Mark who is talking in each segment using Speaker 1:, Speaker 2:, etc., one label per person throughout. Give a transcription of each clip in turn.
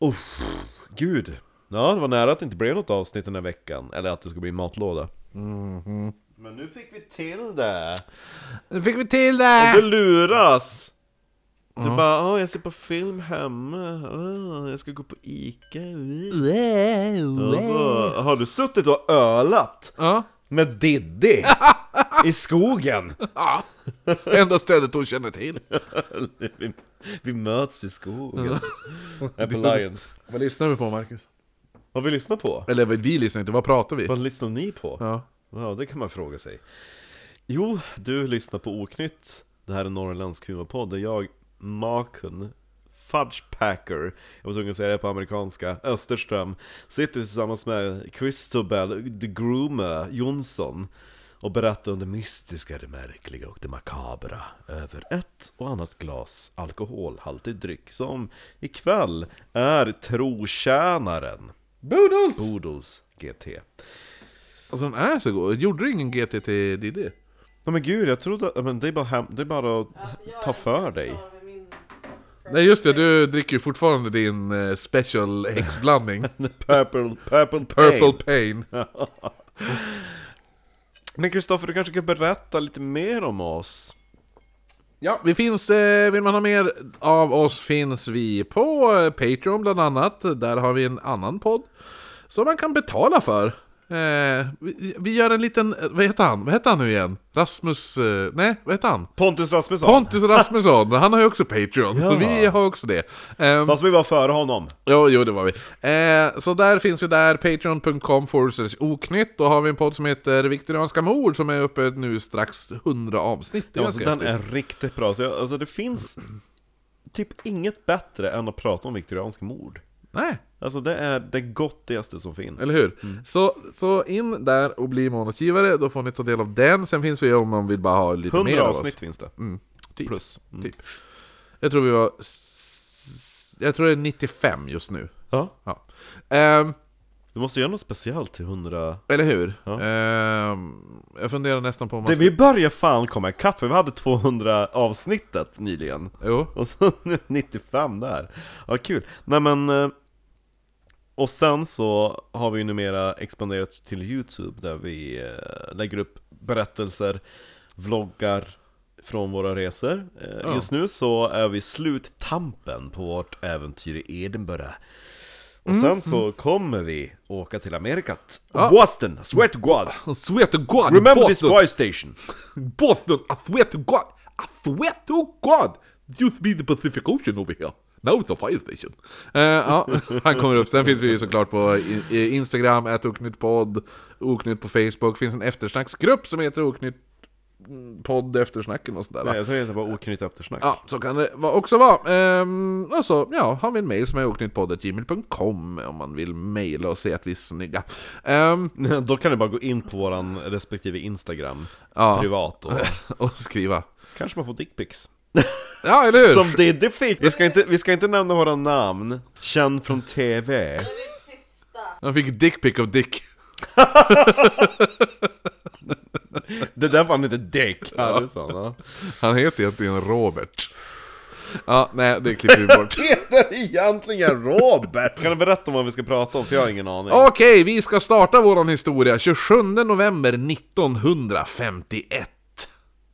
Speaker 1: Uff, gud. Ja, det var nära att det inte blev något avsnitt den här veckan. Eller att det skulle bli matlåda. Men nu fick vi till det!
Speaker 2: Nu fick vi till
Speaker 1: Du
Speaker 2: det!
Speaker 1: luras! Du bara åh jag ser på film hemma, åh jag ska gå på Ica uh." och så har du suttit och ölat
Speaker 2: Ja,
Speaker 1: med Diddy i skogen!
Speaker 2: enda stället hon känner till.
Speaker 1: Vi, vi möts i skogen, här på Lions
Speaker 2: Vad lyssnar vi på Marcus?
Speaker 1: Vad vi lyssnar på?
Speaker 2: Eller vad vi lyssnar inte, vad pratar vi?
Speaker 1: Vad lyssnar ni på?
Speaker 2: Ja.
Speaker 1: Ja, det kan man fråga sig. Jo, du lyssnar på Oknytt. Det här är Norrländsk humorpodd där jag, Maken, Fudge Packer, jag var tvungen att säga det på amerikanska, Österström, sitter tillsammans med Christobel, The Groomer, Jonsson och berättar om det mystiska, det märkliga och det makabra över ett och annat glas alkoholhaltig dryck som ikväll är Trotjänaren,
Speaker 2: Boodles!
Speaker 1: Bodils GT.
Speaker 2: Alltså den är så god. Gjorde du ingen GT till Diddy?
Speaker 1: Nej men gud, jag trodde att, men det är bara, hem, det är bara att ta för dig
Speaker 2: Nej just det, du dricker ju fortfarande din eh, special häxblandning.
Speaker 1: Purple, purple,
Speaker 2: Purple
Speaker 1: pain.
Speaker 2: Pain.
Speaker 1: Men Kristoffer, du kanske kan berätta lite mer om oss?
Speaker 2: Ja, vi finns, eh, vill man ha mer av oss finns vi på eh, Patreon bland annat. Där har vi en annan podd som man kan betala för. Eh, vi, vi gör en liten, eh, vad heter han? Vad heter han nu igen? Rasmus, eh, nej vad heter han?
Speaker 1: Pontus Rasmusson!
Speaker 2: Pontus Rasmusson, han har ju också Patreon, så vi har också det. Ehm,
Speaker 1: Fast vi var före honom.
Speaker 2: Jo, jo det var vi. Eh, så där finns vi där, patreon.com forward oknytt. Då har vi en podd som heter Viktorianska mord som är uppe nu strax 100 avsnitt. Det är
Speaker 1: Ja, alltså,
Speaker 2: ganska
Speaker 1: den är riktigt bra, så jag, alltså, det finns typ inget bättre än att prata om viktorianska mord.
Speaker 2: Nej,
Speaker 1: Alltså det är det gottigaste som finns.
Speaker 2: eller hur? Så, så in där och bli månadsgivare, då får ni ta del av den. Sen finns vi om man vill bara ha lite mer
Speaker 1: 100
Speaker 2: av oss.
Speaker 1: avsnitt finns det.
Speaker 2: typ.
Speaker 1: Plus. Mm.
Speaker 2: Typ. Jag tror vi var... s- Jag tror det är 95 just nu.
Speaker 1: Ja.
Speaker 2: Ja. Ehm,
Speaker 1: Du måste göra något speciellt till 100...
Speaker 2: eller hur?
Speaker 1: Ja.
Speaker 2: Ehm, jag funderar nästan på om man
Speaker 1: Det,
Speaker 2: ska...
Speaker 1: vi börjar fan komma ikapp, för vi hade 200 avsnittet nyligen.
Speaker 2: Jo.
Speaker 1: Och så nu 95 där. Ja, kul. Nej men... eh, Och sen så har vi ju numera expanderat till Youtube där vi eh, lägger upp berättelser, vloggar från våra resor. Eh,
Speaker 2: Ja.
Speaker 1: Just nu så är vi sluttampen på vårt äventyr i Edinburgh. Och
Speaker 2: Mm,
Speaker 1: sen så kommer vi åka till Amerikat. Boston, I swear to God!
Speaker 2: Swear to God!
Speaker 1: Remember this
Speaker 2: Boston.
Speaker 1: fire station!
Speaker 2: Boston, I swear to God, I swear to God! It used to be the Pacific Ocean over here. Now it's a fire station. Eh, ja, han kommer upp. Sen finns vi ju såklart på i- i Instagram, at oknyttpodd, oknytt på Facebook. Finns en eftersnacksgrupp som heter oknytt mm, podd eftersnacken och sådär. va?
Speaker 1: Nej, jag tror det var oknytt eftersnack.
Speaker 2: Ja, så kan det va- också vara. Ehm, och så, ja, har vi en mail som är oknyttpodd.gmail.com om man vill mejla och säga att vi är snygga. Ehm,
Speaker 1: Då kan du bara gå in på våran respektive Instagram,
Speaker 2: Ja.
Speaker 1: privat och
Speaker 2: och skriva.
Speaker 1: kanske man får dickpics.
Speaker 2: Ja, eller hur?
Speaker 1: Som Diddy fick! Vi ska, inte, vi ska inte nämna våra namn, känd från TV.
Speaker 2: Han fick dickpick av Dick.
Speaker 1: Det där var han inte Dick Harrison. Ja.
Speaker 2: Han heter egentligen Robert. Ja, nej, det klipper vi bort.
Speaker 1: Heter egentligen Robert! Kan du berätta om vad vi ska prata om? För jag har ingen aning.
Speaker 2: Okej, vi ska starta våran historia 27 november 1951.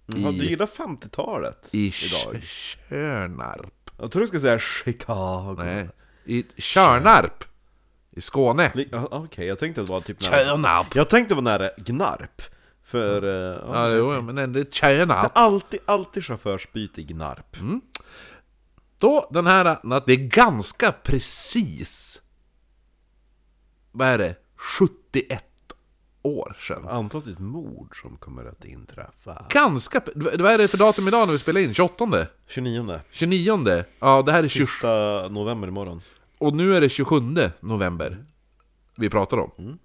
Speaker 1: Ja, du gillar 50-talet
Speaker 2: I
Speaker 1: idag.
Speaker 2: Kö- Körnarp.
Speaker 1: Jag tror du ska säga Chicago.
Speaker 2: Nej, i Körnarp. I Skåne.
Speaker 1: Li- ja, Okej, jag tänkte att det var typ nära...
Speaker 2: Körnarp.
Speaker 1: Jag tänkte det var nära Gnarp. För... eh, ja.
Speaker 2: Ja, jo, men det är Körnarp.
Speaker 1: Alltid, alltid chaufförsbyte i Gnarp.
Speaker 2: Då, den här natten, det är ganska precis... Vad är det? 71 år sedan.
Speaker 1: Antalet ett mord som kommer att inträffa.
Speaker 2: Ganska... pre- Vad är det för datum idag när vi spelar in? 28?
Speaker 1: 29.
Speaker 2: 29? Ja, det här är 20...
Speaker 1: Sista november imorgon.
Speaker 2: Och nu är det 27 november vi pratar om.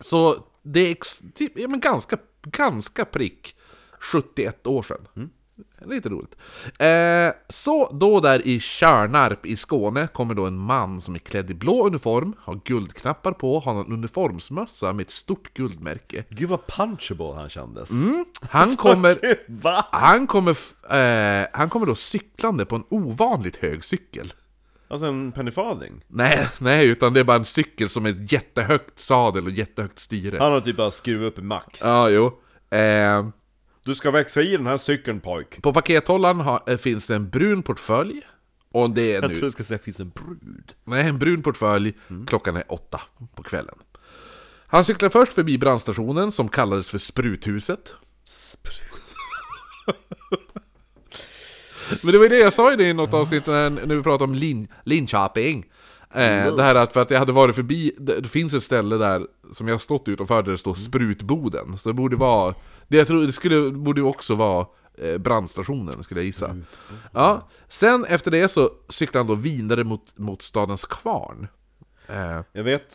Speaker 2: Så det är ex... typ, ja, men ganska, ganska prick 71 år sedan. Lite roligt. Eh, så då där i Tjärnarp i Skåne kommer då en man som är klädd i blå uniform, har guldknappar på, har en uniformsmössa med ett stort guldmärke.
Speaker 1: Gud vad punchable han kändes.
Speaker 2: Mm, han kommer...
Speaker 1: Gud, Va?
Speaker 2: Han kommer, f- eh, han kommer då cyklande på en ovanligt hög cykel.
Speaker 1: Alltså en pennyfading.
Speaker 2: Nej, nej, utan det är bara en cykel som är ett jättehögt sadel och jättehögt styre.
Speaker 1: Han har typ bara skruvat upp i max.
Speaker 2: Ja, jo. Eh,
Speaker 1: Du ska växa i den här cykeln pojk.
Speaker 2: på pakethållaren har, eh, finns det en brun portfölj. Och det är
Speaker 1: Jag tror Mm.
Speaker 2: nu,
Speaker 1: du ska säga finns en brud.
Speaker 2: nej, en brun portfölj. Klockan är åtta på kvällen. Han cyklar först förbi brandstationen som kallades för Spruthuset.
Speaker 1: Sprut.
Speaker 2: Men det var ju det jag sa i det i något avsnitt när, när vi pratade om Lin, Linköping. Eh, det här att för att jag hade varit förbi, det, det finns ett ställe där som jag har stått utanför där det står sprutboden. Så det borde vara, det jag tror, det skulle, borde ju också vara eh, brandstationen skulle jag gissa. Ja, sen efter det så cyklar han då vidare mot, mot stadens kvarn. Eh,
Speaker 1: Jag vet,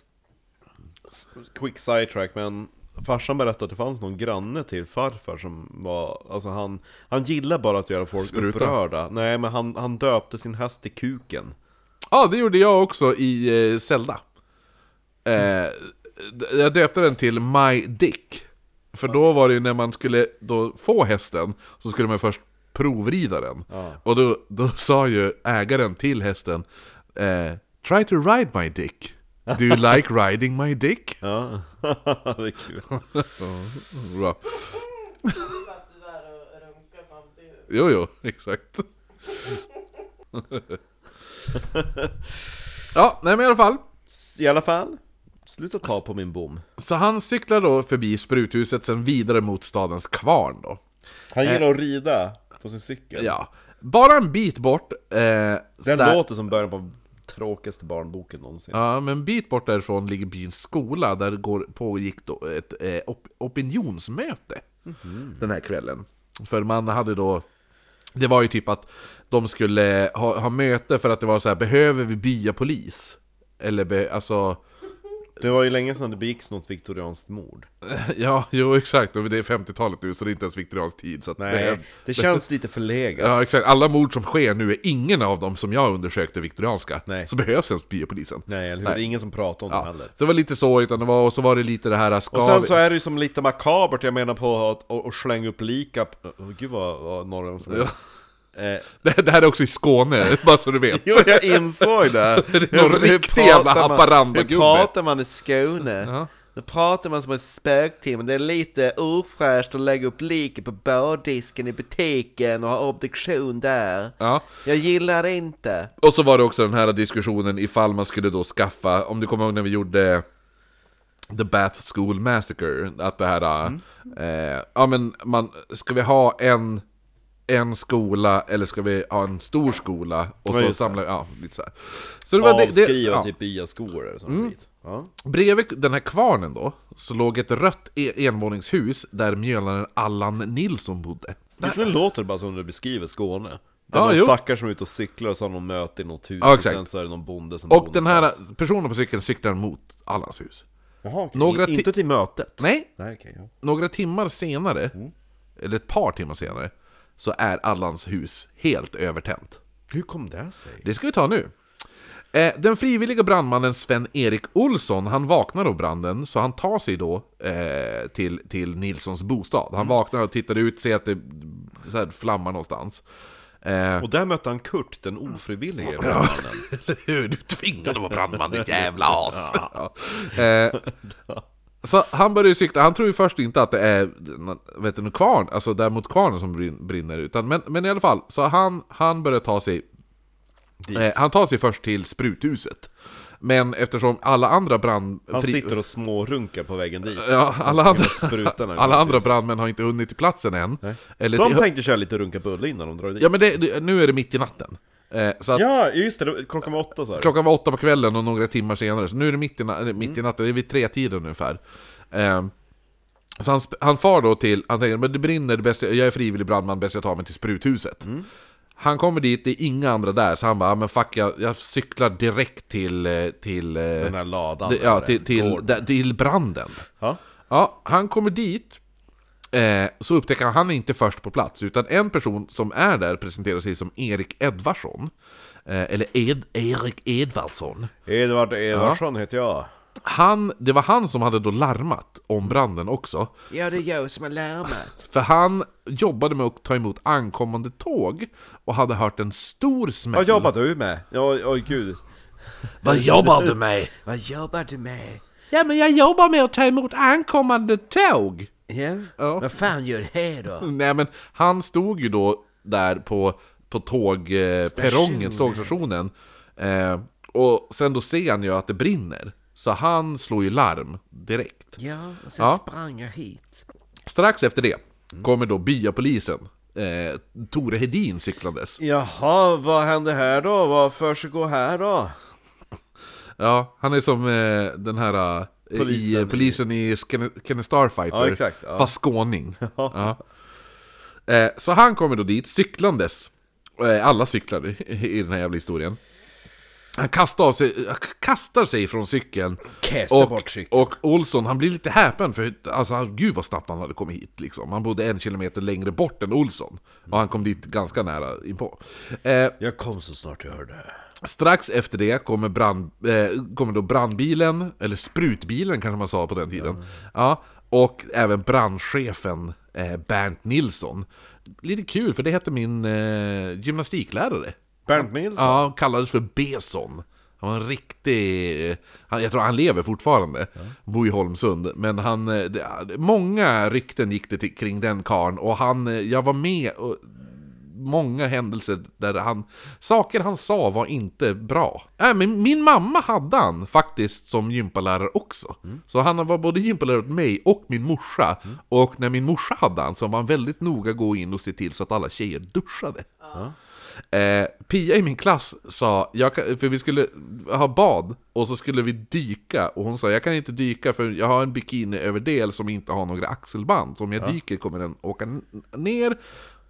Speaker 1: s- quick sidetrack men Farsan berättade att det fanns någon granne till farfar som var, alltså han, han gillar bara att göra folk
Speaker 2: Spruta.
Speaker 1: upprörda. Nej men han, han döpte sin häst till Kuken.
Speaker 2: Ja, det gjorde jag också i eh, Zelda. Eh, d- jag döpte den till My Dick. För då var det ju när man skulle då få hästen så skulle man först provrida den.
Speaker 1: Ja.
Speaker 2: Och då, då sa ju ägaren till hästen eh, Try to ride my dick. Do you like riding my dick?
Speaker 1: Ja, det är kul.
Speaker 2: Bra.
Speaker 3: satt du där och runkade samtidigt.
Speaker 2: Jo, jo, exakt. ja, nej men i alla fall.
Speaker 1: S- I alla fall, sluta ta på min bom.
Speaker 2: Så han cyklar då förbi spruthuset, sen vidare mot stadens kvarn då.
Speaker 1: Han gillar att rida på sin cykel.
Speaker 2: Ja. Bara en bit bort... Eh,
Speaker 1: Den
Speaker 2: där-
Speaker 1: låter som början på den tråkigaste barnboken någonsin.
Speaker 2: Ja, men en bit bort därifrån ligger byns skola, där det går, pågick då ett eh, op- opinionsmöte
Speaker 1: Mhm.
Speaker 2: den här kvällen. För man hade då... Det var ju typ att de skulle ha, ha möte för att det var så här, behöver vi byapolis? Eller be, alltså...
Speaker 1: Det var ju länge sedan det begicks något viktorianskt mord.
Speaker 2: Ja, jo exakt, och det är 50-talet nu så det är inte ens viktoriansk tid. Så att
Speaker 1: Nej,
Speaker 2: behöv-
Speaker 1: det känns lite förlegat.
Speaker 2: Ja, exakt. Alla mord som sker nu är ingen av dem som jag undersökte viktorianska.
Speaker 1: Nej.
Speaker 2: Så behövs ens biopolisen.
Speaker 1: Nej, eller hur?
Speaker 2: Nej.
Speaker 1: Det är ingen som pratar om
Speaker 2: Ja,
Speaker 1: dem heller.
Speaker 2: så det var lite så, utan det var, och så var det lite det här ska
Speaker 1: Och sen
Speaker 2: vi-
Speaker 1: så är det ju som lite makabert, jag menar på att och, och slänga upp lika... Oh, gud vad, vad Norrlands
Speaker 2: Ja.
Speaker 1: eh,
Speaker 2: det, det här är också i Skåne, bara så du vet.
Speaker 1: Jo, jag insåg det!
Speaker 2: Det är någon
Speaker 1: Hur
Speaker 2: riktig
Speaker 1: pratar
Speaker 2: jävla
Speaker 1: man-
Speaker 2: Haparanda-gubbe.
Speaker 1: Hur pratar man i Skåne?
Speaker 2: Ja.
Speaker 1: Då pratar man som en spöktimme, det är lite ofräscht att lägga upp liket på bardisken i butiken och ha obduktion där.
Speaker 2: Ja.
Speaker 1: Jag gillar det inte.
Speaker 2: Och så var det också den här diskussionen ifall man skulle då skaffa, om du kommer ihåg när vi gjorde The Bath School Massacre, att det här,
Speaker 1: Mm.
Speaker 2: eh, ja men man, ska vi ha en, en skola eller ska vi ha en stor skola? Och
Speaker 1: Ja,
Speaker 2: så
Speaker 1: just det.
Speaker 2: samla, ja lite så här. Så det var det, det,
Speaker 1: Avskriva
Speaker 2: ja. Mm.
Speaker 1: typ byaskor eller sånt skit. Ja.
Speaker 2: Bredvid den här kvarnen då, så låg ett rött e- envåningshus där mjölaren Allan Nilsson bodde.
Speaker 1: Just nu låter det bara som du beskriver Skåne. Det är
Speaker 2: Ja,
Speaker 1: någon
Speaker 2: jo.
Speaker 1: stackare som är ute och cyklar och så har någon möte i något hus
Speaker 2: Ja,
Speaker 1: och
Speaker 2: exakt.
Speaker 1: sen så är det någon bonde som
Speaker 2: Och
Speaker 1: bor
Speaker 2: den här
Speaker 1: någonstans.
Speaker 2: personen på cykeln cyklar mot Allans hus.
Speaker 1: Jaha, okej.
Speaker 2: några ti-
Speaker 1: Inte till mötet?
Speaker 2: Nej,
Speaker 1: Nej, okej. ja.
Speaker 2: Några timmar senare, eller ett par timmar senare, så är Allans hus helt övertänt.
Speaker 1: Hur kom det sig?
Speaker 2: Det ska vi ta nu. Eh, Den frivilliga brandmannen Sven-Erik Olsson, han vaknar av branden, så han tar sig då eh, till, till Nilssons bostad. Han vaknar och tittar ut, ser att det så här, flammar någonstans. Eh,
Speaker 1: Och där mötte han Kurt, den ofrivillige brandmannen.
Speaker 2: Eller hur? Du tvingade att vara brandman, ditt jävla as! Ja. Eh, så han börjar ju cykla, han tror ju först inte att det är vet du, en kvarn, alltså där mot kvarnen som brin- brinner utan, men, men i alla fall, så han, han börjar ta sig
Speaker 1: Dit.
Speaker 2: eh, Han tar sig först till spruthuset Men eftersom alla andra brand...
Speaker 1: Han
Speaker 2: fri-
Speaker 1: sitter och smårunkar på vägen dit.
Speaker 2: ja,
Speaker 1: Så
Speaker 2: alla
Speaker 1: ska
Speaker 2: andra,
Speaker 1: sprutorna gå
Speaker 2: alla
Speaker 1: ut.
Speaker 2: andra brandmän har inte hunnit till platsen än eller
Speaker 1: De
Speaker 2: till,
Speaker 1: tänkte köra lite runka bulle innan de drar dit.
Speaker 2: Ja men det- det, nu är det mitt i natten eh, så att,
Speaker 1: Ja, just det. det- Klockan var åtta så här.
Speaker 2: Klockan var åtta på kvällen och några timmar senare, så nu är det mitt i, na- eller mitt i
Speaker 1: Mm.
Speaker 2: natten, det är vid tre tiden ungefär. Ehm, så han, sp- han far då till, han tänker men det brinner, det bästa, jag är frivillig brandman, bäst jag tar mig till spruthuset.
Speaker 1: Mm.
Speaker 2: Han kommer dit, det är inga andra där, så han bara, "Ja, men fuck jag, jag cyklar direkt till, eh, till, eh,
Speaker 1: Den här ladan.
Speaker 2: ja,
Speaker 1: eller
Speaker 2: till, till,
Speaker 1: gården.
Speaker 2: där- till branden.
Speaker 1: Ja.
Speaker 2: Ja, han kommer dit Eh, så upptäcker han, han är inte först på plats, utan en person som är där presenterar sig som Erik Edvardsson. Eh, eller Ed, Erik Edvardsson.
Speaker 4: Edvard Edvardsson heter jag.
Speaker 2: Han, det var han som hade då larmat om branden också.
Speaker 4: Ja, det är jag som har larmat.
Speaker 2: För han jobbade med att ta emot ankommande tåg och hade hört en stor smäll.
Speaker 4: Vad jobbar du med? Ja, oj gud.
Speaker 2: Vad jobbar du med?
Speaker 4: Vad jobbar du med?
Speaker 2: Ja, men jag jobbar med att ta emot ankommande tåg.
Speaker 4: Ja?
Speaker 2: Ja.
Speaker 4: Vad fan gör du här då?
Speaker 2: Nej, men han stod ju då där på, på tågperrongen,
Speaker 4: Stationen.
Speaker 2: tågstationen. Eh, och sen då ser han ju att det brinner. Så han slår ju larm direkt.
Speaker 4: Ja, och sen
Speaker 2: Ja.
Speaker 4: sprang jag hit.
Speaker 2: Strax efter det kommer då byapolisen, eh, Tore Hedin cyklandes.
Speaker 4: Jaha, vad hände här då? Vad försiggår här då?
Speaker 2: Ja, han är som eh, den här eh,
Speaker 4: Polisen
Speaker 2: polisen i,
Speaker 4: i-
Speaker 2: polisen i Sken- Kenny Starfighter,
Speaker 4: Ja, exakt, ja.
Speaker 2: fast skåning. ja. eh, så han kommer då dit cyklandes, eh, alla cyklar i, i den här jävla historien. Han kastar, av sig, kastar sig från cykeln
Speaker 4: Kastar
Speaker 2: och,
Speaker 4: bort cykeln.
Speaker 2: och Olsson han blir lite häpen för alltså, han- gud vad snabbt han hade kommit hit liksom. Han bodde en kilometer längre bort än Olsson och han kom dit ganska nära inpå. Eh,
Speaker 4: Jag kom så snart jag hörde.
Speaker 2: Strax efter det kommer, brand, eh, kommer då brandbilen, eller sprutbilen kanske man sa på den tiden. Ja, och även brandchefen eh, Bernt Nilsson. Lite kul för det hette min eh, gymnastiklärare.
Speaker 4: Bernt Nilsson?
Speaker 2: Ja, han kallades för Beson. Han var en riktig... eh, Han, jag tror han lever fortfarande. Bor i Holmsund. Men han... eh, Det, många rykten gick det till, kring den karn och han... eh, Jag var med och... Många händelser där han... Saker han sa var inte bra. Äh, men min mamma hade han faktiskt som gympalärare också. Så han var både gympalärare åt mig och min morsa. Och när min morsa hade han så var han väldigt noga gå in och se till så att alla tjejer duschade. Eh, Pia i min klass sa, jag kan, för vi skulle ha bad och så skulle vi dyka och hon sa jag kan inte dyka för jag har en bikiniöverdel som inte har några axelband så om jag dyker kommer den åka n- ner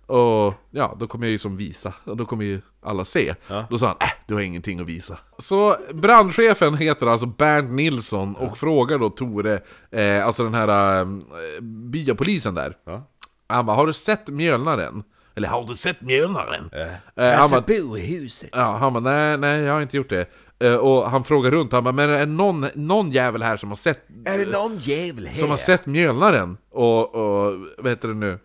Speaker 2: och ja, då kommer jag ju som visa och då kommer ju alla se. Då sa han äh, du har ingenting att visa. Så brandchefen heter alltså Bernt Nilsson och frågar då Tore, eh, alltså den här eh, byapolisen där.
Speaker 4: Ja.
Speaker 2: Han bara, har du sett mjölnaren? Eller har du sett mjölnaren? Eh,
Speaker 4: Jag
Speaker 2: han
Speaker 4: ska
Speaker 2: bara,
Speaker 4: Alltså, bo i huset.
Speaker 2: ja, han bara, nej, nej, jag har inte gjort det. Eh, Och han frågar runt, han bara, men är det någon, någon jävel här som har sett,
Speaker 4: Är det någon jävel här?
Speaker 2: som har sett mjölnaren? Och, och vad heter det nu?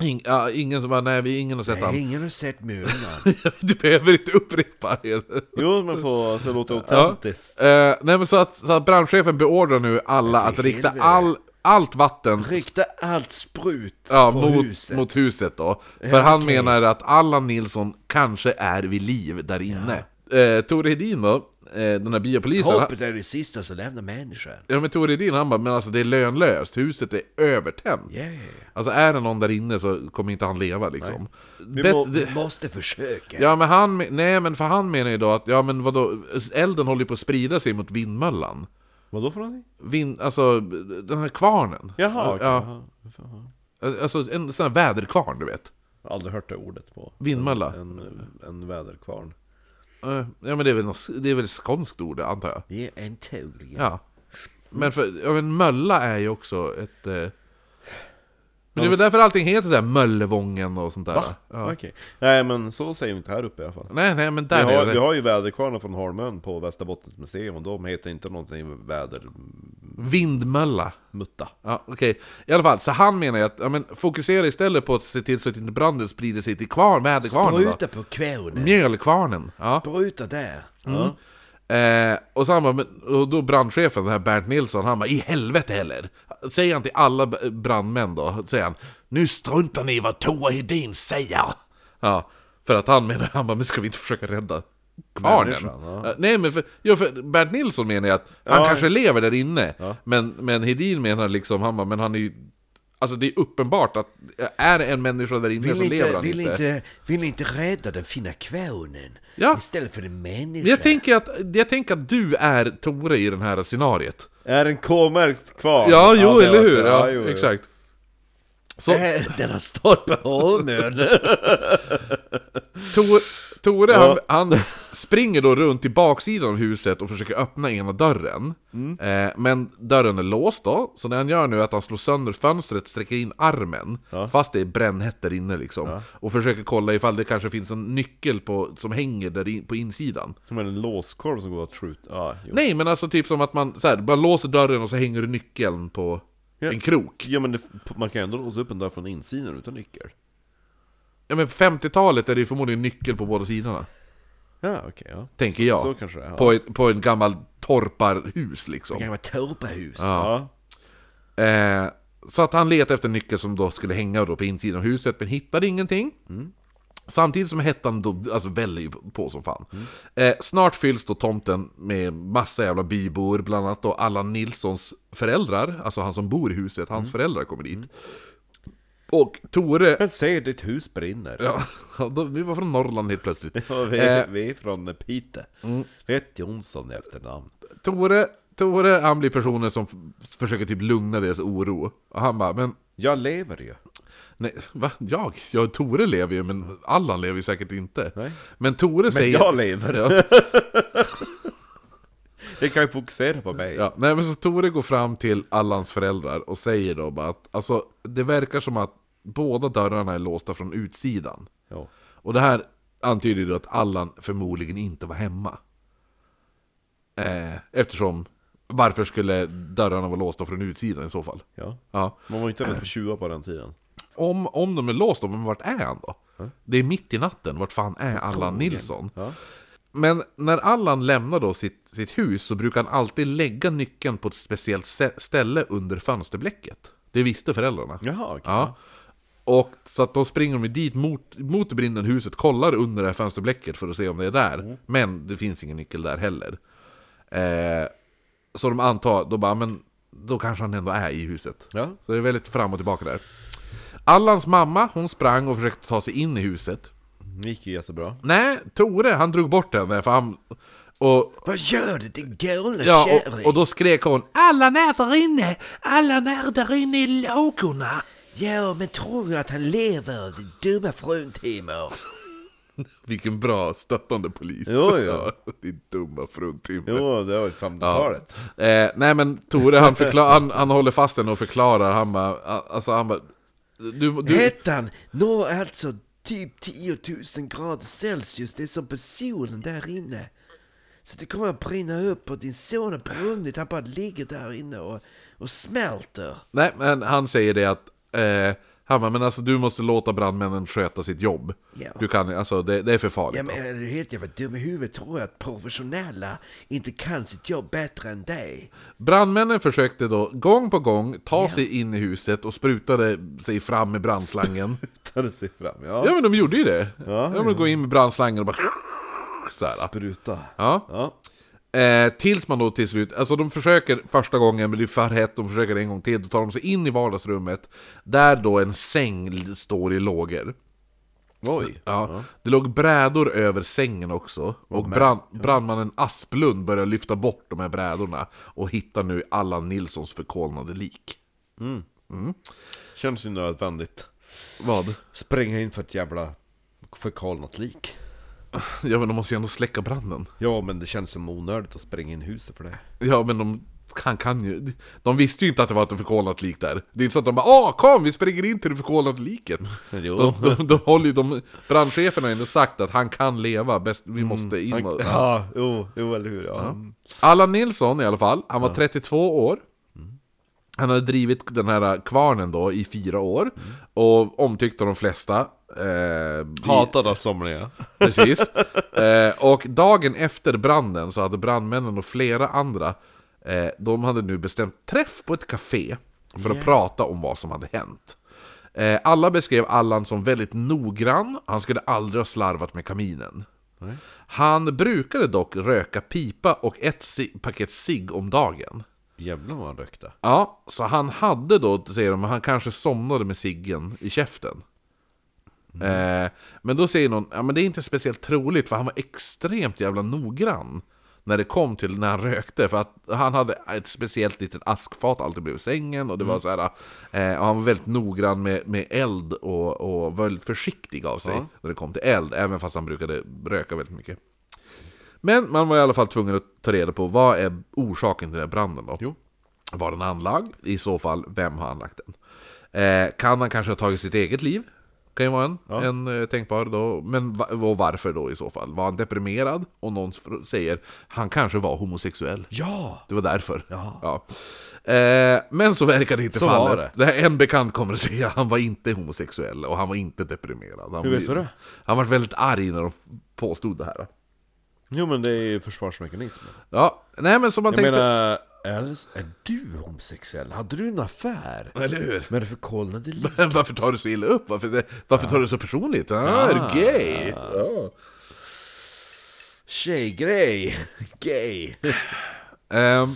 Speaker 2: Ing, ja, ingen som bara, nej, vi, ingen har sett
Speaker 4: Nej,
Speaker 2: han.
Speaker 4: Ingen har sett mulan.
Speaker 2: du behöver inte upprepa det.
Speaker 4: jo, men på så låter det autentiskt.
Speaker 2: Eh, nej, men så att, så att brandchefen beordrar nu alla att rikta
Speaker 4: helvete.
Speaker 2: all, allt vatten
Speaker 4: Rikta allt sprut
Speaker 2: Ja,
Speaker 4: på
Speaker 2: mot,
Speaker 4: huset.
Speaker 2: mot huset då. För han
Speaker 4: okej.
Speaker 2: menar att Allan Nilsson kanske är vid liv där inne. Eh, Tore Hedin då, eh, den här biopolisen. han-
Speaker 4: Hoppet är det sista som lämnar människan.
Speaker 2: Ja men Tore Hedin han bara, men alltså det är lönlöst, huset är övertänt.
Speaker 4: Yeah.
Speaker 2: Alltså är det någon där inne så kommer inte han leva liksom.
Speaker 4: Vi,
Speaker 2: Bet-
Speaker 4: må,
Speaker 2: det-
Speaker 4: vi måste försöka.
Speaker 2: Ja men han, men- nej men för han menar ju då att, ja men vadå, elden håller ju på att sprida sig mot vindmöllan.
Speaker 4: Vadå för någonting?
Speaker 2: Vind, alltså den här kvarnen.
Speaker 4: Jaha, okej,
Speaker 2: ja,
Speaker 4: jaha.
Speaker 2: Alltså en sån här väderkvarn du vet.
Speaker 4: Jag har aldrig hört det ordet på.
Speaker 2: Vindmölla.
Speaker 4: En, en väderkvarn.
Speaker 2: Eh, Ja men det är väl, något, det är väl ett skånskt ord antar jag.
Speaker 4: Vi är en tålig.
Speaker 2: Ja. Men för, ja, men mölla är ju också ett... Eh... Men det är väl därför allting heter så här Möllevången och sånt där. Ja.
Speaker 4: Okej. Nej men så säger vi inte här uppe i alla fall.
Speaker 2: Nej, nej, men
Speaker 4: Vi
Speaker 2: där
Speaker 4: har,
Speaker 2: är
Speaker 4: vi
Speaker 2: det.
Speaker 4: har ju väderkvarnar från Holmön på Västerbottens museum och de heter inte någonting vädermutta.
Speaker 2: Vindmölla. Ja, okej. I alla fall, så han menar ju att, ja men fokusera istället på att se till så att inte branden sprider sig till kvarn, väderkvarnen då.
Speaker 4: Spruta på kvarnen.
Speaker 2: Mjölkvarnen. Ja. Mm.
Speaker 4: Spruta där. Ja.
Speaker 2: Eh, och, så han bara, men, och då brandchefen, den här Bernt Nilsson, han bara i helvete heller! Säger han till alla b- brandmän då, säger han Nu struntar ni i vad Tore Hedin säger! Ja, för att han menar, han bara, men ska vi inte försöka rädda kvarnen?
Speaker 4: Människan, ja.
Speaker 2: Eh, Nej men för, ja, för Bernt Nilsson menar ju att han
Speaker 4: Ja.
Speaker 2: kanske lever där inne,
Speaker 4: Ja.
Speaker 2: men, men Hedin menar liksom, han bara, men han är ju Alltså det är uppenbart att eh, är det en människa där inne
Speaker 4: Vill
Speaker 2: så lever
Speaker 4: inte,
Speaker 2: han
Speaker 4: vill,
Speaker 2: inte.
Speaker 4: inte, vill inte rädda den fina kvarnen
Speaker 2: Ja.
Speaker 4: istället för en människa?
Speaker 2: Men Jag, tänker att, jag tänker att du är Tore i den här scenariet.
Speaker 4: Är en K-märkt kvarn?
Speaker 2: Ja, jo,
Speaker 4: det
Speaker 2: eller
Speaker 4: var-
Speaker 2: hur? Ja,
Speaker 4: jo, jo.
Speaker 2: exakt. Så
Speaker 4: Äh, Den har stått på Holmön.
Speaker 2: Tor, Tore, han, han Springer då runt till baksidan av huset och försöker öppna ena dörren.
Speaker 4: Mm.
Speaker 2: Eh, men dörren är låst då, så det han gör nu är att han slår sönder fönstret, sträcker in armen,
Speaker 4: Ja.
Speaker 2: fast det är brännhett där inne liksom. Och försöker kolla ifall det kanske finns en nyckel på, som hänger där in, på insidan.
Speaker 4: Som en låskorv som går att skjuta. Ja, jo.
Speaker 2: Nej men alltså typ som att man, så här, man låser dörren och så hänger det nyckeln på
Speaker 4: Ja.
Speaker 2: en krok.
Speaker 4: ja men det, man kan ju ändå låsa upp en dörr från insidan utan nyckel.
Speaker 2: Ja men på 50-talet är det ju förmodligen nyckel på båda sidorna.
Speaker 4: Ja okej, ja.
Speaker 2: Tänker jag.
Speaker 4: Så kanske det är.
Speaker 2: på, ett, på en gammal torparhus liksom.
Speaker 4: vara torpahus.
Speaker 2: Ja.
Speaker 4: Ja.
Speaker 2: Eh, så att han letade efter en nyckel som då skulle hänga då på insidan av huset, men hittade ingenting.
Speaker 4: Mm.
Speaker 2: Samtidigt som hettan då, alltså väller ju på som fan.
Speaker 4: Mm.
Speaker 2: Eh, snart fylls då tomten med massa jävla bybor, bland annat då Allan Nilssons föräldrar, alltså han som bor i huset,
Speaker 4: Mm.
Speaker 2: hans föräldrar kommer dit. Och Tore...
Speaker 4: Men säg ditt hus brinner.
Speaker 2: Ja, de- vi var från Norrland helt plötsligt.
Speaker 4: Ja, vi,
Speaker 2: Eh,
Speaker 4: vi är från Piteå. Vet Jonsson i efternamn.
Speaker 2: Tore, Tore, han blir personen som f- försöker typ lugna deras oro. Och han bara, men
Speaker 4: Jag lever ju.
Speaker 2: Nej, va? Jag? Ja, Tore lever ju, men Allan lever ju säkert inte.
Speaker 4: Nej.
Speaker 2: Men Tore
Speaker 4: Men
Speaker 2: säger...
Speaker 4: jag lever.
Speaker 2: Ja,
Speaker 4: Ni kan ju fokusera på mig.
Speaker 2: ja. Nej, men så Tore går fram till Allans föräldrar och säger då bara att alltså, det verkar som att båda dörrarna är låsta från utsidan.
Speaker 4: Ja.
Speaker 2: Och det här antyder ju då att Allan förmodligen inte var hemma. Eh, eftersom, varför skulle dörrarna vara låsta från utsidan i så fall?
Speaker 4: ja.
Speaker 2: Ja.
Speaker 4: Man var ju inte ens på 20 på den tiden.
Speaker 2: Om, om de är låsta, men vart är han då? Det är mitt i natten, vart fan är Allan Nilsson?
Speaker 4: Ja.
Speaker 2: Men när Allan lämnar då sitt, sitt hus så brukar han alltid lägga nyckeln på ett speciellt stä- ställe under fönsterblecket. Det visste föräldrarna.
Speaker 4: Jaha, okej.
Speaker 2: Ja. Och så att då springer de ju dit mot, mot det brinnande huset, kollar under det här fönsterblecket för att se om det är där. Men det finns ingen nyckel där heller. Eh, så de antar, då bara, men då kanske han ändå är i huset.
Speaker 4: Ja.
Speaker 2: Så det är väldigt fram och tillbaka där. Allans mamma, hon sprang och försökte ta sig in i huset.
Speaker 4: Det gick ju jättebra.
Speaker 2: Nej, Tore, han drog bort henne för han... Och,
Speaker 4: Vad gör du din galna
Speaker 2: ja, och, och då skrek hon Allan är där inne! Allan är där inne i lågorna!
Speaker 4: Ja, men tror du att han lever, din dumma fruntimmer?
Speaker 2: Vilken bra stöttande polis!
Speaker 4: Jo, ja.
Speaker 2: Din dumma fruntimmer!
Speaker 4: Jo, det var ju 50-talet.
Speaker 2: Eh, nej men Tore han, förklar, han, han håller fast henne och förklarar, han bara, a- alltså han bara du, du,
Speaker 1: Hettan når alltså typ 10 000 grader Celsius, det är som på solen där inne. Så det kommer att brinna upp och din son har brunnit, han bara ligger där inne och, och smälter.
Speaker 2: Nej men han säger det att, eh, han bara, men alltså du måste låta brandmännen sköta sitt jobb.
Speaker 1: Ja.
Speaker 2: Du kan alltså det, det är för farligt.
Speaker 1: Ja men är du helt jävla dum i huvudet tror jag att professionella inte kan sitt jobb bättre än dig?
Speaker 2: Brandmännen försökte då gång på gång ta sig in i huset och sprutade sig fram med brandslangen.
Speaker 4: Tittade sig fram,
Speaker 2: ja
Speaker 4: ja.
Speaker 2: men de gjorde ju det. Ja, de går in med brandslangen och bara... Så här.
Speaker 4: Spruta.
Speaker 2: Ja.
Speaker 4: Ja.
Speaker 2: Eh, tills man då till slut, alltså de försöker första gången men det är för hett, de försöker en gång till, då tar de sig in i vardagsrummet. Där då en säng l- står i lågor.
Speaker 4: Oj.
Speaker 2: Ja. Det låg brädor över sängen också. Och brand, brandmannen Asplund börjar lyfta bort de här brädorna. Och hittar nu Allan Nilssons förkolnade lik.
Speaker 4: Känns ju nödvändigt.
Speaker 2: Vad?
Speaker 4: Spränga in för ett jävla förkolnat lik.
Speaker 2: Ja men de måste ju ändå släcka branden.
Speaker 4: Ja, men det känns som onödigt att spränga in huset för det.
Speaker 2: Ja men de han kan ju... De visste ju inte att det var ett förkolnat lik där. Det är inte så att de bara Åh kom vi springer in till det förkolnade liket.
Speaker 4: Jo.
Speaker 2: De, de, de håller ju... De, brandchefen har ju ändå sagt att han kan leva bäst, vi måste in och... Ja.
Speaker 4: Ja, jo, jo eller hur. Ja.
Speaker 2: Allan Nilsson i alla fall, han var 32 år. Han hade drivit den här kvarnen då i fyra år. Och omtyckt av de flesta. Eh, i-
Speaker 4: Hatad av somliga.
Speaker 2: Precis. Eh, och dagen efter branden så hade brandmännen och flera andra, eh, de hade nu bestämt träff på ett café för att prata om vad som hade hänt. Eh, alla beskrev Allan som väldigt noggrann, han skulle aldrig ha slarvat med kaminen. Han brukade dock röka pipa och ett ci- paket cigg om dagen.
Speaker 4: Jävlar vad han rökte.
Speaker 2: Ja, så han hade då, säger de, han kanske somnade med ciggen i käften. Eh, men då säger någon, ja men det är inte speciellt troligt för han var extremt jävla noggrann. När det kom till när han rökte, för att han hade ett speciellt litet askfat alltid bredvid sängen och det var så här, eh, och han var väldigt noggrann med, med eld och, och var väldigt försiktig av sig när det kom till eld, även fast han brukade röka väldigt mycket. Men man var i alla fall tvungen att ta reda på vad är orsaken till den här branden då?
Speaker 4: Jo.
Speaker 2: Var den anlagd? I så fall, vem har anlagt den? Eh, kan han kanske ha tagit sitt eget liv? Kan ju vara en,
Speaker 4: Ja.
Speaker 2: en eh, tänkbar då. Men va, och varför då i så fall? Var han deprimerad? Och någon fr- säger han kanske var homosexuell.
Speaker 4: Ja!
Speaker 2: Det var därför.
Speaker 4: Ja.
Speaker 2: Eh, men så verkar det inte
Speaker 4: Så var
Speaker 2: fallet. Det.
Speaker 4: det.
Speaker 2: här, en bekant kommer att säga att han var inte homosexuell och han var inte deprimerad. Han
Speaker 4: Hur vet
Speaker 2: var-
Speaker 4: du det?
Speaker 2: Han var väldigt arg när de påstod det här.
Speaker 4: Jo men det är ju försvarsmekanismen.
Speaker 2: Ja, nej men som man
Speaker 4: Jag
Speaker 2: tänkte...
Speaker 4: menar, Alice, är du homosexuell? Hade du en affär?
Speaker 2: Eller hur?
Speaker 4: Men det förkolnade livet.
Speaker 2: Varför tar du så illa upp? Varför, det, varför tar du så personligt? Ah, Är du gay? Ja.
Speaker 4: Tjejgrej! Gay!
Speaker 2: Ehm,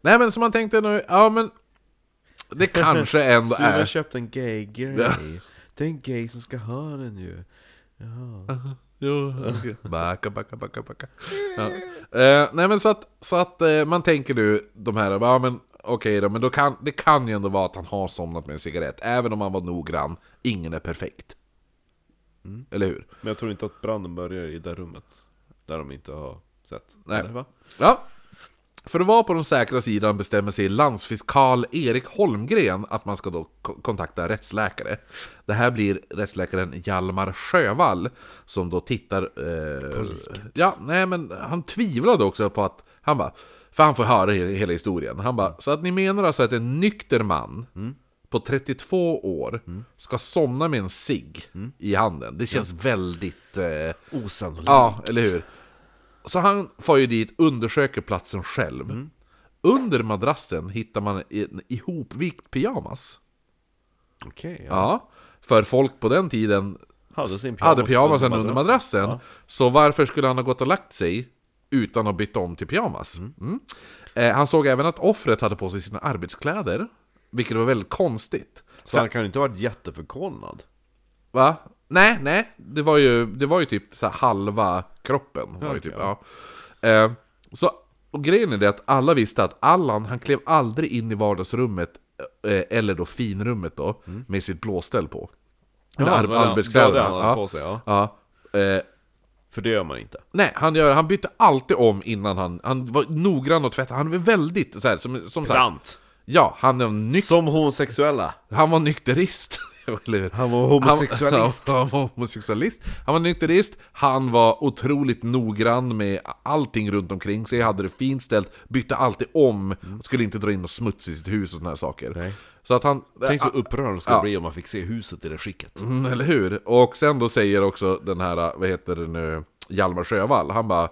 Speaker 2: nej men som man tänkte nu, ja men... Det kanske ändå
Speaker 4: Sune har
Speaker 2: är...
Speaker 4: köpt en gay-grej. Det är en gay som ska ha den ju.
Speaker 2: Jo, backa, backa, backa, backa. Ja. Eh, nej men så att, så att eh, man tänker nu, de här, ja men okej då, men då kan, det kan ju ändå vara att han har somnat med en cigarett, även om han var noggrann, ingen är perfekt. Eller hur?
Speaker 4: Men jag tror inte att branden börjar i det rummet. Där de inte har sett.
Speaker 2: Nej.
Speaker 4: Eller va?
Speaker 2: Ja. För att vara på den säkra sidan bestämmer sig landsfiskal Erik Holmgren att man ska då ko- kontakta rättsläkare. Det här blir rättsläkaren Hjalmar Sjövall som då tittar... Eh, ja, nej men han tvivlade också på att... Han bara... För han får höra he- hela historien. Han bara, så att ni menar alltså att en nykter man på 32 år ska somna med en cigg i handen? Det känns väldigt... Eh,
Speaker 4: Osannolikt.
Speaker 2: Ja, eller hur? Så han far ju dit, undersöker platsen själv. Under madrassen hittar man en ihopvikt pyjamas.
Speaker 4: Okej,
Speaker 2: Ja.
Speaker 4: ja.
Speaker 2: För folk på den tiden
Speaker 4: Hade sin pyjamas
Speaker 2: hade pyjamasen under madrassen.
Speaker 4: Ja.
Speaker 2: Så varför skulle han ha gått och lagt sig utan att byta om till pyjamas? Mm. Eh, han såg även att offret hade på sig sina arbetskläder. Vilket var väldigt konstigt.
Speaker 4: Så han kan ju inte ha varit jätteförkolnad.
Speaker 2: Va? Nej, nej. Det var ju, det var ju typ så här halva kroppen. Var ju
Speaker 4: Okej.
Speaker 2: typ, ja. eh, så och grejen är det att alla visste att Allan, han klev aldrig in i vardagsrummet, eh, eller då finrummet då, med sitt blåställ på. Eller
Speaker 4: Mm. Ja,
Speaker 2: ar-
Speaker 4: det var det- det var det han hade
Speaker 2: ja.
Speaker 4: på sig, ja.
Speaker 2: ja. Eh,
Speaker 4: För det gör man inte.
Speaker 2: Nej, han, gör, han bytte alltid om innan han... Han var noggrann och tvättade. Han var väldigt så här, som, som så här,
Speaker 4: Pedant!
Speaker 2: Ja, han var nyk-
Speaker 4: Som homosexuella!
Speaker 2: han var nykterist. Eller hur?
Speaker 4: Han var homosexualist.
Speaker 2: Han, han, var homosexualist. Han var nykterist. Han var otroligt noggrann med allting runt omkring sig. Hade det fint ställt. Bytte alltid om. Skulle inte dra in något smuts i sitt hus och såna här saker.
Speaker 4: Mm. Nej.
Speaker 2: Så att han... äh,
Speaker 4: Tänk så upprörd de skulle
Speaker 2: Ja.
Speaker 4: bli om man fick se huset i det skicket.
Speaker 2: Mm, eller hur? Och sen då säger också den här, äh, vad heter det nu, Hjalmar Sjövall, han bara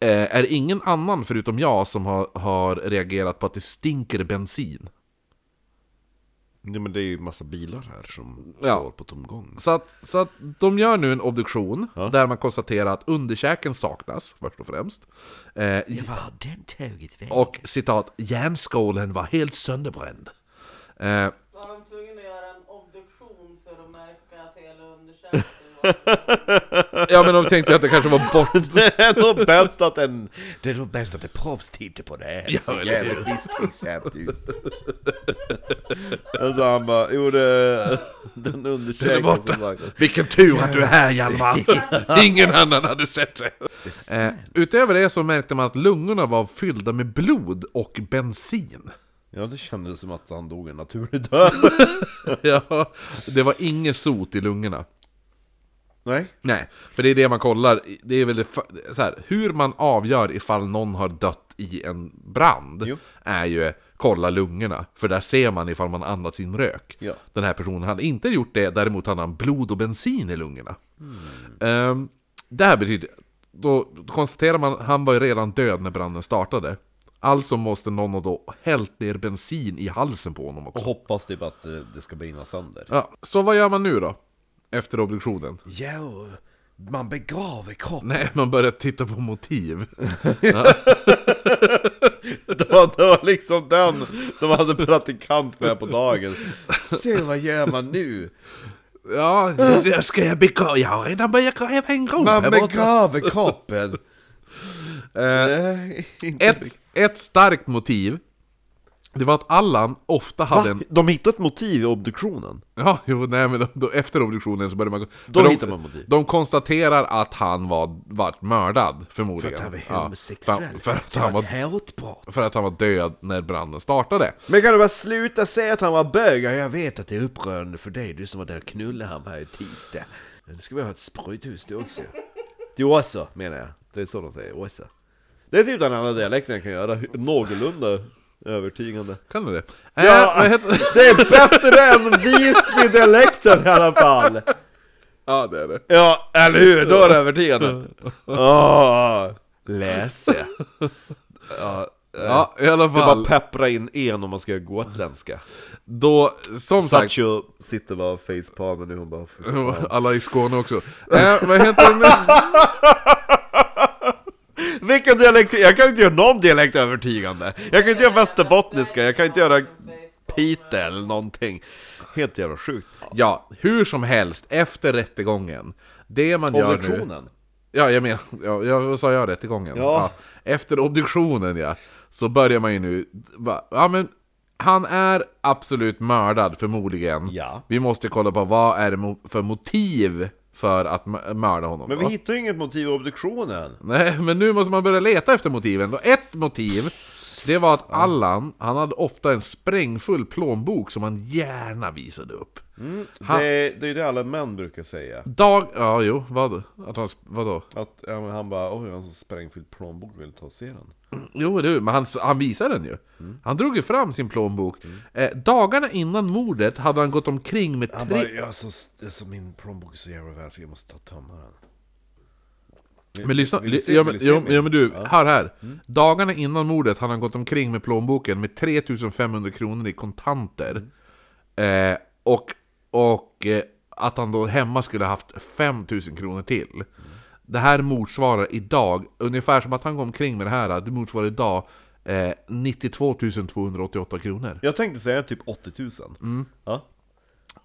Speaker 2: eh, Är det ingen annan förutom jag som har, har reagerat på att det stinker bensin?
Speaker 4: Nej men det är ju massa bilar här som
Speaker 2: Ja.
Speaker 4: står på tomgång.
Speaker 2: Så att, så att de gör nu en obduktion
Speaker 4: Ja.
Speaker 2: där man konstaterar att underkäken saknas, först och främst. Eh,
Speaker 1: Vad har den tagit vägen?
Speaker 2: och citat, järnskålen var helt sönderbränd. Eh,
Speaker 3: Var de tvungna att göra en obduktion för att märka att hela undersökningen var...
Speaker 2: ja men de tänkte att det kanske var bort...
Speaker 4: Det är nog bäst att en...
Speaker 1: Det är nog bäst att en proffs tittar på det här.
Speaker 2: Ja,
Speaker 1: Det ser
Speaker 2: eller
Speaker 1: jävligt misstänksamt ut.
Speaker 4: Alltså han bara, jo det... Den undersökningen som sagt.
Speaker 2: Vilken tur att du är här Hjalmar! Ingen annan hade sett det! Eh, utöver det så märkte man att lungorna var fyllda med blod och bensin.
Speaker 4: Ja det kändes som att han dog en naturlig död.
Speaker 2: ja, det var inget sot i lungorna.
Speaker 4: Nej.
Speaker 2: Nej, för det är det man kollar. Det är väl det, fa- så här, hur man avgör ifall någon har dött i en brand
Speaker 4: Jo.
Speaker 2: är ju kolla lungorna. För där ser man ifall man andats in rök.
Speaker 4: Ja.
Speaker 2: Den här personen hade inte gjort det, däremot hade han blod och bensin i lungorna. Ehm, det här betyder, då konstaterar man att han var ju redan död när branden startade. Alltså måste någon ha då hällt ner bensin i halsen på honom
Speaker 4: Och
Speaker 2: också.
Speaker 4: hoppas typ att eh, det ska brinna sönder.
Speaker 2: Ja, så vad gör man nu då? Efter obduktionen?
Speaker 1: Ja, och man begraver kroppen.
Speaker 2: Nej, man börjar titta på motiv.
Speaker 4: Det var, det var liksom den de hade praktikant med på dagen. Se vad gör man nu?
Speaker 2: Ja, det ska jag begrava. Jag har redan börjat gräva en grop
Speaker 4: Man
Speaker 2: här borta.
Speaker 4: begraver kroppen.
Speaker 2: Eh,
Speaker 4: Nej, inte
Speaker 2: Ett, ett starkt motiv Det var att Allan ofta hade
Speaker 4: Va?
Speaker 2: en...
Speaker 4: De hittade ett motiv i obduktionen.
Speaker 2: Ja, jo, nej men då, då, efter obduktionen så började man...
Speaker 4: Då
Speaker 2: för de,
Speaker 4: hittar man motiv.
Speaker 2: De konstaterar att han var, vart mördad,
Speaker 1: För
Speaker 2: förmodligen.
Speaker 1: att han var
Speaker 2: Ja,
Speaker 1: homosexuell.
Speaker 2: för, för, att
Speaker 1: det var
Speaker 2: han var,
Speaker 1: ett hatbrott.
Speaker 2: för att han var död när branden startade.
Speaker 1: Men kan du bara sluta säga att han var bög? Ja, Jag vet att det är upprörande för dig, du som var där och knullade han här i tisdag. Men Nu ska vi ha ett spruthus det också.
Speaker 4: Det är Åsa menar jag. Det är så de säger, Åsa. Det är typ den enda dialekten jag kan göra, någorlunda övertygande.
Speaker 2: Kan du det?
Speaker 4: Ja.
Speaker 2: Eh, vad heter...
Speaker 4: Det är bättre än Visby-dialekten i alla fall!
Speaker 2: ja, det är det.
Speaker 4: Ja, eller hur? Då är det övertygande. Åh, läse.
Speaker 2: Ja, i alla
Speaker 4: Det är bara
Speaker 2: fall.
Speaker 4: peppra in en om man ska göra gotländska.
Speaker 2: Då, som sagt...
Speaker 4: Satcho sitter bara och facepalmar nu, hon bara... "Fy fan."
Speaker 2: Alla i Skåne också. Eh, vad heter det nu?
Speaker 4: Vilken dialekt? Jag kan inte göra någon dialekt övertygande. Jag kan inte göra västerbottniska, jag kan inte göra Pite eller någonting. Helt jävla sjukt.
Speaker 2: Ja, hur som helst, efter rättegången. Det man gör nu...
Speaker 4: Obduktionen?
Speaker 2: Ja, jag menar, ja, jag, vad sa jag rättegången?
Speaker 4: Ja.
Speaker 2: Efter obduktionen ja, så börjar man ju nu, va, ja men han är absolut mördad förmodligen.
Speaker 4: Ja.
Speaker 2: Vi måste kolla på vad är det mo- för motiv för att m- mörda honom.
Speaker 4: Men vi
Speaker 2: va?
Speaker 4: hittar ju inget motiv i obduktionen.
Speaker 2: Nej, men nu måste man börja leta efter motiven. Och ett motiv, det var att Allan, han hade ofta en sprängfull plånbok som han gärna visade upp. Han-
Speaker 4: Det, är- det är ju det alla män brukar säga.
Speaker 2: Dag... Ja, jo, vad? Att han, vadå?
Speaker 4: Att ja, men han bara, oj, jag har en sån sprängfylld plånbok, vill ta och se den?
Speaker 2: Jo, du, men han, han visade den ju.
Speaker 4: Mm.
Speaker 2: Han drog ju fram sin plånbok. Eh, dagarna innan mordet hade han gått omkring med
Speaker 4: Han
Speaker 2: tre...
Speaker 4: bara, jag är så, jag är så, min plånbok är så jävla väl, för jag måste ta och tömma den.
Speaker 2: Men lyssna,
Speaker 4: Vill du se-
Speaker 2: ja,
Speaker 4: vill
Speaker 2: men,
Speaker 4: du se Mm.
Speaker 2: ja,
Speaker 4: min?
Speaker 2: ja men du, hör här. Dagarna innan mordet hade han gått omkring med plånboken med 3500 kronor i kontanter.
Speaker 4: Mm.
Speaker 2: Eh, och och eh, att han då hemma skulle ha haft 5000 kronor till.
Speaker 4: Mm.
Speaker 2: Det här motsvarar idag, ungefär som att han går omkring med det här, det motsvarar idag eh, 92 288 kronor.
Speaker 4: Jag tänkte säga typ 80 000.
Speaker 2: Mm.
Speaker 4: Ja.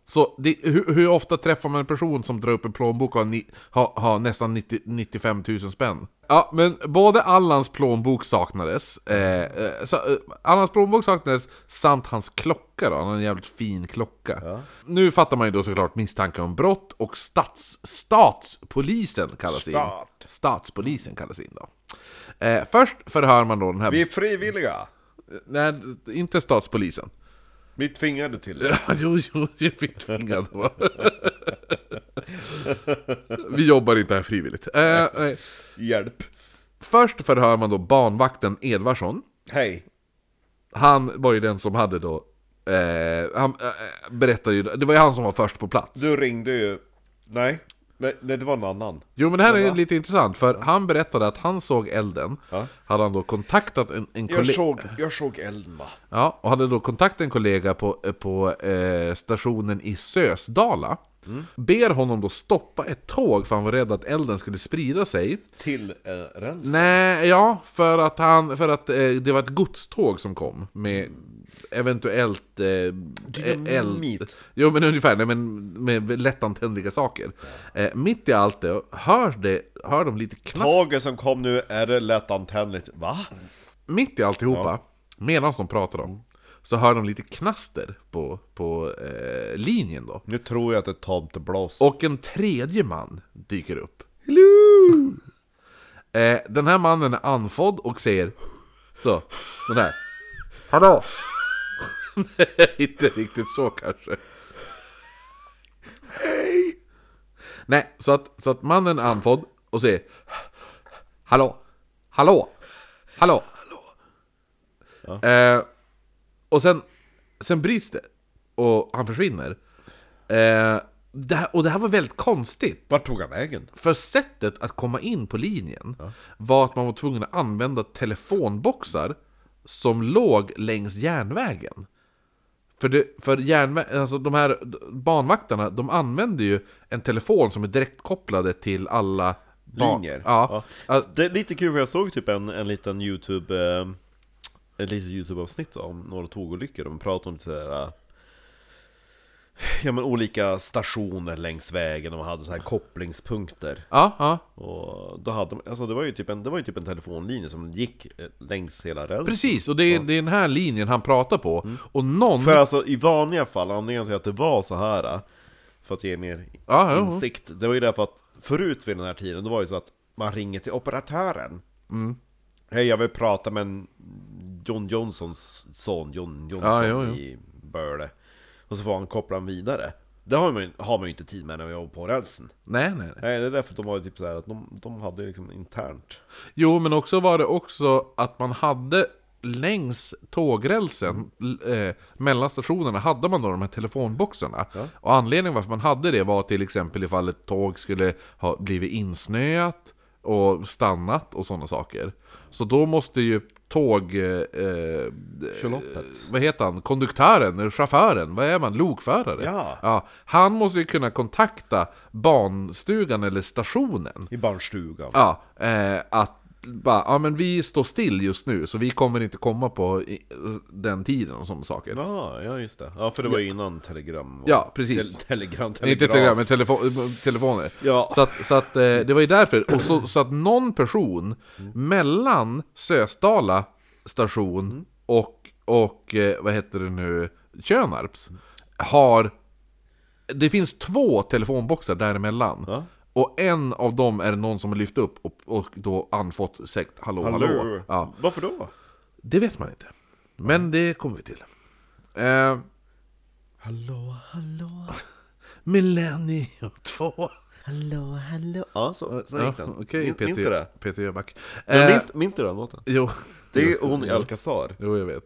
Speaker 2: Så det, hur, hur ofta träffar man en person som drar upp en plånbok och har, ni, har, har nästan 90, 95 000 spänn? Ja, men både Allans plånbok saknades, eh, eh, så, eh, Allans plånbok saknades samt hans klocka då, han har en jävligt fin klocka. Nu fattar man ju då såklart misstanke om brott och stats, statspolisen kallas
Speaker 4: Stat.
Speaker 2: in. Statspolisen kallas in då. Eh, först förhör man då den här...
Speaker 4: Vi är frivilliga!
Speaker 2: Nej, inte statspolisen.
Speaker 4: Vi är tvingade till det.
Speaker 2: Ja, jo, jo, jag fick tvingad va? Vi jobbar inte här frivilligt. Eh, nej.
Speaker 4: Hjälp!
Speaker 2: Först förhör man då barnvakten Edvardsson.
Speaker 4: Hej!
Speaker 2: Han var ju den som hade då... Eh, han eh, berättade ju... Det var ju han som var först på plats.
Speaker 4: Du ringde ju... Nej? Nej, nej det var en annan.
Speaker 2: Jo men det här är ju lite intressant, för han berättade att han såg elden.
Speaker 4: Ja.
Speaker 2: Hade han då kontaktat en, en
Speaker 4: Jag
Speaker 2: kollega...
Speaker 4: såg, jag såg elden va?
Speaker 2: Ja, och hade då kontaktat en kollega på, eh, på eh, stationen i Sösdala. Ber honom då stoppa ett tåg för han var rädd att elden skulle sprida sig.
Speaker 4: Till eh, rens.
Speaker 2: Nej, ja, för att, han, för att eh, det var ett godståg som kom med eventuellt eh,
Speaker 4: Dynamit.
Speaker 2: eld. Jo, men ungefär, nej, men med lättantändliga saker. Eh, mitt i allt det hör, det, hör de lite knast
Speaker 4: Tåget som kom nu, är det lättantändligt? Va?
Speaker 2: mitt i alltihopa, medan de pratar om, så hör de lite knaster på, på eh, linjen då.
Speaker 4: Nu tror jag att det är tomteblås.
Speaker 2: Och en tredje man dyker upp. Eh, den här mannen är andfådd och säger så, den här. Hallå! Nej, inte riktigt så kanske. Hej! Nej, så att, så att mannen är andfådd och säger Hallå! Hallå! Hallå! Eh, och sen, sen bryts det och han försvinner. Eh, det här, och det här var väldigt konstigt.
Speaker 4: Vart tog han vägen?
Speaker 2: För sättet att komma in på linjen var att man var tvungen att använda telefonboxar som låg längs järnvägen. För, det, för järnvä- alltså de här banvakterna, de använde ju en telefon som är direktkopplade till alla ban-
Speaker 4: Linjer?
Speaker 2: Ja. Att-
Speaker 4: Det är lite kul, för jag såg typ en, en liten YouTube... Eh, ett litet YouTube-avsnitt om några tågolyckor. De pratade om sådär... eh, ja, men olika stationer längs vägen och man hade så här kopplingspunkter.
Speaker 2: Ja, ja.
Speaker 4: Och då hade man, alltså det var ju typ en, det var ju typ en telefonlinje som gick eh, längs hela rälsen.
Speaker 2: Precis, och det är, det är den här linjen han pratar på. Och någon...
Speaker 4: Mm. För alltså i vanliga fall, anledningen till att det var så här äh, För att ge mer
Speaker 2: Ja, jo.
Speaker 4: insikt, det var ju därför att förut vid den här tiden, det var ju så att man ringer till operatören
Speaker 2: Mm.
Speaker 4: Hej, jag vill prata med en John Johnsons son, John Johnson
Speaker 2: Ja, jo, jo.
Speaker 4: i Böle Och så får han koppla den vidare Det har man, ju- har man ju inte tid med när vi jobbar på rälsen
Speaker 2: Nej, nej, nej.
Speaker 4: Nej, det är därför de var ju typ så här att de, de hade liksom internt
Speaker 2: Jo, men också var det också att man hade längs tågrälsen, l- eh, mellan stationerna, hade man då de här telefonboxarna. Och anledningen varför man hade det var till exempel ifall ett tåg skulle ha blivit insnöat och stannat och sådana saker. Så då måste ju tåg... Eh, eh,
Speaker 4: Förloppet.
Speaker 2: vad heter han? Konduktören, chauffören, vad är man? Lokförare?
Speaker 4: Ja.
Speaker 2: Han måste ju kunna kontakta banstugan eller stationen.
Speaker 4: I barnstugan
Speaker 2: Ja, eh, att bara, ja men vi står still just nu så vi kommer inte komma på i, den tiden och sådana saker.
Speaker 4: Ja, ja just det. Ja, för det var ju innan telegram var-
Speaker 2: Ja, precis.
Speaker 4: Te- telegram, telegraf.
Speaker 2: Inte telegram, men telefo- eh, telefoner.
Speaker 4: Ja.
Speaker 2: Så att, så att eh, det var ju därför. Och så, så att någon person
Speaker 4: Mm.
Speaker 2: mellan Sösdala station och, och eh, vad heter det nu, Tjörnarps har... Det finns två telefonboxar däremellan.
Speaker 4: Ja.
Speaker 2: Och en av dem är det någon som har lyft upp och, och då anfått sekt hallå hallå.
Speaker 4: Hallå.
Speaker 2: Ja.
Speaker 4: Varför då?
Speaker 2: Det vet man inte. Men det kommer vi till. Eh,
Speaker 1: Hallå, hallå,
Speaker 2: Millennium 2.
Speaker 1: hallå, hallå.
Speaker 4: Ja, så, så gick den.
Speaker 2: Okej,
Speaker 4: Min-
Speaker 2: Peter,
Speaker 4: minns du det?
Speaker 2: Peter Jöback.
Speaker 4: Men
Speaker 2: Eh,
Speaker 4: minns, minns du den låten?
Speaker 2: Jo,
Speaker 4: Det är ju hon i Alcazar.
Speaker 2: jo, jag vet.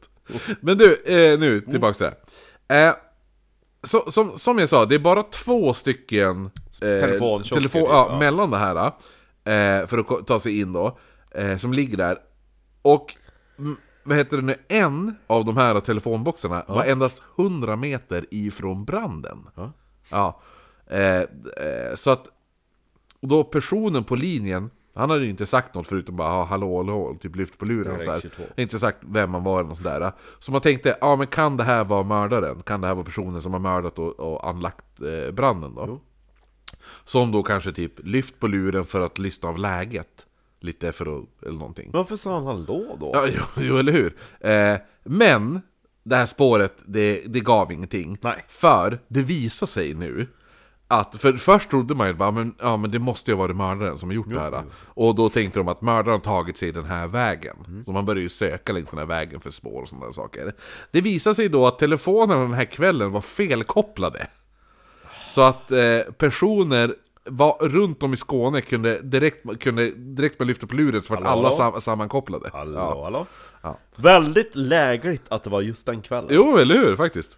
Speaker 2: Men du, eh, nu tillbaks till det här. Eh, så, som, som jag sa, det är bara två stycken eh,
Speaker 4: Telefonkiosker
Speaker 2: telefon,
Speaker 4: typ,
Speaker 2: ja,
Speaker 4: ja.
Speaker 2: mellan det här eh, för att ko- ta sig in då, eh, som ligger där. Och mm, vad heter det nu, en av de här telefonboxarna var endast 100 meter ifrån branden.
Speaker 4: Ja.
Speaker 2: Ja. Eh, eh, så att och då personen på linjen, han hade ju inte sagt något förutom bara "Ja, hallå hallå, typ lyft på luren och
Speaker 4: Direkt
Speaker 2: sådär.
Speaker 4: 22.
Speaker 2: Inte sagt vem man var eller något sådär. Så man tänkte, ja men kan det här vara mördaren? Kan det här vara personen som har mördat och, och anlagt eh, branden då?
Speaker 4: Jo.
Speaker 2: Som då kanske typ lyft på luren för att lyssna av läget. Lite för att, eller någonting.
Speaker 4: Varför sa han hallå då?
Speaker 2: Ja, jo, jo eller hur? Eh, men det här spåret, det, det gav ingenting.
Speaker 4: Nej.
Speaker 2: För det visar sig nu att, för först trodde man ju bara, men, ja, men det måste ju vara mördaren som har gjort det här. Och då tänkte de att mördaren har tagit sig den här vägen.
Speaker 4: Mm.
Speaker 2: Så man började ju söka längs den här vägen för spår och sådana där saker. Det visar sig då att telefonerna den här kvällen var felkopplade. Så att eh, personer var, runt om i Skåne kunde direkt, kunde direkt man lyfte på luren så vart
Speaker 4: Hallå?
Speaker 2: alla sam, sammankopplade.
Speaker 4: Hallå,
Speaker 2: Ja.
Speaker 4: hallå?
Speaker 2: Ja.
Speaker 4: Väldigt lägligt att det var just den kvällen.
Speaker 2: Jo, eller hur? Faktiskt.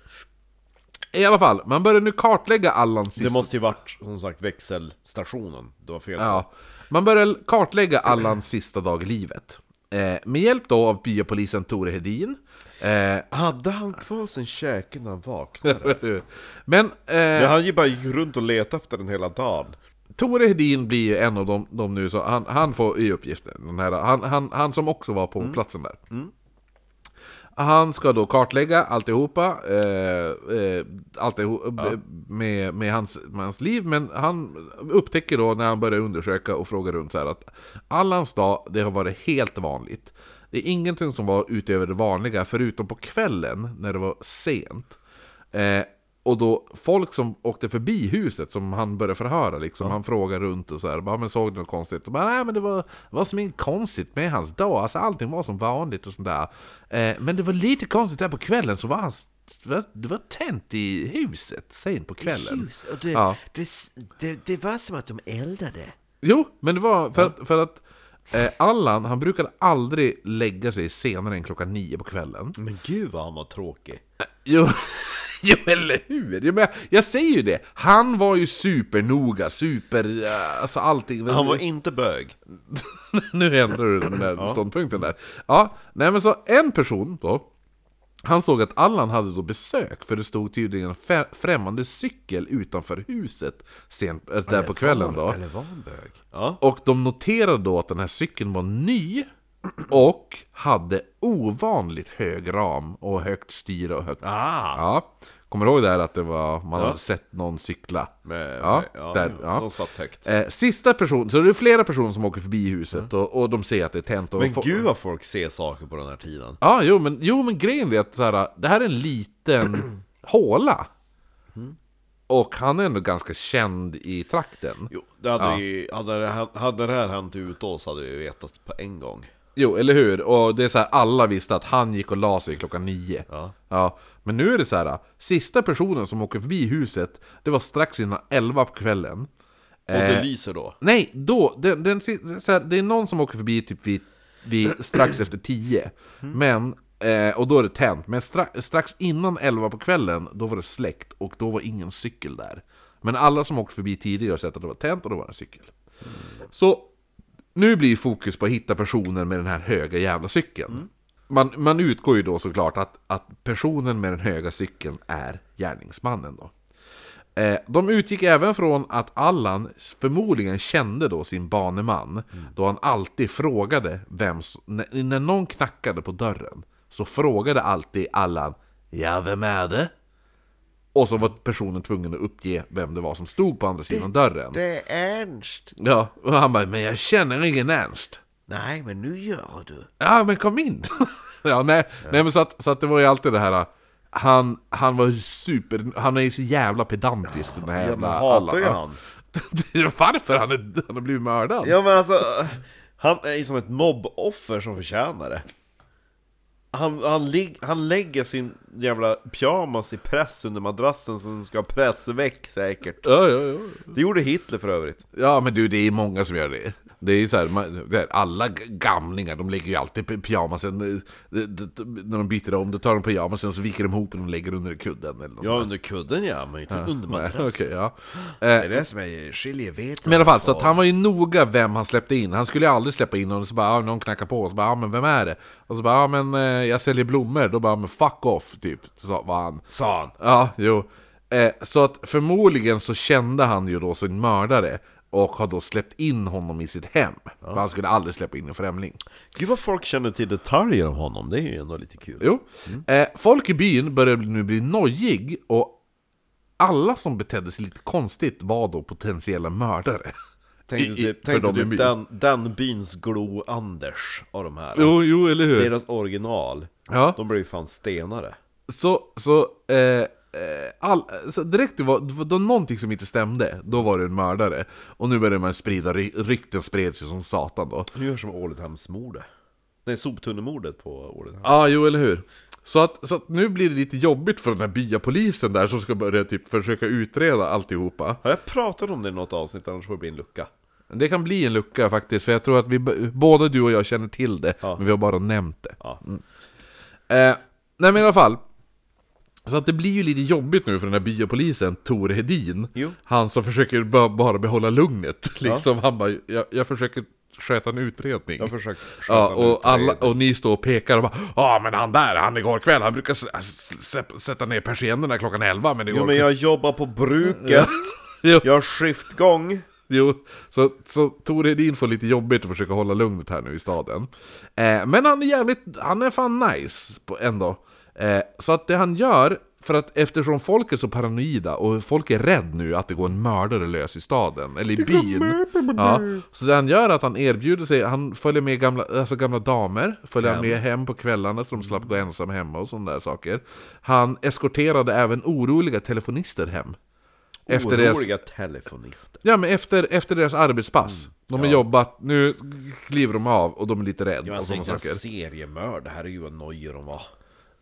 Speaker 2: I alla fall, man börjar nu kartlägga Allans
Speaker 4: Det
Speaker 2: sista...
Speaker 4: måste ju varit, som sagt, växelstationen. Det var fel.
Speaker 2: Ja. Man börjar kartlägga Allans sista dag i livet. Eh, med hjälp då av byapolisen Tore Hedin. Eh,
Speaker 4: Hade han kvar sin käke när han vaknade?
Speaker 2: men
Speaker 4: Ja,
Speaker 2: eh,
Speaker 4: han gick bara gick runt och letade efter den hela dagen.
Speaker 2: Tore Hedin blir ju en av dem, dem nu, så han, han får i uppgiften. Den här, han, han, han som också var på platsen där. Han ska då kartlägga alltihopa, eh, eh, alltihopa med, med, hans, med hans liv, men han upptäcker då när han börjar undersöka och fråga runt så här att Allans dag, det har varit helt vanligt. Det är ingenting som var utöver det vanliga, förutom på kvällen när det var sent. Eh, och då folk som åkte förbi huset som han började förhöra liksom, han frågade runt och så här, bara, men såg du något konstigt? Och bara, nej men det var, var som inget konstigt med hans dag, alltså allting var som vanligt och sånt där. Eh, men det var lite konstigt där på kvällen så var han, det var, det var tänt i huset sent på kvällen.
Speaker 1: Ljus, och det,
Speaker 2: Ja.
Speaker 1: det, det, det var som att de eldade.
Speaker 2: Jo, men det var för att, för att eh, Allan, han brukade aldrig lägga sig senare än klockan nio på kvällen.
Speaker 4: Men gud vad han var tråkig.
Speaker 2: Jo, jo eller hur? Jag, menar, jag säger ju det, han var ju supernoga, super... eh, Alltså allting...
Speaker 4: Han var inte bög.
Speaker 2: nu ändrar du den där ståndpunkten där. Ja, nej men så en person då, han såg att Allan hade då besök, för det stod tydligen en fä- främmande cykel utanför huset sent, eh, där på kvällen då.
Speaker 1: Eller var han bög?
Speaker 4: Ja.
Speaker 2: Och de noterade då att den här cykeln var ny och hade ovanligt hög ram och högt styre och högt
Speaker 4: Ah,
Speaker 2: Ja, Kommer du ihåg där att det var, man
Speaker 4: Ja.
Speaker 2: hade sett någon cykla?
Speaker 4: Med,
Speaker 2: Ja,
Speaker 4: med, ja,
Speaker 2: där, ja.
Speaker 4: De satt högt.
Speaker 2: Eh, sista person, så det är flera personer som åker förbi huset och, och de ser att det är tänt och
Speaker 4: Mm. Men
Speaker 2: fo-
Speaker 4: gud vad folk ser saker på den här tiden.
Speaker 2: Ja, jo men, jo, men grejen är att så här, det här är en liten håla
Speaker 4: Mm.
Speaker 2: Och han är ändå ganska känd i trakten
Speaker 4: Jo, det hade,
Speaker 2: Ja.
Speaker 4: ju, hade, det, här- hade det här hänt ute oss hade vi vetat på en gång.
Speaker 2: Jo, eller hur? Och det är så här, alla visste att han gick och la sig klockan nio
Speaker 4: Ja.
Speaker 2: Ja, men nu är det så här. Sista personen som åker förbi huset, det var strax innan 11 på kvällen.
Speaker 4: Och det lyser då.
Speaker 2: Nej, då, den, den, si- så här, det är någon som åker förbi typ vid, vid strax efter 10. Men, eh, och då är det tänt. Men strax, strax innan 11 på kvällen, då var det släckt och då var ingen cykel där. Men alla som åkt förbi tidigare har sett att det var tänt och då var det en cykel. Så nu blir fokus på att hitta personer med den här höga jävla cykeln. Man, man utgår ju då såklart att, att personen med den höga cykeln är gärningsmannen då. Eh, de utgick även från att Allan förmodligen kände då sin baneman, då han alltid frågade vem som, när, när någon knackade på dörren, så frågade alltid Allan ”Ja, vem är det?” Och så var personen tvungen att uppge vem det var som stod på andra sidan dörren.
Speaker 1: Det är Ernst.
Speaker 2: Ja, och han bara ”Men jag känner ingen Ernst”.
Speaker 1: Nej, men nu gör du.
Speaker 2: Ja, men kom in! ja, nej, nej, men så att, så att det var ju alltid det här... äh, Han, han var super... Han är ju så jävla pedantisk, den här
Speaker 4: Ja, men
Speaker 2: jävla...
Speaker 4: hatar ju
Speaker 2: Allan.
Speaker 4: han.
Speaker 2: Det är Varför? Han, är, han har blivit mördad.
Speaker 4: Ja men alltså, han är ju som ett mobboffer som förtjänar det. Han, han, lig- han lägger sin jävla pyjamas i press under madrassen som ska ha pressväck säkert.
Speaker 2: Ja, ja, ja.
Speaker 4: Det gjorde Hitler för övrigt.
Speaker 2: ja, men du, det är många som gör det. Det är ju så här, man, det här, alla g- gamlingar, de lägger ju alltid p- pyjamasen, eh, d- d- d- när de byter om, då tar de pyjamasen och så viker de ihop den och lägger under kudden eller något
Speaker 4: Ja under kudden ja, men inte under
Speaker 2: sånt.
Speaker 4: madrassen.
Speaker 2: Nej, Okej, ja. Eh,
Speaker 1: Det är det som är skiljer vete.
Speaker 2: Men i alla fall, så att han var ju noga vem han släppte in. Han skulle ju aldrig släppa in någon, så bara ah, någon knackar på, och så bara ah, men vem är det? Och så bara ah, men eh, jag säljer blommor, då bara "Ah, men fuck off typ, så var han.
Speaker 4: Sa han.
Speaker 2: Ja, jo. Eh, så att förmodligen så kände han ju då sin mördare och har då släppt in honom i sitt hem. För han skulle aldrig släppa in en främling.
Speaker 4: Gud vad folk känner till detaljer om honom, det är ju ändå lite kul.
Speaker 2: Jo. Eh, folk i byn började nu bli nojig och alla som betedde sig lite konstigt var då potentiella mördare.
Speaker 4: Tänk
Speaker 2: I- i-
Speaker 4: dig
Speaker 2: för
Speaker 4: tänk
Speaker 2: dem i
Speaker 4: dig
Speaker 2: byn.
Speaker 4: typ den, den byns Glo-Anders av de här.
Speaker 2: Jo, jo, eller hur?
Speaker 4: Deras original,
Speaker 2: Ja.
Speaker 4: de blev ju fan stenare.
Speaker 2: Så, så, eh, eh, all, så direkt det var, det var- det var någonting som inte stämde, då var det en mördare. Och nu började man sprida, ry- rykten spreds ju som satan då.
Speaker 4: Nu gör som Ålidhemsmordet. Nej, soptunnemordet på Ålidhem.
Speaker 2: Ja, jo eller hur. Så att, så att nu blir det lite jobbigt för den här byapolisen där som ska börja typ försöka utreda alltihopa.
Speaker 4: Har jag pratat om det i något avsnitt? Annars får det bli en lucka.
Speaker 2: Det kan bli en lucka faktiskt, för jag tror att vi, b- både du och jag känner till det,
Speaker 4: Ja.
Speaker 2: men vi har bara nämnt det.
Speaker 4: Ja.
Speaker 2: Eh, nej men i alla fall. Så att det blir ju lite jobbigt nu för den här byapolisen, Tor Hedin.
Speaker 4: Jo.
Speaker 2: Han som försöker ba- bara behålla lugnet. Liksom. Han bara, jag, jag försöker sköta en utredning.
Speaker 4: Jag försöker sköta
Speaker 2: Ja,
Speaker 4: en
Speaker 2: och, alla,
Speaker 4: utredning.
Speaker 2: och ni står och pekar och bara Ja men han där, han igår kväll, han brukar s- s- släpp- sätta ner persiennerna klockan 11 men igår
Speaker 4: Jo men jag jobbar på bruket,
Speaker 2: Jo.
Speaker 4: jag har skiftgång.
Speaker 2: Jo, så, så Tor Hedin får lite jobbigt att försöka hålla lugnet här nu i staden. Eh, men han är jävligt, han är fan nice på, ändå. Eh, så att det han gör, för att eftersom folk är så paranoida och folk är rädd nu att det går en mördare lös i staden, eller i byn. Ja, så det han gör är att han erbjuder sig, han följer med gamla, alltså gamla damer, följer han med hem på kvällarna så de slapp gå ensam hemma och sådana där saker. Han eskorterade även oroliga telefonister hem. Efter deras-
Speaker 4: Oroliga telefonister.
Speaker 2: Ja men efter, efter deras arbetspass.
Speaker 4: Mm.
Speaker 2: De har jobbat, nu kliver de av och de är lite rädda
Speaker 4: Ja,
Speaker 2: och
Speaker 4: alltså,
Speaker 2: sådana
Speaker 4: vilken
Speaker 2: saker.
Speaker 4: seriemörd, det här är ju vad nojor de var.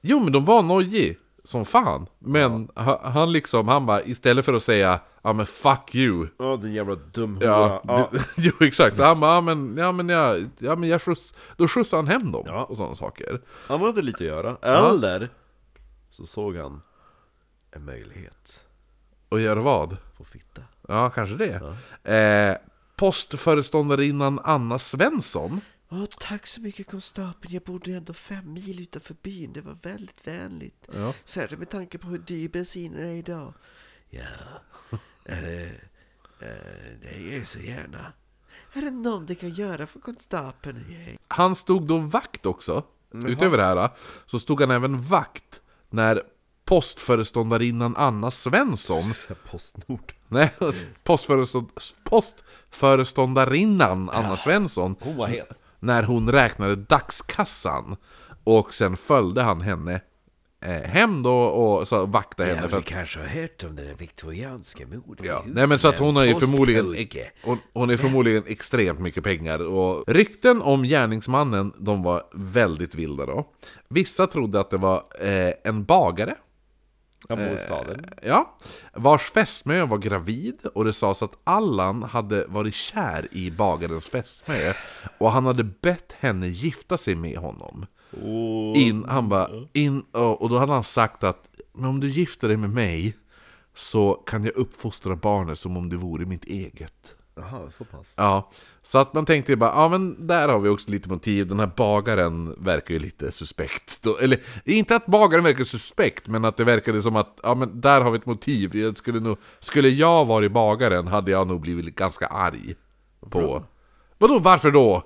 Speaker 2: Jo men de var nojig som fan. Men ha- han liksom, han bara istället för att säga ja men fuck you.
Speaker 4: Ja, din jävla dumhora.
Speaker 2: Ja,
Speaker 4: Ja, ja.
Speaker 2: det- jo exakt. Så han bara ja men, ja, men, jag, ja, men jag skjuts, då skjutsar han hem dem
Speaker 4: Ja.
Speaker 2: och sådana saker.
Speaker 4: Han hade lite att göra. Eller, så såg han en möjlighet.
Speaker 2: Och gör vad?
Speaker 4: Få fitta.
Speaker 2: Ja kanske det. Eh, postföreståndarinnan Anna Svensson.
Speaker 1: Åh, tack så mycket konstapeln. Jag bodde ändå fem mil utanför byn. Det var väldigt vänligt.
Speaker 2: Ja.
Speaker 1: Särskilt med tanke på hur dyr bensinen är idag. Ja, är det, eh, det gör jag så gärna. Är det någon du kan göra för konstapeln? Ja.
Speaker 2: Han stod då vakt också. Utöver det här så stod han även vakt när postföreståndarinnan Anna Svensson
Speaker 4: Så här Postnord.
Speaker 2: Nej, postförestånd, postföreståndarinnan Anna Svensson
Speaker 4: Hon var het.
Speaker 2: När hon räknade dagskassan Och sen följde han henne eh, hem då och så vaktade henne
Speaker 1: Ja,
Speaker 2: för
Speaker 1: du
Speaker 2: att,
Speaker 1: kanske har hört om den där viktorianska modern
Speaker 2: ja.
Speaker 1: i
Speaker 2: Nej men så att hon har ju
Speaker 1: Husby.
Speaker 2: förmodligen
Speaker 1: Postpojke.
Speaker 2: hon, hon är förmodligen extremt mycket pengar och rykten om gärningsmannen de var väldigt vilda då Vissa trodde att det var eh, en bagare
Speaker 4: Han bor i staden.
Speaker 2: Ja, vars fästmö var gravid och det sades att Allan hade varit kär i bagarens fästmö och han hade bett henne gifta sig med honom.
Speaker 4: Och...
Speaker 2: In, han bara, in, och då hade han sagt att men om du gifter dig med mig så kan jag uppfostra barnet som om det vore mitt eget.
Speaker 4: Jaha, så pass.
Speaker 2: Ja, så att man tänkte ju bara, ja men där har vi också lite motiv, den här bagaren verkar ju lite suspekt. Då, eller inte att bagaren verkar suspekt, men att det verkade som att, ja men där har vi ett motiv. Jag skulle, nog, skulle jag varit bagaren hade jag nog blivit ganska arg. På... Vadå, varför då?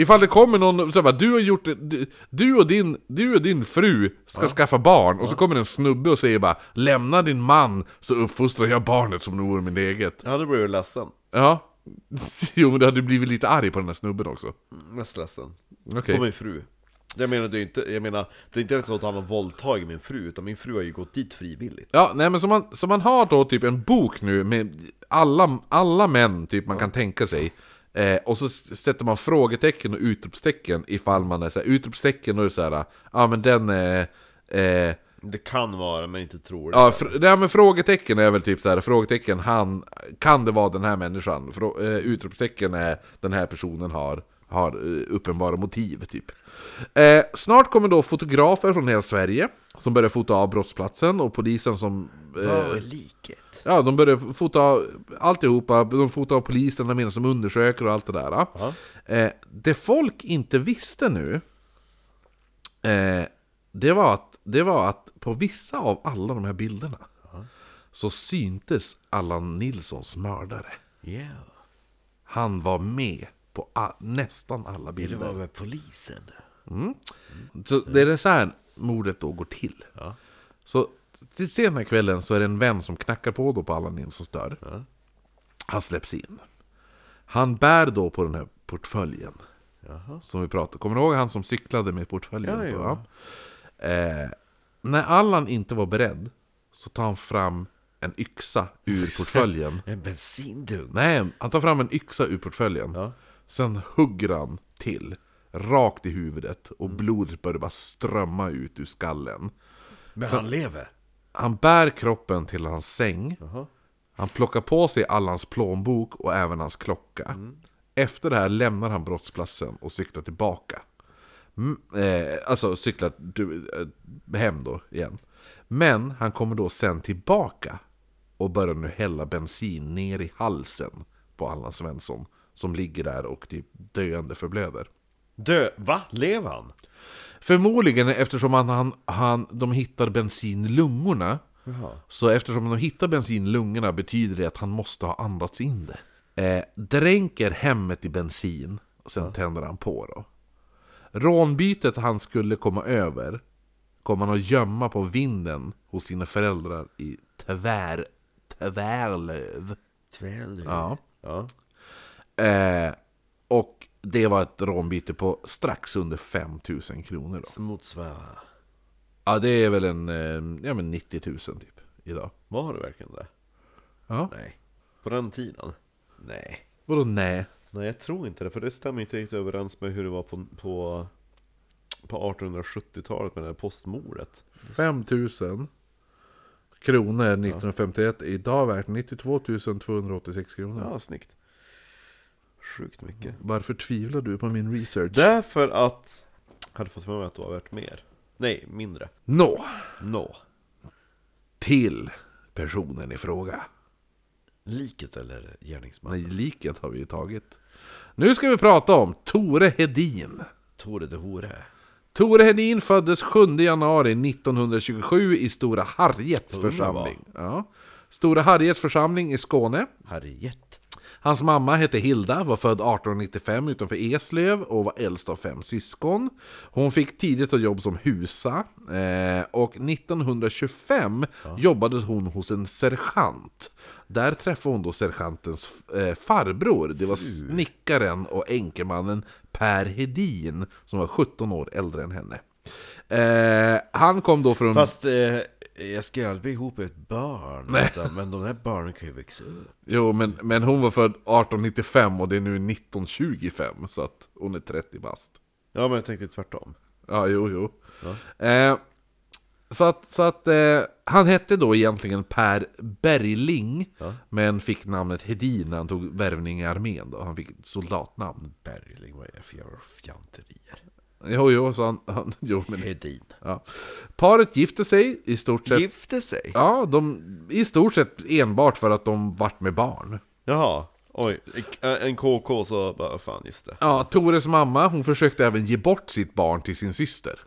Speaker 2: Ifall det kommer någon så bara, du har gjort det- du, du, och din, du och din fru ska skaffa barn och så kommer en snubbe och säger bara Lämna din man så uppfostrar jag barnet som det vore min eget.
Speaker 4: Ja, då blir du ledsen.
Speaker 2: Ja. Jo, men du hade blivit lite arg på den där snubben också.
Speaker 4: Mest ledsen.
Speaker 2: Okej.
Speaker 4: På min fru. Jag menar, det är ju inte, jag menar, det är inte ens så att han har våldtagit min fru, utan min fru har ju gått dit frivilligt.
Speaker 2: Ja, nej men så man, så man har då typ en bok nu med alla, alla män typ man kan tänka sig. Eh, och så s- sätter man frågetecken och utropstecken ifall man är så här, utropstecken och det är så här, ja ah, men den eh, eh,
Speaker 4: Det kan vara, men inte tror det.
Speaker 2: Ja, fr- nej, men frågetecken är väl typ så här, frågetecken, han, kan det vara den här människan? Frå- eh, utropstecken är, den här personen har, har eh, uppenbara motiv, typ. Eh, snart kommer då fotografer från hela Sverige, som börjar fota av brottsplatsen, och polisen som... eh,
Speaker 1: Var är liket?
Speaker 2: Ja, de började fota alltihopa, de fotade poliserna medan som undersöker och allt det där. Eh, det folk inte visste nu, eh, det, var att, det var att på vissa av alla de här bilderna så syntes Allan Nilssons mördare.
Speaker 1: Ja,
Speaker 2: Han var med på a- nästan alla
Speaker 1: det
Speaker 2: bilder.
Speaker 1: var med polisen.
Speaker 2: Så det är så här mordet då går till. Så till sena kvällen så är det en vän som knackar på då på Allan Nilssons dörr. Han släpps in. Han bär då på den här portföljen. Som vi pratade Kommer du ihåg han som cyklade med portföljen?
Speaker 4: Ja,
Speaker 2: på,
Speaker 4: ja.
Speaker 2: ja? Eh, när Allan inte var beredd så tar han fram en yxa ur portföljen.
Speaker 1: En bensindunk.
Speaker 2: Nej, han tar fram en yxa ur portföljen.
Speaker 4: Ja.
Speaker 2: Sen hugger han till, rakt i huvudet och blodet börjar bara strömma ut ur skallen.
Speaker 1: Men han lever.
Speaker 2: Han bär kroppen till hans säng.
Speaker 4: Jaha.
Speaker 2: Han plockar på sig Allans plånbok och även hans klocka. Efter det här lämnar han brottsplatsen och cyklar tillbaka. Mm, eh, alltså cyklar du, eh, hem då igen. Men han kommer då sen tillbaka och börjar nu hälla bensin ner i halsen på Allan Svensson. Som ligger där och typ döende förblöder.
Speaker 4: Dö, va? Lever han?
Speaker 2: Förmodligen eftersom han, han, han, de hittar bensin i lungorna. Så eftersom de hittar bensin i lungorna betyder det att han måste ha andats in det. Eh, dränker hemmet i bensin och sen tänder han på då. Rånbytet han skulle komma över kommer han att gömma på vinden hos sina föräldrar i Tvär, Tvärlöv.
Speaker 1: Tväll.
Speaker 2: Ja.
Speaker 4: Ja.
Speaker 2: Eh, och det var ett rånbyte på strax under 5000 kronor. Då.
Speaker 1: Som motsvarar.
Speaker 2: Ja, det är väl en eh, ja, men 90 000 typ idag.
Speaker 4: Var det verkligen det?
Speaker 2: Ja.
Speaker 4: Nej. På den tiden? Nej.
Speaker 2: Vadå nej?
Speaker 4: Nej, jag tror inte det, för det stämmer inte riktigt överens med hur det var på, på, på 1870-talet med det här postmordet.
Speaker 2: 5 000 kronor 1951 idag värt 92 286 kronor.
Speaker 4: Ja, Mm. snyggt. Sjukt mycket.
Speaker 2: Varför tvivlar du på min research?
Speaker 4: Därför att... Jag hade fått för mig att det var värt mer. Nej, mindre.
Speaker 2: Nå,
Speaker 4: Nå.
Speaker 2: till personen i fråga.
Speaker 1: Liket eller gärningsmannen?
Speaker 2: Men liket har vi ju tagit. Nu ska vi prata om Tore Hedin.
Speaker 1: Tore de Hore.
Speaker 2: Tore Hedin föddes 7 januari 1927 i Stora Harriets
Speaker 4: Underbar.
Speaker 2: församling. Ja. Stora Harriets församling i Skåne.
Speaker 1: Harriet.
Speaker 2: Hans mamma hette Hilda, var född 1895 utanför Eslöv och var äldst av fem syskon. Hon fick tidigt ett jobb som husa eh, och 1925 jobbade hon hos en sergeant. Där träffade hon då sergeantens eh, farbror, det var snickaren och enkemannen Per Hedin som var 17 år äldre än henne. Eh, han kom då
Speaker 4: Mm.
Speaker 2: från...
Speaker 1: Fast eh, jag ska ju aldrig bli ihop med ett barn. Utan, men de där barnen kan ju växa upp.
Speaker 2: Jo, men, men hon var född 1895 och det är nu 1925 så att hon är 30 bast.
Speaker 4: Ja men jag tänkte tvärtom.
Speaker 2: Ja, jo, jo. Eh, så att, så att eh, han hette då egentligen Per Bergling, men fick namnet Hedin när han tog värvning i armén. Då. Han fick ett soldatnamn.
Speaker 1: Bergling, vad är det för jävla fjanterier?
Speaker 2: Jo, jo, så han, han jo, men,
Speaker 1: Hedin.
Speaker 2: ja. Paret gifte sig i stort sett.
Speaker 1: Gifte sig?
Speaker 2: Ja, de, i stort sett enbart för att de vart med barn.
Speaker 4: Jaha, oj. En KK så bara, fan just det.
Speaker 2: Ja, Tores mamma, hon försökte även ge bort sitt barn till sin syster.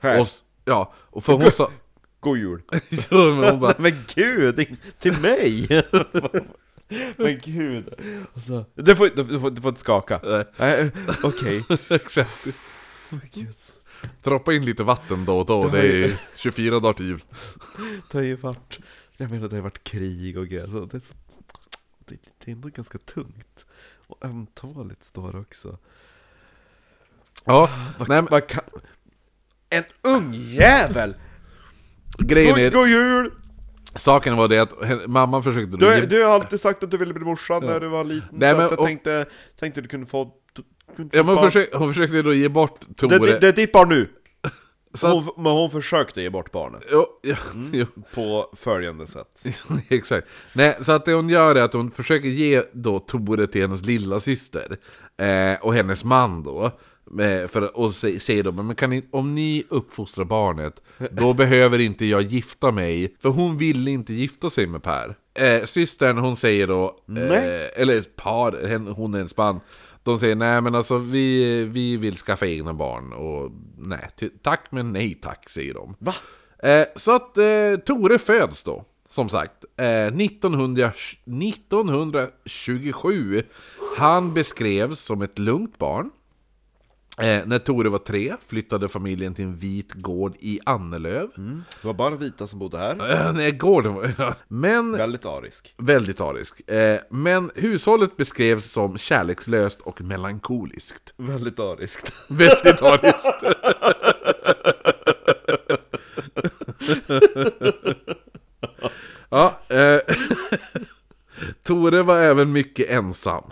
Speaker 4: Här,
Speaker 2: Och, s- ja, och för hon sa...
Speaker 4: god jul.
Speaker 2: jo, men hon bara,
Speaker 4: Men gud, det- till mig! Men gud. Alltså, du, får, du, får, du får inte skaka.
Speaker 2: Nej.
Speaker 4: Nej, eh, Okej.
Speaker 2: Exakt. Droppa in lite vatten då och då, det är 24 dagar till jul.
Speaker 4: Det har ju varit, jag menar det har varit krig och grejer, så det, är så, det det är ändå ganska tungt. Och ömtåligt står det också.
Speaker 2: Ja, nej, men,
Speaker 4: Man kan... En ung jävel!
Speaker 2: grejen
Speaker 4: God,
Speaker 2: är,
Speaker 4: god jul!
Speaker 2: saken var det att hen- mamman försökte då...
Speaker 4: Du,
Speaker 2: ge-
Speaker 4: du har alltid sagt att du ville bli morsa när du var liten,
Speaker 2: Nej,
Speaker 4: så
Speaker 2: men-
Speaker 4: att jag
Speaker 2: och-
Speaker 4: tänkte, tänkte du kunde få... Du, kunde
Speaker 2: Ja,
Speaker 4: få
Speaker 2: men hon,
Speaker 4: barn.
Speaker 2: försökte, hon försökte då ge bort Tore.
Speaker 4: det, det, det är ditt barn nu!
Speaker 2: Så att-
Speaker 4: Hon, men hon försökte ge bort barnet.
Speaker 2: Jo, ja,
Speaker 4: Mm.
Speaker 2: jo,
Speaker 4: På följande sätt.
Speaker 2: exakt. Nej, så att det hon gör är att hon försöker ge då Tore till hennes lilla syster eh, och hennes man då. Eh, för, och sä- säger då, men kan ni, om ni uppfostrar barnet, då behöver inte jag gifta mig. För hon ville inte gifta sig med Per. Eh, systern, hon säger då,
Speaker 4: Nej.
Speaker 2: eh, eller par, hen, hon är en spann. De säger nej men alltså vi, vi vill skaffa egna barn och nej, ty- tack men nej tack säger de.
Speaker 4: Va?
Speaker 2: Eh, så att eh, Tore föds då, som sagt, eh, 1900, 1927. Han beskrevs som ett lugnt barn. Eh, när Tore var tre flyttade familjen till en vit gård i Annelöv.
Speaker 4: Mm. Det var bara vita som bodde här.
Speaker 2: Eh, nej, gården var... Men
Speaker 4: Väldigt arisk.
Speaker 2: väldigt arisk. Eh, men hushållet beskrevs som kärlekslöst och melankoliskt.
Speaker 4: Väldigt ariskt.
Speaker 2: Väldigt ariskt. ja, eh, Tore var även mycket ensam.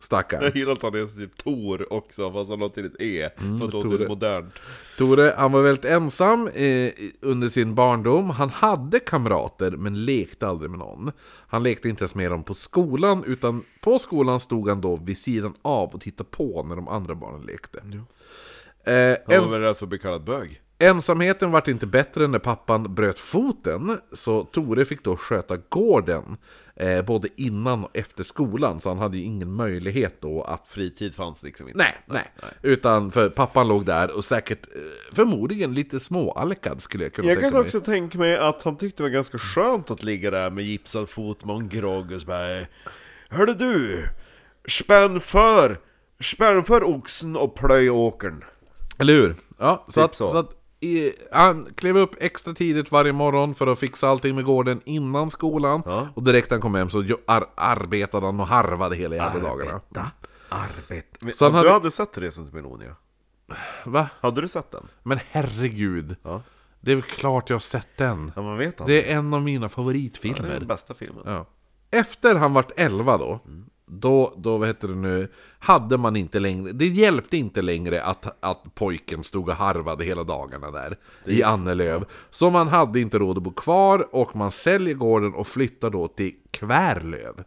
Speaker 2: Stackarn.
Speaker 4: Jag gillar att han heter typ Tor också, fast han har till ett E. för att det låter
Speaker 2: Mm, Tore.
Speaker 4: modernt.
Speaker 2: Tore, han var väldigt ensam eh, i- under sin barndom. Han hade kamrater, men lekte aldrig med någon. Han lekte inte ens med dem på skolan, utan på skolan stod han då vid sidan av och tittade på när de andra barnen lekte. Eh,
Speaker 4: Han
Speaker 2: ens-
Speaker 4: var väl rädd för att bli kallad bög?
Speaker 2: Ensamheten vart inte bättre när pappan bröt foten, så Tore fick då sköta gården eh, både innan och efter skolan, så han hade ju ingen möjlighet då att...
Speaker 4: Fritid fanns liksom inte.
Speaker 2: Nej, nej, utan för pappan låg där och säkert, eh, förmodligen lite småalkad skulle jag kunna
Speaker 4: Jag
Speaker 2: tänka
Speaker 4: kan
Speaker 2: mig.
Speaker 4: också tänka mig att han tyckte det var ganska skönt att ligga där med gipsad fot med en grogg och så bara Hörde du! Spänn för! Spänn för oxen och plöj åkern!
Speaker 2: Eller hur? Ja, så
Speaker 4: Typ
Speaker 2: att, så.
Speaker 4: så.
Speaker 2: att eh, han klev upp extra tidigt varje morgon för att fixa allting med gården innan skolan. Och direkt när han kom hem så jo- ar- arbetade han och harvade hela jävla dagarna.
Speaker 4: Arbete.
Speaker 2: Så han
Speaker 4: du
Speaker 2: hade-
Speaker 4: hade... sett Resan till Melonia?
Speaker 2: Va?
Speaker 4: Hade du sett den?
Speaker 2: Men herregud!
Speaker 4: Ja.
Speaker 2: Det är väl klart jag har sett den.
Speaker 4: Ja, man vet han.
Speaker 2: Det är en av mina
Speaker 4: Det är den
Speaker 2: favoritfilmer.
Speaker 4: bästa filmen.
Speaker 2: Ja. Efter han vart 11 då,
Speaker 4: Mm.
Speaker 2: då, då vad heter det nu, hade man inte längre, det hjälpte inte längre att, att pojken stod och harvade hela dagarna där i Annelöv. Så man hade inte råd att bo kvar och man säljer gården och flyttar då till Kvärlöv.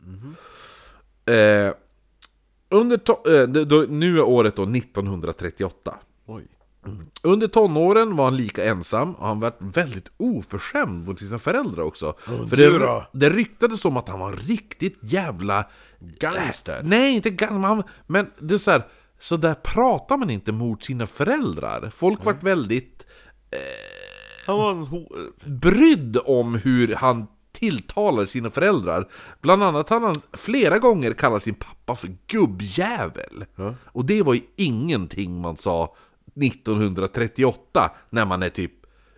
Speaker 4: Mhm.
Speaker 2: Eh, under to- eh, det- då, nu är året då 1938.
Speaker 4: Oj.
Speaker 2: Under tonåren var han lika ensam och han var väldigt oförskämd mot sina föräldrar också. För
Speaker 4: du
Speaker 2: det,
Speaker 4: då?
Speaker 2: det ryktades om att han var en riktigt jävla... Äh,
Speaker 4: Gangster.
Speaker 2: Nej, inte gammal, men det är så här, så där pratar man inte mot sina föräldrar. Folk vart väldigt
Speaker 4: Han var en ho...
Speaker 2: brydd om hur han tilltalar sina föräldrar. Bland annat har han flera gånger kallat sin pappa för gubbjävel. Och det var ju ingenting man sa 1938 när man är typ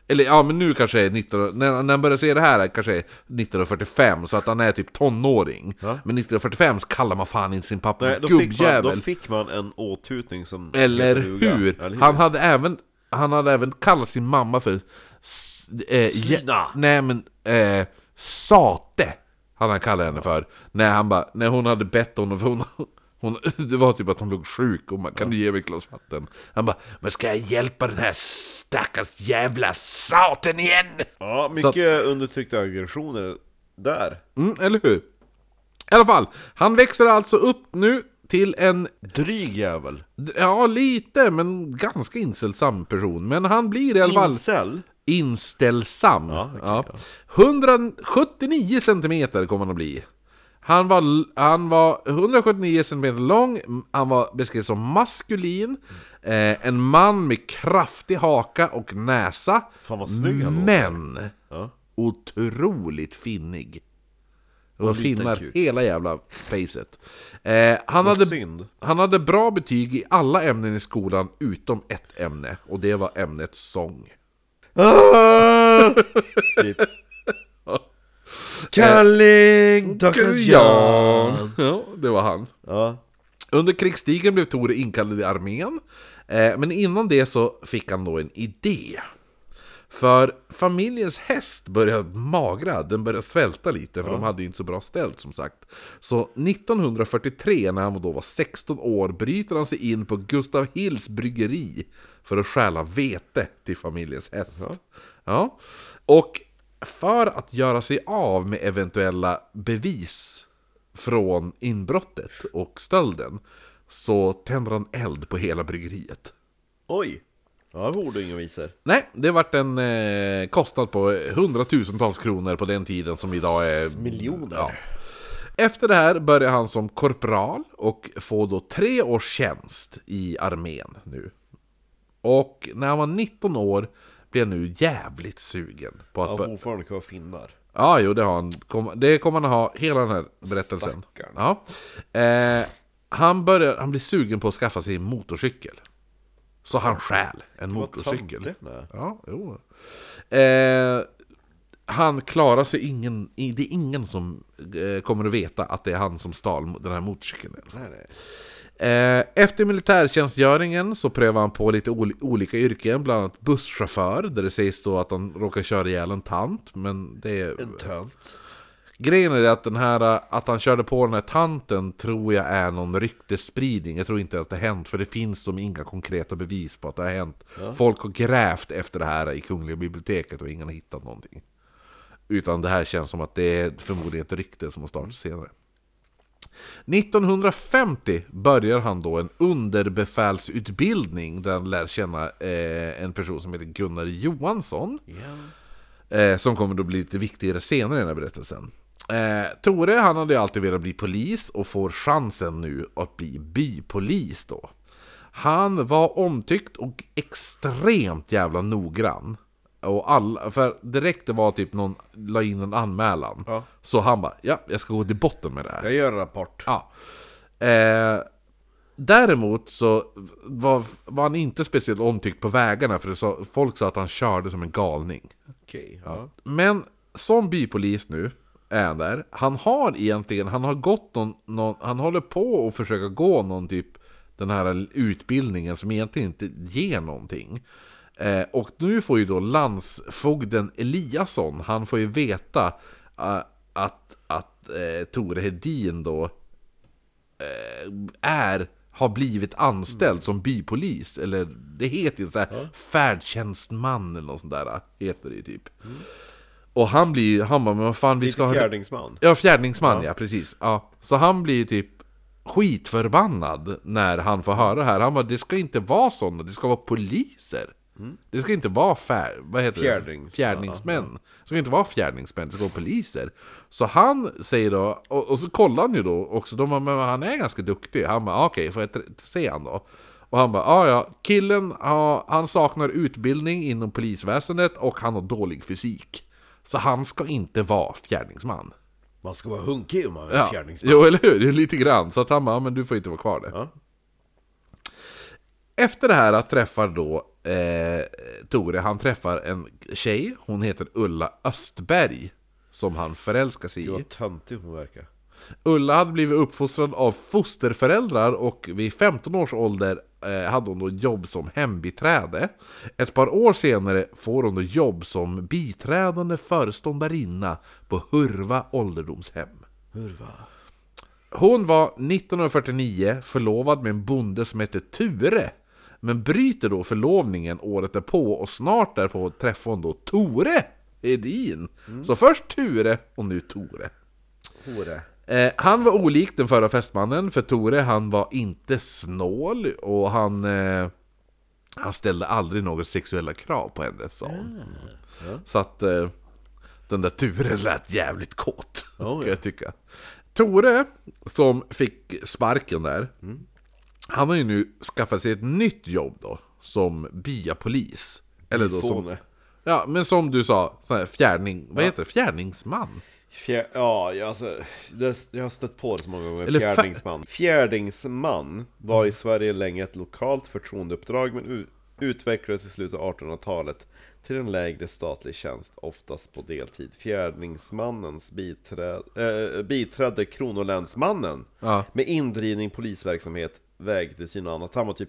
Speaker 2: eller ja, men nu kanske är 19, när, när han börjar se det här kanske är 1945, så att han är typ tonåring. Men 1945 så kallar man fan inte sin pappa
Speaker 4: Nej,
Speaker 2: för
Speaker 4: då, fick man, då
Speaker 2: gubbjävel.
Speaker 4: fick man en åtutning som
Speaker 2: Eller
Speaker 4: heter duga.
Speaker 2: hur?
Speaker 4: Eller
Speaker 2: Han hade även, han hade även kallat sin mamma för... s- Eh, jä-
Speaker 4: Slina.
Speaker 2: Nej men, eh, sate! Han hade kallat henne för. När, han bara, när hon hade bett honom, för hon, hon, det var typ att hon låg sjuk och man kan du ge mig ett glas vatten? Han bara, men ska jag hjälpa den här stackars jävla saten igen?
Speaker 4: Ja, mycket undertryckta aggressioner där.
Speaker 2: Mm, eller hur? I alla fall, han växer alltså upp nu till en
Speaker 4: Dryg jävel.
Speaker 2: Ja, lite, men ganska inställsam person. Men han blir i alla fall
Speaker 4: Incel.
Speaker 2: inställsam. Ja,
Speaker 4: okej,
Speaker 2: 179 centimeter kommer han att bli. Han var, han var 179 centimeter lång, han var beskrivs som maskulin, eh, en man med kraftig haka och näsa.
Speaker 4: Fan, vad snygg han låter.
Speaker 2: Men
Speaker 4: Ja.
Speaker 2: otroligt finnig. Det var
Speaker 4: liten
Speaker 2: finnar
Speaker 4: kuk.
Speaker 2: hela jävla facet. Eh, han,
Speaker 4: Vad
Speaker 2: hade,
Speaker 4: synd.
Speaker 2: han hade bra betyg i alla ämnen i skolan utom ett ämne och det var ämnet sång. Ah!
Speaker 4: Typ. Kalling tackar jag.
Speaker 2: Eh, Ja, det var han.
Speaker 4: Ja.
Speaker 2: Under krigstiden blev Tore inkallad i armén, eh, men innan det så fick han då en idé. För familjens häst började magra, den började svälta lite, för de hade ju inte så bra ställt som sagt. Så 1943, när han då var 16 år, bryter han sig in på Gustav Hills bryggeri för att stjäla vete till familjens häst. Ja. Och för att göra sig av med eventuella bevis från inbrottet och stölden så tänder han eld på hela bryggeriet.
Speaker 4: Oj. Ja, det vore inga visor.
Speaker 2: Nej, det vart en eh, kostnad på hundratusentals kronor på den tiden som idag är...
Speaker 4: Eh, Miljoner.
Speaker 2: Ja. Efter det här börjar han som korpral och får då tre års tjänst i armén nu. Och när han var 19 år blev han nu jävligt sugen på att...
Speaker 4: Han
Speaker 2: bör-
Speaker 4: har fortfarande kvar finnar.
Speaker 2: Ja, jo, det har han. Kom, det kommer han ha hela den här berättelsen.
Speaker 4: Stackarn.
Speaker 2: Ja. Eh, han, börjar, han blir sugen på att skaffa sig en motorcykel. Så han stjäl en motorcykel.
Speaker 4: töntigt.
Speaker 2: Ja, jo. Eh, han klarar sig ingen, i- det är ingen som eh, kommer att veta att det är han som stal den här motorcykeln.
Speaker 4: Nej, nej.
Speaker 2: Eh, efter militärtjänstgöringen så prövar han på lite ol- olika yrken, bland annat busschaufför, där det sägs då att han råkar köra ihjäl en tant, men det är...
Speaker 4: En tönt.
Speaker 2: Grejen är det att den här, äh, att han körde på den här tanten tror jag är någon ryktesspridning. Jag tror inte att det har hänt, för det finns de inga konkreta bevis på att det har hänt. Folk har grävt efter det här i Kungliga biblioteket och ingen har hittat någonting. Utan det här känns som att det är förmodligen ett rykte som har startat senare. 1950 börjar han då en underbefälsutbildning där han lär känna eh, en person som heter Gunnar Johansson. Eh, som kommer då bli lite viktigare senare i den här berättelsen. Eh, Tore, han hade ju alltid velat bli polis och får chansen nu att bli bypolis då. Han var omtyckt och extremt jävla noggrann. Och alla, för direkt det var typ någon la in en anmälan.
Speaker 4: Ja.
Speaker 2: Så han bara, ja, jag ska gå till botten med det här.
Speaker 4: Jag gör en rapport.
Speaker 2: Ja. Eh, däremot så var, var han inte speciellt omtyckt på vägarna för det sa, folk sa att han körde som en galning.
Speaker 4: Okej. Ja.
Speaker 2: Men som bypolis nu är han där. Han har egentligen, han har gått någon, någon han håller på att försöka gå någon typ den här utbildningen som egentligen inte ger någonting. Eh, och nu får ju då landsfogden Eliasson, han får ju veta eh, att, att eh, Tore Hedin då är, har blivit anställd som bypolis, eller det heter ju så här färdtjänstman eller något sånt där, heter det ju typ. Och han blir ju, han bara, men vad fan vi ska
Speaker 4: Lite
Speaker 2: ha...
Speaker 4: fjärdingsman.
Speaker 2: Ja, fjärdingsman ja, precis. Ja. Så han blir ju typ skitförbannad när han får höra det här. Han bara, det ska inte vara sådana, det ska vara poliser. Det ska inte vara fär, vad heter
Speaker 4: Mm. Fjärdings-
Speaker 2: det? fjärdingsmän. Det ska inte vara fjärdingsmän, det ska vara poliser. Så han säger då, och, och så kollar han ju då också, de bara, men han är ganska duktig. Han bara, "Ah, okej, får jag tr- se han då? Och han bara, ja ja, killen har- han saknar utbildning inom polisväsendet och han har dålig fysik. Så han ska inte vara fjärdingsman.
Speaker 4: Man ska vara hunkig om man är
Speaker 2: Ja.
Speaker 4: fjärdingsman.
Speaker 2: Jo, eller hur? Det är Lite grann. Så att han bara, "Ja, men du får inte vara kvar där.
Speaker 4: Ja.
Speaker 2: Efter det här träffar då eh, Tore, han träffar en tjej, hon heter Ulla Östberg. Som han förälskar sig i.
Speaker 4: Gud vad töntig hon verkar.
Speaker 2: Ulla hade blivit uppfostrad av fosterföräldrar och vid 15 års ålder eh, hade hon då jobb som hembiträde. Ett par år senare får hon då jobb som biträdande föreståndarinna på Hurva ålderdomshem.
Speaker 4: Hurva.
Speaker 2: Hon var 1949 förlovad med en bonde som hette Ture Men bryter då förlovningen året därpå och snart därpå träffar hon då Tore Edin Så först Ture och nu Tore
Speaker 4: Hore.
Speaker 2: Eh, han var olik den förra festmannen, för Tore han var inte snål och han, eh, han ställde aldrig några sexuella krav på henne, sa hon.
Speaker 4: Ah,
Speaker 2: Så att eh, den där Ture lät jävligt kåt,
Speaker 4: Oh,
Speaker 2: kan
Speaker 4: ja.
Speaker 2: jag tycka. Tore, som fick sparken där,
Speaker 4: Mm.
Speaker 2: han har ju nu skaffat sig ett nytt jobb då, som biapolis. Eller då som,
Speaker 4: Fåne.
Speaker 2: ja, men som du sa, sån här fjärning, vad heter det? Fjärningsman?
Speaker 4: Fjär... Ja, jag, alltså, det, jag har stött på det så många gånger.
Speaker 2: Eller fa-
Speaker 4: Fjärdingsman. Fjärdingsman var i Sverige länge ett lokalt förtroendeuppdrag men u- utvecklades i slutet av 1800-talet till en lägre statlig tjänst, oftast på deltid. Fjärdingsmannens biträd- eh, biträdde kronolänsmannen
Speaker 2: Ja.
Speaker 4: med indrivning, polisverksamhet, vägtillsyn och annat. Han var typ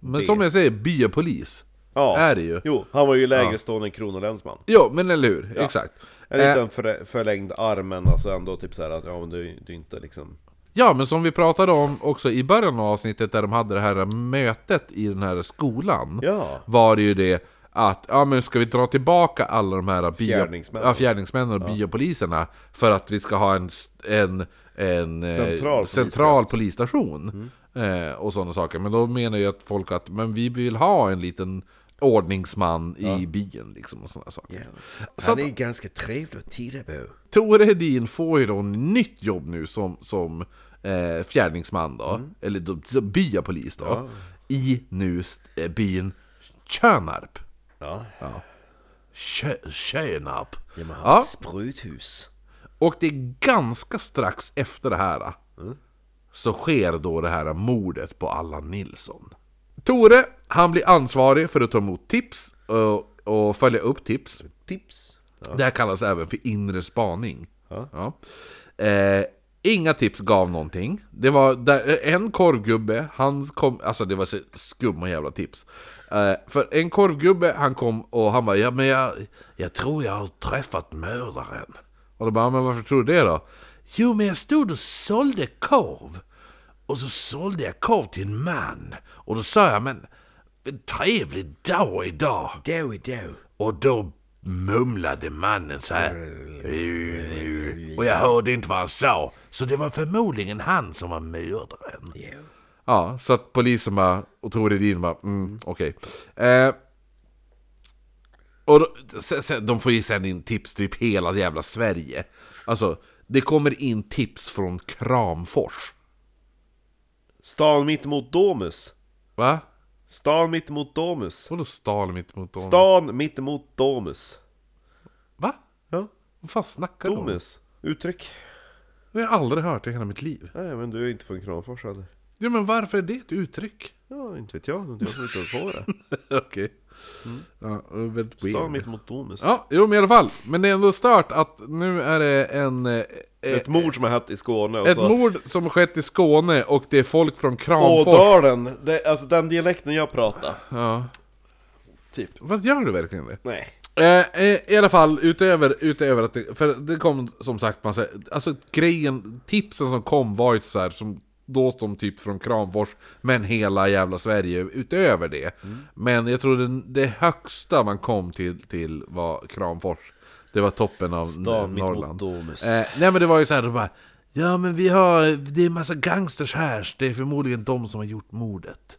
Speaker 2: Men som jag säger, byapolis.
Speaker 4: Ja.
Speaker 2: Är det ju.
Speaker 4: Jo, han var ju lägre stående än kronolänsman.
Speaker 2: Jo, men eller hur?
Speaker 4: Ja.
Speaker 2: Exakt.
Speaker 4: Är det inte
Speaker 2: Eh,
Speaker 4: en förä- förlängd armen, alltså ändå typ såhär att ja men du, du är inte liksom...
Speaker 2: ja, men som vi pratade om också i början av avsnittet där de hade det här mötet i den här skolan.
Speaker 4: Ja.
Speaker 2: Var det ju det att, ja men ska vi dra tillbaka alla de här bio,
Speaker 4: Fjärdingsmännen.
Speaker 2: ja, fjärdingsmännen och biopoliserna för att vi ska ha en, s- en, en eh,
Speaker 4: Central Mm.
Speaker 2: central polisstation. Eh, och sådana saker. Men då menar ju att folk att, men vi vill ha en liten ordningsman i byn liksom och sådana saker. Så
Speaker 1: Han
Speaker 2: att-
Speaker 1: är ganska trevlig att titta på.
Speaker 2: Tore Hedin får ju då nytt jobb nu som, som eh, fjärdingsman då,
Speaker 1: Mm.
Speaker 2: eller då, då, byapolis då, i nu eh, byn Tjörnarp.
Speaker 4: Ja.
Speaker 2: Tjö- Tjörnarp.
Speaker 1: Ja, men han har
Speaker 2: Ja,
Speaker 1: ett spruthus.
Speaker 2: och det är ganska strax efter det här
Speaker 1: Mm.
Speaker 2: så sker då det här mordet på Allan Nilsson. Tore, han blir ansvarig för att ta emot tips och, och följa upp tips.
Speaker 1: Tips.
Speaker 2: Det här kallas även för inre spaning.
Speaker 4: Ja.
Speaker 2: Eh, inga tips gav någonting. Det var där, eh, en korvgubbe, han kom, alltså det var så skumma jävla tips. Eh, för en korvgubbe, han kom och han bara, ja men jag, jag tror jag har träffat mördaren. Och då bara, "Ja, men varför tror du det då? Jo men jag stod och sålde korv. Och så sålde jag korv till en man. Och då sa jag, men en trevlig dag idag.
Speaker 1: Då är då.
Speaker 2: Och då mumlade mannen så här. Mm. Och jag hörde inte vad han sa. Så det var förmodligen han som var mördaren.
Speaker 1: Jo.
Speaker 2: Ja, så att polisen bara, och Tore Edin bara, mm, okej. Eh, och då, sen, sen, de får ju sen in tips typ hela jävla Sverige. Alltså, det kommer in tips från Kramfors.
Speaker 4: Stan mitt emot Domus.
Speaker 2: Va?
Speaker 4: Stan mitt emot Domus.
Speaker 2: Vadå stal mitt mot dem?
Speaker 4: Stan mitt emot Domus.
Speaker 2: Va?
Speaker 4: Ja,
Speaker 2: Vad fan snackar du om?
Speaker 4: Domus. Uttryck.
Speaker 2: Det har jag aldrig hört i hela mitt liv.
Speaker 4: Nej men du är inte från Kramfors eller?
Speaker 2: Ja, men varför är det ett uttryck?
Speaker 4: Ja, inte vet jag. Det är inte jag som inte har på det.
Speaker 2: Okej. Ja, det är väldigt
Speaker 4: Stan
Speaker 2: weird.
Speaker 4: mitt emot Domus.
Speaker 2: Ja, jo men i alla fall. Men det är ändå stört att nu är det en... Eh, eh,
Speaker 4: Ett mord som har hänt i Skåne och
Speaker 2: ett
Speaker 4: så...
Speaker 2: mord som har skett i Skåne och det är folk från Kramfors.
Speaker 4: Ådalen! Det, alltså den dialekten jag pratar.
Speaker 2: Ja.
Speaker 4: Typ.
Speaker 2: Fast gör du verkligen det?
Speaker 4: Nej.
Speaker 2: Eh, eh, I alla fall, utöver, utöver att det, För det kom som sagt massa... Alltså grejen, tipsen som kom var ju så här som... Då som typ från Kramfors, men hela jävla Sverige utöver det. Men jag tror det, det högsta man kom till, till var Kramfors. Det var toppen av
Speaker 4: Stan mitt emot
Speaker 2: Norrland.
Speaker 4: Domus.
Speaker 2: Eh, nej men det var ju så här, de bara, ja men vi har, det är en massa gangsters här, det är förmodligen de som har gjort mordet.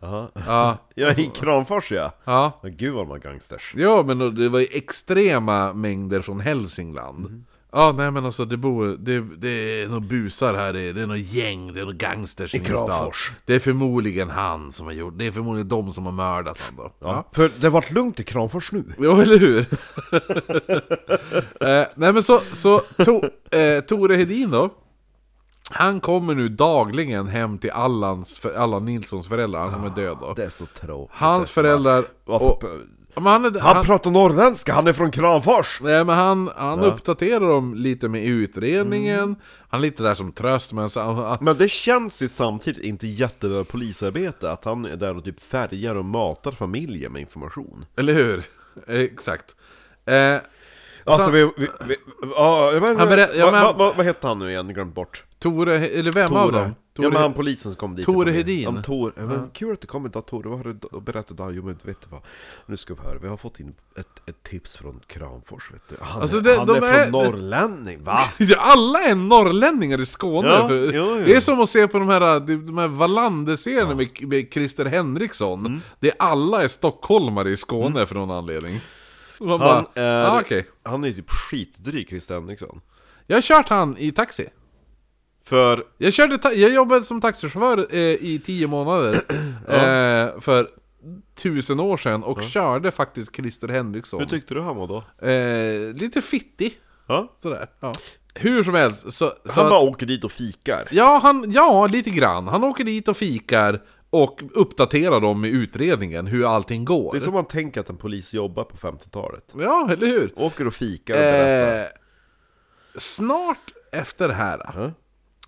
Speaker 4: Jaha.
Speaker 2: Ja,
Speaker 4: Jag är i Kramfors ja.
Speaker 2: ja.
Speaker 4: Men gud vad de har gangsters.
Speaker 2: Ja, men det var ju extrema mängder från Hälsingland. Ja, nej men alltså det bor, det, det är några busar här, det är, det är några gäng, det är några gangsters i min stad.
Speaker 1: Kramfors.
Speaker 2: Det är förmodligen han som har gjort, det är förmodligen de som har mördat honom då. Ja.
Speaker 4: För det har varit lugnt i Kramfors nu.
Speaker 2: Ja, eller hur? eh, nej men så, så to, eh, Tore Hedin då. Han kommer nu dagligen hem till Allans, för, Allan Nilssons föräldrar, han som är död då.
Speaker 4: Det är så tråkigt. Det är
Speaker 2: Hans
Speaker 4: så-
Speaker 2: föräldrar...
Speaker 4: Varför-
Speaker 2: Och, ja, men han är,
Speaker 4: Han,
Speaker 2: han,
Speaker 4: pratar norrländska, han är från Kramfors!
Speaker 2: nej, men han, han uppdaterar dem lite med utredningen,
Speaker 4: Mm.
Speaker 2: han är lite där som tröst men så, han,
Speaker 4: Men det känns ju samtidigt inte jättebra polisarbete att han är där och typ färgar och matar familjen med information.
Speaker 2: Eller hur? Exakt. Eh,
Speaker 4: Alltså
Speaker 2: Så-
Speaker 4: vi... vi, vi ja, jag menar,
Speaker 2: Han berä- ja,
Speaker 4: vad-
Speaker 2: men-
Speaker 4: vad- vad- vad hette han nu igen? Glömt bort.
Speaker 2: Tore, eller vem av dem? Tore,
Speaker 4: ja men han polisen som kom dit typ,
Speaker 2: Tore
Speaker 4: Jag kommer-
Speaker 2: Hedin.
Speaker 4: Ja, men Tore, ja, men kul att du kom idag Tore, vad har du d- berättat idag? Jo men vet du vad? Nu ska vi höra, vi har fått in ett, ett tips från Kramfors vet du Han,
Speaker 2: Alltså,
Speaker 4: är-
Speaker 2: det-
Speaker 4: han
Speaker 2: de
Speaker 4: är,
Speaker 2: är-
Speaker 4: från norrlänning va?
Speaker 2: Alla är norrlänningar i Skåne!
Speaker 4: Ja,
Speaker 2: för,
Speaker 4: jo, jo.
Speaker 2: Det är som att se på de här, de här Wallander-serierna med, med Christer Henriksson.
Speaker 4: Mm.
Speaker 2: Det är alla är stockholmare i Skåne för någon anledning. Och Man
Speaker 4: Han
Speaker 2: bara,
Speaker 4: är,
Speaker 2: ah, okej.
Speaker 4: han är ju typ skitdryg liksom. Christer Henriksson
Speaker 2: Jag har kört han i taxi.
Speaker 4: För,
Speaker 2: Jag, körde ta- jag jobbade som taxichaufför eh, i tio månader eh, för tusen år sedan och körde faktiskt Christer Henriksson.
Speaker 4: hur tyckte du han var då?
Speaker 2: Eh, lite fittig.
Speaker 4: Ja?
Speaker 2: Sådär, ja. Hur som helst, så... så
Speaker 4: Han
Speaker 2: att-
Speaker 4: bara åker dit och fikar
Speaker 2: ja, han, ja, lite grann. Han åker dit och fikar och uppdaterar dem i utredningen hur allting går.
Speaker 4: Det är som man tänker att en polis jobbar på 50-talet
Speaker 2: Ja, eller hur?
Speaker 4: Åker och fikar och berättar
Speaker 2: Eh, snart efter det här.
Speaker 4: Ja.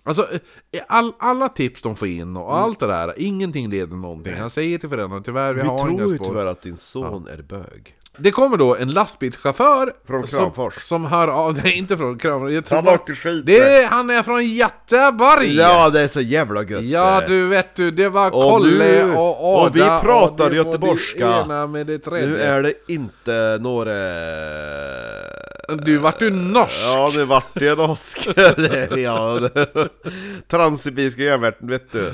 Speaker 2: Alltså, eh, all, alla tips de får in och
Speaker 4: Mm.
Speaker 2: allt det där, ingenting leder någonting. Han säger till föräldrarna, tyvärr vi,
Speaker 4: Vi
Speaker 2: har inga
Speaker 4: tror ju
Speaker 2: spår.
Speaker 4: tyvärr att din son är bög
Speaker 2: Det kommer då en lastbilschaufför
Speaker 4: Från
Speaker 2: som,
Speaker 4: Kramfors.
Speaker 2: som hör av, nej inte från Kramfors, jag tror
Speaker 4: Han åkte skidor.
Speaker 2: det är, Han är från Göteborg!
Speaker 4: Ja det är så jävla gött eh.
Speaker 2: Ja
Speaker 4: det.
Speaker 2: du vet du, det var
Speaker 4: Och
Speaker 2: Kolle
Speaker 4: nu-
Speaker 2: och Ada
Speaker 4: och vi pratar
Speaker 2: det var
Speaker 4: göteborgska.
Speaker 2: Det ena med det tredje.
Speaker 4: Nu är det inte några...
Speaker 2: Du vart du norsk?
Speaker 4: Ja, nu vart det norsk. Det är- ja, det- Transsibiriska järnvägen, vet du.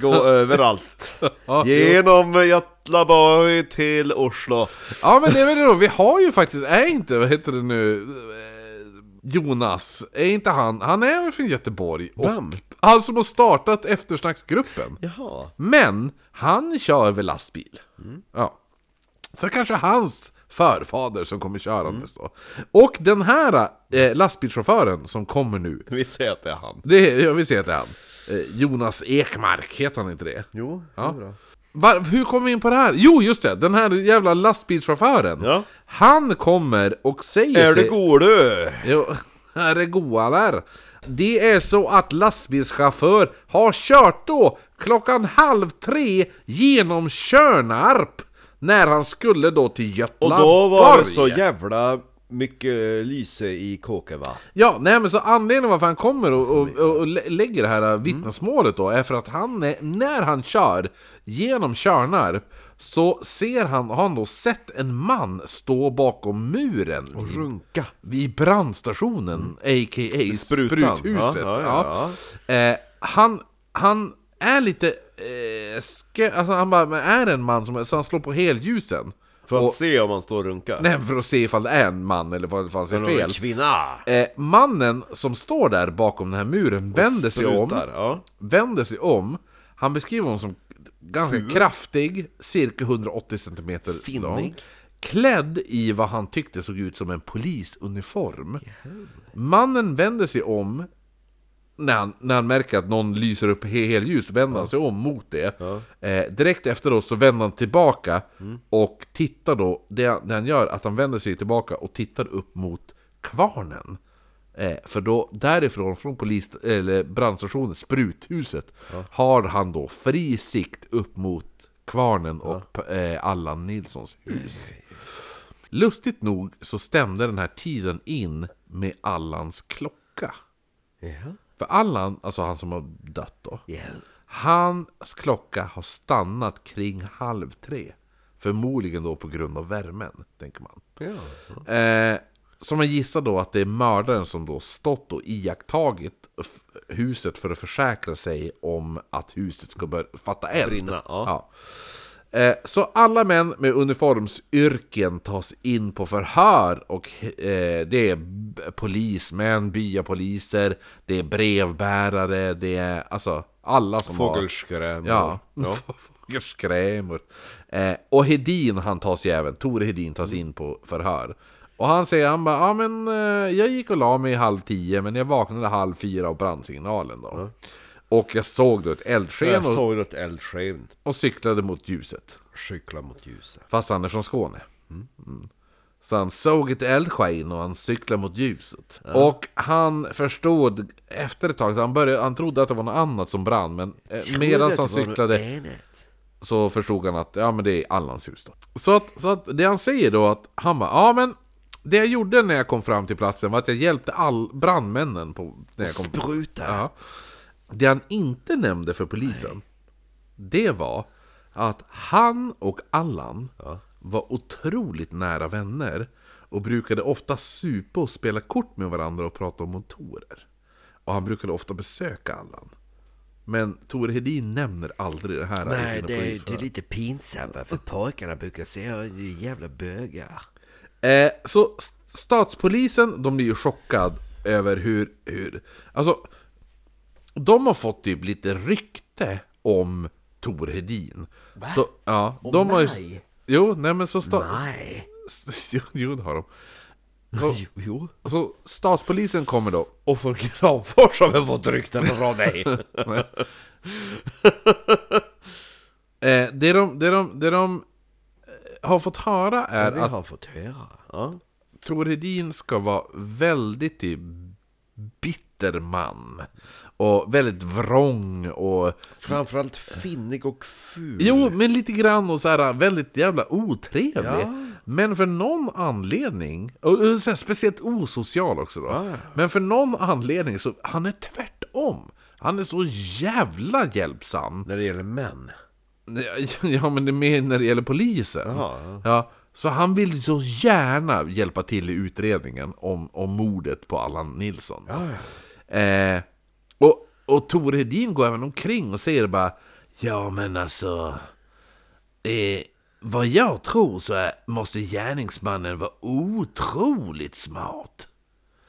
Speaker 4: Gå överallt.
Speaker 2: Ja,
Speaker 4: Genom Göteborg till Oslo.
Speaker 2: ja men det är väl det då, vi har ju faktiskt, är inte, vad heter det nu, Eh, Jonas, är inte han, han är väl från Göteborg? Och
Speaker 4: Vem?
Speaker 2: Han som har startat eftersnacksgruppen.
Speaker 4: Jaha.
Speaker 2: Men han kör väl lastbil. Ja. Så kanske hans förfader som kommer körandes då. Och den här eh, lastbilschauffören som kommer nu.
Speaker 4: Vi säger att det är han.
Speaker 2: Det är, jag vill säga att det är han. Eh, Jonas Ekmark, heter han inte det?
Speaker 4: Jo,
Speaker 2: Ja. Va, hur kom vi in på det här? Jo, just det! Den här jävla lastbilschauffören.
Speaker 4: Ja.
Speaker 2: Han kommer och säger
Speaker 4: Är det
Speaker 2: sig...
Speaker 4: god du?
Speaker 2: Jo, är det goa där? Det är så att lastbilschaufför har kört då klockan halv tre genom Tjörnarp när han skulle då till
Speaker 4: Och
Speaker 2: Götlaborg.
Speaker 4: då var det så jävla mycket lyse i kåken va?
Speaker 2: Ja, nej men så anledningen varför han kommer och, och, och, och lä- lägger det
Speaker 4: Mm.
Speaker 2: här äh, vittnesmålet då är för att han, är- när han kör genom Tjörnarp så ser han, har han då sett en man stå bakom muren i-
Speaker 4: Runka.
Speaker 2: vid brandstationen, a.k.a.
Speaker 4: Mm. Sprutan.
Speaker 2: Spruthuset.
Speaker 4: Ja, ja,
Speaker 2: Eh, han, han är lite... Eh, ske- alltså han bara, men är det en man som... Så han slår på helljusen.
Speaker 4: För
Speaker 2: Och-
Speaker 4: att se om han står och runkar.
Speaker 2: Nej, för att se ifall det är en man eller ifall ifall han
Speaker 4: Eller
Speaker 2: ser
Speaker 4: om det är
Speaker 2: fel.
Speaker 4: en Kvinna!
Speaker 2: Eh, mannen som står där bakom den här muren vänder sig om,
Speaker 4: Sprutar, Ja.
Speaker 2: vänder sig om. Han beskriver honom som ganska kraftig, cirka 180 cm
Speaker 4: Finnig.
Speaker 2: lång. Klädd i vad han tyckte såg ut som en polisuniform. Mannen vänder sig om när han, när han märker att någon lyser upp he- helljus vänder han sig om mot det. Eh, direkt efteråt så vänder han tillbaka och tittar då, det, han- det han gör att han vänder sig tillbaka och tittar upp mot kvarnen. Eh, för då därifrån, från polis, eller brandstationen, spruthuset, har han då fri sikt upp mot kvarnen och eh, Allan Nilssons hus. Lustigt nog så stämde den här tiden in med Allans klocka.
Speaker 4: Ja.
Speaker 2: För Allan, alltså han som har dött då. Hans klocka har stannat kring halv tre. Förmodligen då på grund av värmen, tänker man.
Speaker 4: Ja.
Speaker 2: Eh, som man gissar då att det är mördaren som då stått och iakttagit f- huset för att försäkra sig om att huset ska börja fatta eld.
Speaker 4: Brinna, ja.
Speaker 2: Eh, Så alla män med uniformsyrken tas in på förhör och eh, det är b- polismän, byapoliser, det är brevbärare, det är alltså alla som har...
Speaker 4: Fågelskrämor.
Speaker 2: Ja,
Speaker 4: ja.
Speaker 2: fågelskrämor. Eh, och Hedin han tas ju även, Tore Hedin tas in på förhör. Och han säger, han bara, ja men eh, jag gick och la mig halv tio men jag vaknade halv fyra av brandsignalen då. Och jag såg då ett eldsken
Speaker 4: Jag
Speaker 2: och,
Speaker 4: såg något eldsken
Speaker 2: och cyklade mot ljuset.
Speaker 4: cykla mot ljuset.
Speaker 2: Fast han är från Skåne. Mm. Så han såg ett eldsken och han cyklade mot ljuset. Och han förstod efter ett tag, så han, började, han trodde att det var något annat som brann. Men eh, medan han cyklade så förstod han att ja, men det är Allans hus då. Så att, så att det han säger då att han bara, ja men det jag gjorde när jag kom fram till platsen var att jag hjälpte all brandmännen på, när jag kom
Speaker 1: Spruta.
Speaker 2: Ja. Det han inte nämnde för polisen, det var att han och Allan var otroligt nära vänner och brukade ofta supa och spela kort med varandra och prata om motorer. Och han brukade ofta besöka Allan. Men Tore Hedin nämner aldrig det här i
Speaker 1: Nej,
Speaker 2: sina
Speaker 1: det, är- det
Speaker 2: polisförhör.
Speaker 1: är lite pinsamt va, för pojkarna brukar säga "Ja, ni jävla bögar.
Speaker 2: Eh, så s- statspolisen, de blir ju chockad över hur, hur... Alltså, de har fått typ lite rykte om Tor Hedin. Va? ja, de har ju...
Speaker 1: nej.
Speaker 2: Jo, nej men så... Sta...
Speaker 1: Nej.
Speaker 2: Jo, jo, det har de. Så,
Speaker 1: Jo.
Speaker 2: så statspolisen kommer då.
Speaker 4: Och från Kramfors har vi fått rykten från dig!
Speaker 2: Eh, det de, det de, det de eh, har fått höra är
Speaker 1: Vi
Speaker 2: att
Speaker 1: har fått höra.
Speaker 4: ja.
Speaker 2: Tor Hedin ska vara väldigt typ, bitter man. Och väldigt vrång och...
Speaker 4: Framförallt finnig och ful.
Speaker 2: Jo, men lite grann och så här väldigt jävla otrevlig.
Speaker 1: Ja.
Speaker 2: Men för någon anledning, och och så här, speciellt osocial också då. Men för någon anledning så, han är tvärtom. Han är så jävla hjälpsam.
Speaker 4: När det gäller män.
Speaker 2: Ja, men det är mer när det gäller polisen.
Speaker 4: Jaha, ja.
Speaker 2: Ja, så han vill så gärna hjälpa till i utredningen om, om mordet på Allan Nilsson. Eh, och, och Tor Hedin går även omkring och säger bara Ja men alltså eh, Vad jag tror så är, måste gärningsmannen vara otroligt smart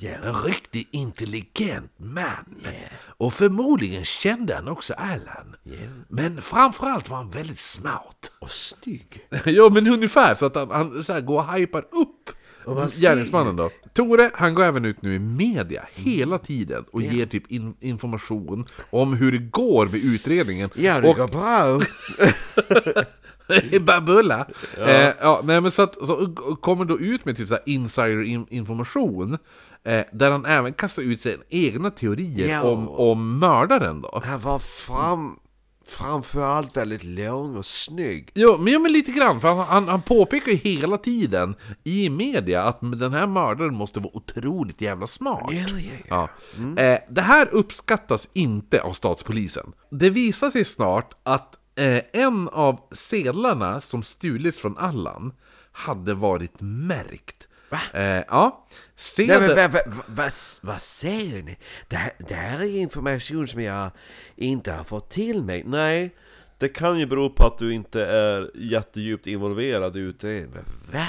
Speaker 1: Ja.
Speaker 2: En riktigt intelligent man Och förmodligen kände han också Allan Men framförallt var han väldigt smart
Speaker 1: Och snygg.
Speaker 2: Ja men ungefär så att han, han så här går och hypar upp
Speaker 1: Och man ser
Speaker 2: gärningsmannen då. Tore, han går även ut nu i media hela tiden och ger typ in, information om hur det går med utredningen.
Speaker 1: Ja, det
Speaker 2: och
Speaker 1: går bra.
Speaker 2: babulla! Eh, ja, nej, men så att, så, och kommer då ut med typ så här insider-information. Eh, där han även kastar ut sina egna teorier
Speaker 1: Ja.
Speaker 2: om, om mördaren då.
Speaker 1: Han var fram, framför allt väldigt lång och snygg.
Speaker 2: Jo, men, ja, men lite grann, för han, han, han påpekar ju hela tiden i media att den här mördaren måste vara otroligt jävla smart.
Speaker 1: Ja, ja,
Speaker 2: Ja. Eh, det här uppskattas inte av statspolisen. Det visar sig snart att eh, en av sedlarna som stulits från Allan hade varit märkt. Va? Eh, ja.
Speaker 1: Nej, men
Speaker 2: Sedel...
Speaker 1: vad, vad, vad, vad säger ni? Det här, det här är information som jag inte har fått till mig.
Speaker 4: Nej, det kan ju bero på att du inte är jättedjupt involverad i utredningen.
Speaker 1: Va?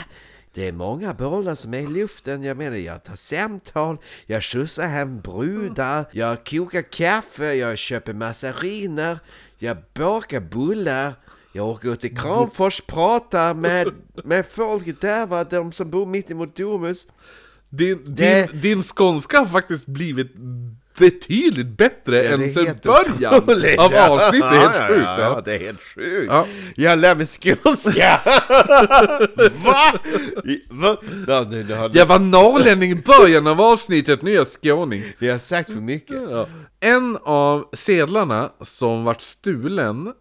Speaker 1: Det är många bollar som är i luften. Jag menar, jag tar samtal, jag skjutsar hem brudar, jag kokar kaffe, jag köper massariner, jag bakar bullar, jag åker ut till Kramfors, pratar med, med folket där, va? de som bor mitt emot Domus.
Speaker 2: Din, din,
Speaker 1: Det-
Speaker 2: din skånska har faktiskt blivit betydligt bättre
Speaker 1: det är
Speaker 2: än sen
Speaker 1: helt
Speaker 2: början av avsnittet. Det är helt sjukt.
Speaker 4: Ja,
Speaker 2: ja.
Speaker 4: ja, det är helt sjukt!
Speaker 2: Ja.
Speaker 1: Jag lär mig skånska!
Speaker 4: Va? I- Va? Ja, nu, nu har
Speaker 2: Jag var norrlänning i början av avsnittet, nu är jag skåning.
Speaker 1: Det har jag sagt för mycket.
Speaker 2: Ja. En av sedlarna som vart stulen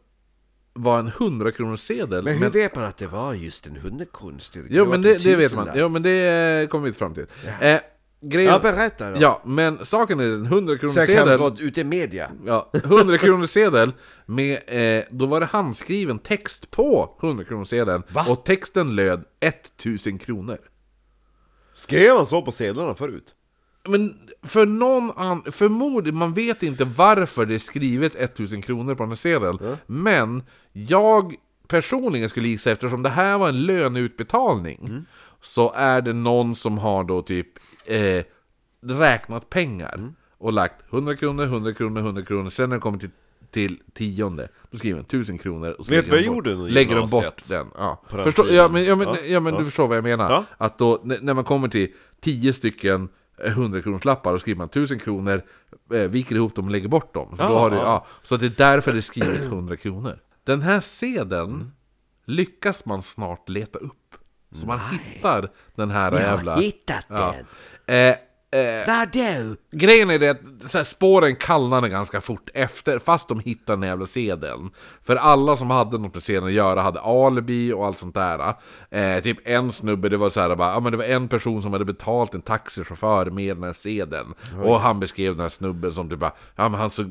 Speaker 2: var en 100 kronors sedel.
Speaker 1: Men hur vet man att det var just en hundekonst? kan
Speaker 2: jo,
Speaker 1: vara
Speaker 2: men
Speaker 1: en
Speaker 2: det, det vet man.
Speaker 1: tusenlapp.
Speaker 2: Jo, men det eh, kommer vi inte fram till. Eh, grejen,
Speaker 1: Ja, berätta då.
Speaker 2: Ja, men saken är den 100 kronors
Speaker 1: Så jag kan
Speaker 2: sedel.
Speaker 1: gå ut i media.
Speaker 2: Ja, 100 kronors sedel med, eh, då var det handskriven text på 100 kronors sedeln. Och texten löd 1000 kronor.
Speaker 4: Skrev han så på sedlarna förut?
Speaker 2: Men för någon an... förmodligen, man vet inte varför det är skrivet 1000 kronor på den här sedeln. Men jag personligen skulle gissa, eftersom det här var en löneutbetalning,
Speaker 4: Mm.
Speaker 2: så är det någon som har då typ eh, räknat pengar
Speaker 4: Mm.
Speaker 2: och lagt 100 kronor, 100 kronor, 100 kronor, sen när det kommer till, till tionde, då skriver man 1000 kronor och så
Speaker 4: Vet
Speaker 2: lägger
Speaker 4: vad
Speaker 2: de
Speaker 4: jag
Speaker 2: bort-
Speaker 4: gjorde i
Speaker 2: lägger de bort
Speaker 4: gymnasiet?
Speaker 2: den. Ja.
Speaker 4: På den
Speaker 2: Förstår,
Speaker 4: tiden.
Speaker 2: ja, men, ja, men,
Speaker 4: Ja,
Speaker 2: ja, men
Speaker 4: ja.
Speaker 2: du förstår vad jag menar.
Speaker 4: Ja.
Speaker 2: Att då, n- när man kommer till 10 stycken 100-kronorslappar och skriver man 1000 kronor, eh, viker ihop dem och lägger bort dem. Så,
Speaker 4: Ja,
Speaker 2: då har du,
Speaker 4: ja.
Speaker 2: ja, så det är därför det är skrivet 100 kronor. Den här sedeln
Speaker 4: Mm.
Speaker 2: lyckas man snart leta upp. Så man hittar den här
Speaker 1: Jag har
Speaker 2: jävla...
Speaker 1: hittat
Speaker 2: ja.
Speaker 1: den.
Speaker 2: Eh, eh,
Speaker 1: Vadå?
Speaker 2: Grejen är det att så här, spåren kallnade ganska fort efter, fast de hittade den jävla sedeln. För alla som hade något med sedeln att göra hade alibi och allt sånt där. Eh, typ en snubbe, det var så här, bara, ja, men det var en person som hade betalt en taxichaufför med den här sedeln. Och han beskrev den här snubben som typ, bara, ja, men han så,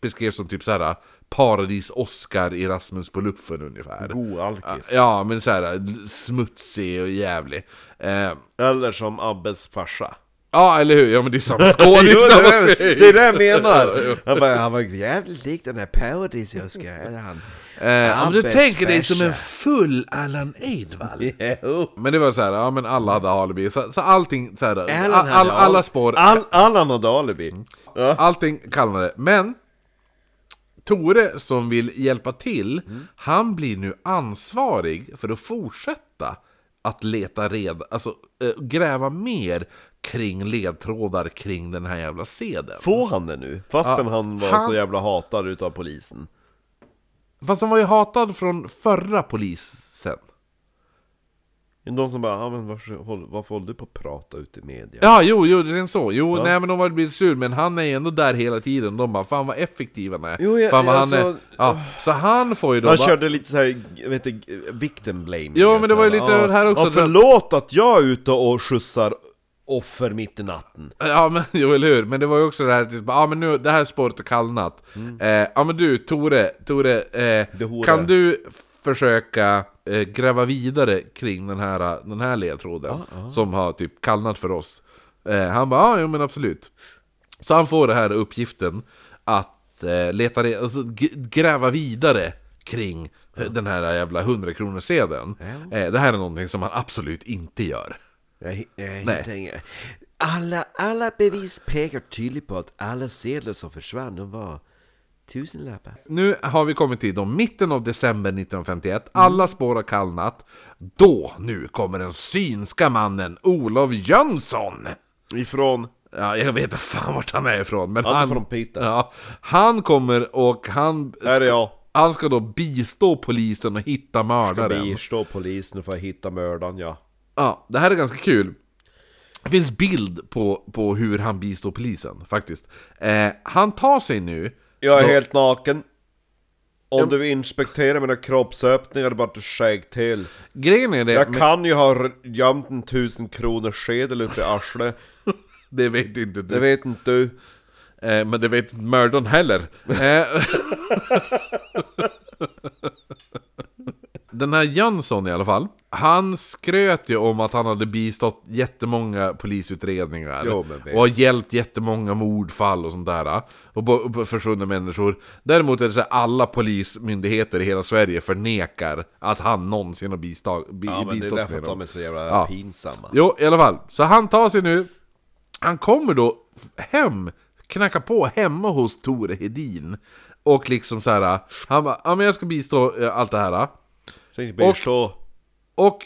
Speaker 2: beskrevs som typ så här paradis-Oscar i Rasmus på luffen ungefär.
Speaker 4: God alkis.
Speaker 2: Ja, men så här smutsig och jävlig. Eh,
Speaker 4: Eller som Abbes farsa.
Speaker 2: Ja, eller hur? Ja, men det är samma skål, det
Speaker 4: Jo,
Speaker 2: är
Speaker 4: det,
Speaker 2: samma
Speaker 4: är,
Speaker 2: serie.
Speaker 4: det är det jag menar! Han bara,
Speaker 1: Eh, Han var jävligt lik den här Paradis jag ska eller han.
Speaker 2: Eh, om du
Speaker 1: Abbes
Speaker 2: tänker dig som en
Speaker 1: farsa.
Speaker 2: full Allan Edwall.
Speaker 1: Jo.
Speaker 2: Men det var så här, ja men alla hade alibi, så, så allting så här, all,
Speaker 1: hade
Speaker 2: all, alla
Speaker 1: alibi.
Speaker 2: spår,
Speaker 4: All, Allan hade alibi.
Speaker 2: Mm.
Speaker 4: Ja.
Speaker 2: allting kallnade. Men Tore som vill hjälpa till, han blir nu ansvarig för att fortsätta att leta reda, alltså eh, gräva mer kring ledtrådar kring den här jävla sedeln.
Speaker 4: Får han det nu? Fastän
Speaker 2: Ja,
Speaker 4: han var
Speaker 2: han-
Speaker 4: så jävla hatad utav polisen.
Speaker 2: Fast han var ju hatad från förra polisen.
Speaker 4: De som bara, ja men varför, håll, varför håller du på att prata ute i media?
Speaker 2: Ja, jo, jo, det är så. Jo, nej men de har blivit sur, men han är ju ändå där hela tiden. De bara, fan vad effektiv han är.
Speaker 4: Jo, jag-
Speaker 2: fan vad
Speaker 4: alltså-
Speaker 2: han är. Ja, så han får ju då...
Speaker 4: Han
Speaker 2: bara-
Speaker 4: körde lite såhär, vet du, victim blaming
Speaker 2: Jo, men det
Speaker 4: Så
Speaker 2: var ju
Speaker 4: här,
Speaker 2: lite
Speaker 4: ja,
Speaker 2: här också,
Speaker 4: "Ah, Ja, förlåt att jag är ute och skjutsar offer mitt i natten
Speaker 2: Ja, men jo, eller hur. Men det var ju också det här, typ, ja men nu, det här spåret har kallnat. Eh, ja men du, Tore, Tore, eh,
Speaker 4: Mm. Det hore.
Speaker 2: kan du försöka eh, gräva vidare kring den här, den här ledtråden? Som har typ kallnat för oss. Eh, han bara, ja jo, men absolut. Så han får den här uppgiften att eh, leta re- alltså, g- gräva vidare kring eh, den här jävla 100 sedeln. Eh, det här är någonting som han absolut inte gör.
Speaker 1: Jag, jag
Speaker 2: Nej.
Speaker 1: hittar inga. Alla, alla bevis pekar tydligt på att alla sedlar som försvann, de var tusenlappar.
Speaker 2: Nu har vi kommit till då mitten av december 1951, alla spår har kallnat. Då, nu kommer den synska mannen Olof Jönsson!
Speaker 4: Ifrån,
Speaker 2: Ja, jag vet inte fan vart han är ifrån, men
Speaker 4: Han
Speaker 2: han...
Speaker 4: är från Piteå.
Speaker 2: Ja, han kommer och han...
Speaker 4: här är jag
Speaker 2: Han ska då bistå polisen och hitta
Speaker 4: Ska
Speaker 2: mördaren.
Speaker 4: bistå polisen för att hitta mördaren ja
Speaker 2: Ja, det här är ganska kul. Det finns bild på, på hur han bistår polisen, faktiskt. Eh, han tar sig nu...
Speaker 4: Jag är
Speaker 2: då-
Speaker 4: helt naken Om du inspekterar mina kroppsöppningar, det är bara att skägg till
Speaker 2: Grejen är det...
Speaker 4: Jag
Speaker 2: men-
Speaker 4: kan ju ha r- gömt en tusen kronor sedel ute i arslet
Speaker 2: Det vet inte du.
Speaker 4: Det vet inte du
Speaker 2: Eh, men det vet mördaren heller. Eh, Den här Jönsson i alla fall, han skröt ju om att han hade bistått jättemånga polisutredningar.
Speaker 4: Jo, men visst.
Speaker 2: och har hjälpt jättemånga mordfall och sånt där. eh. Och bo- bo- försvunna människor. Däremot är det så här, alla polismyndigheter i hela Sverige förnekar att han någonsin har bistag- bi-
Speaker 4: Ja men det är
Speaker 2: bistått
Speaker 4: därför
Speaker 2: med
Speaker 4: att
Speaker 2: dem.
Speaker 4: de är så jävla
Speaker 2: Ja.
Speaker 4: pinsamma
Speaker 2: Jo, i alla fall. Så han tar sig nu. Han kommer då hem, knackar på hemma hos Tore Hedin. Och liksom så här. han bara, ja men jag ska bistå eh, allt det här.
Speaker 4: Tänk
Speaker 2: Och-
Speaker 4: bistå
Speaker 2: Och,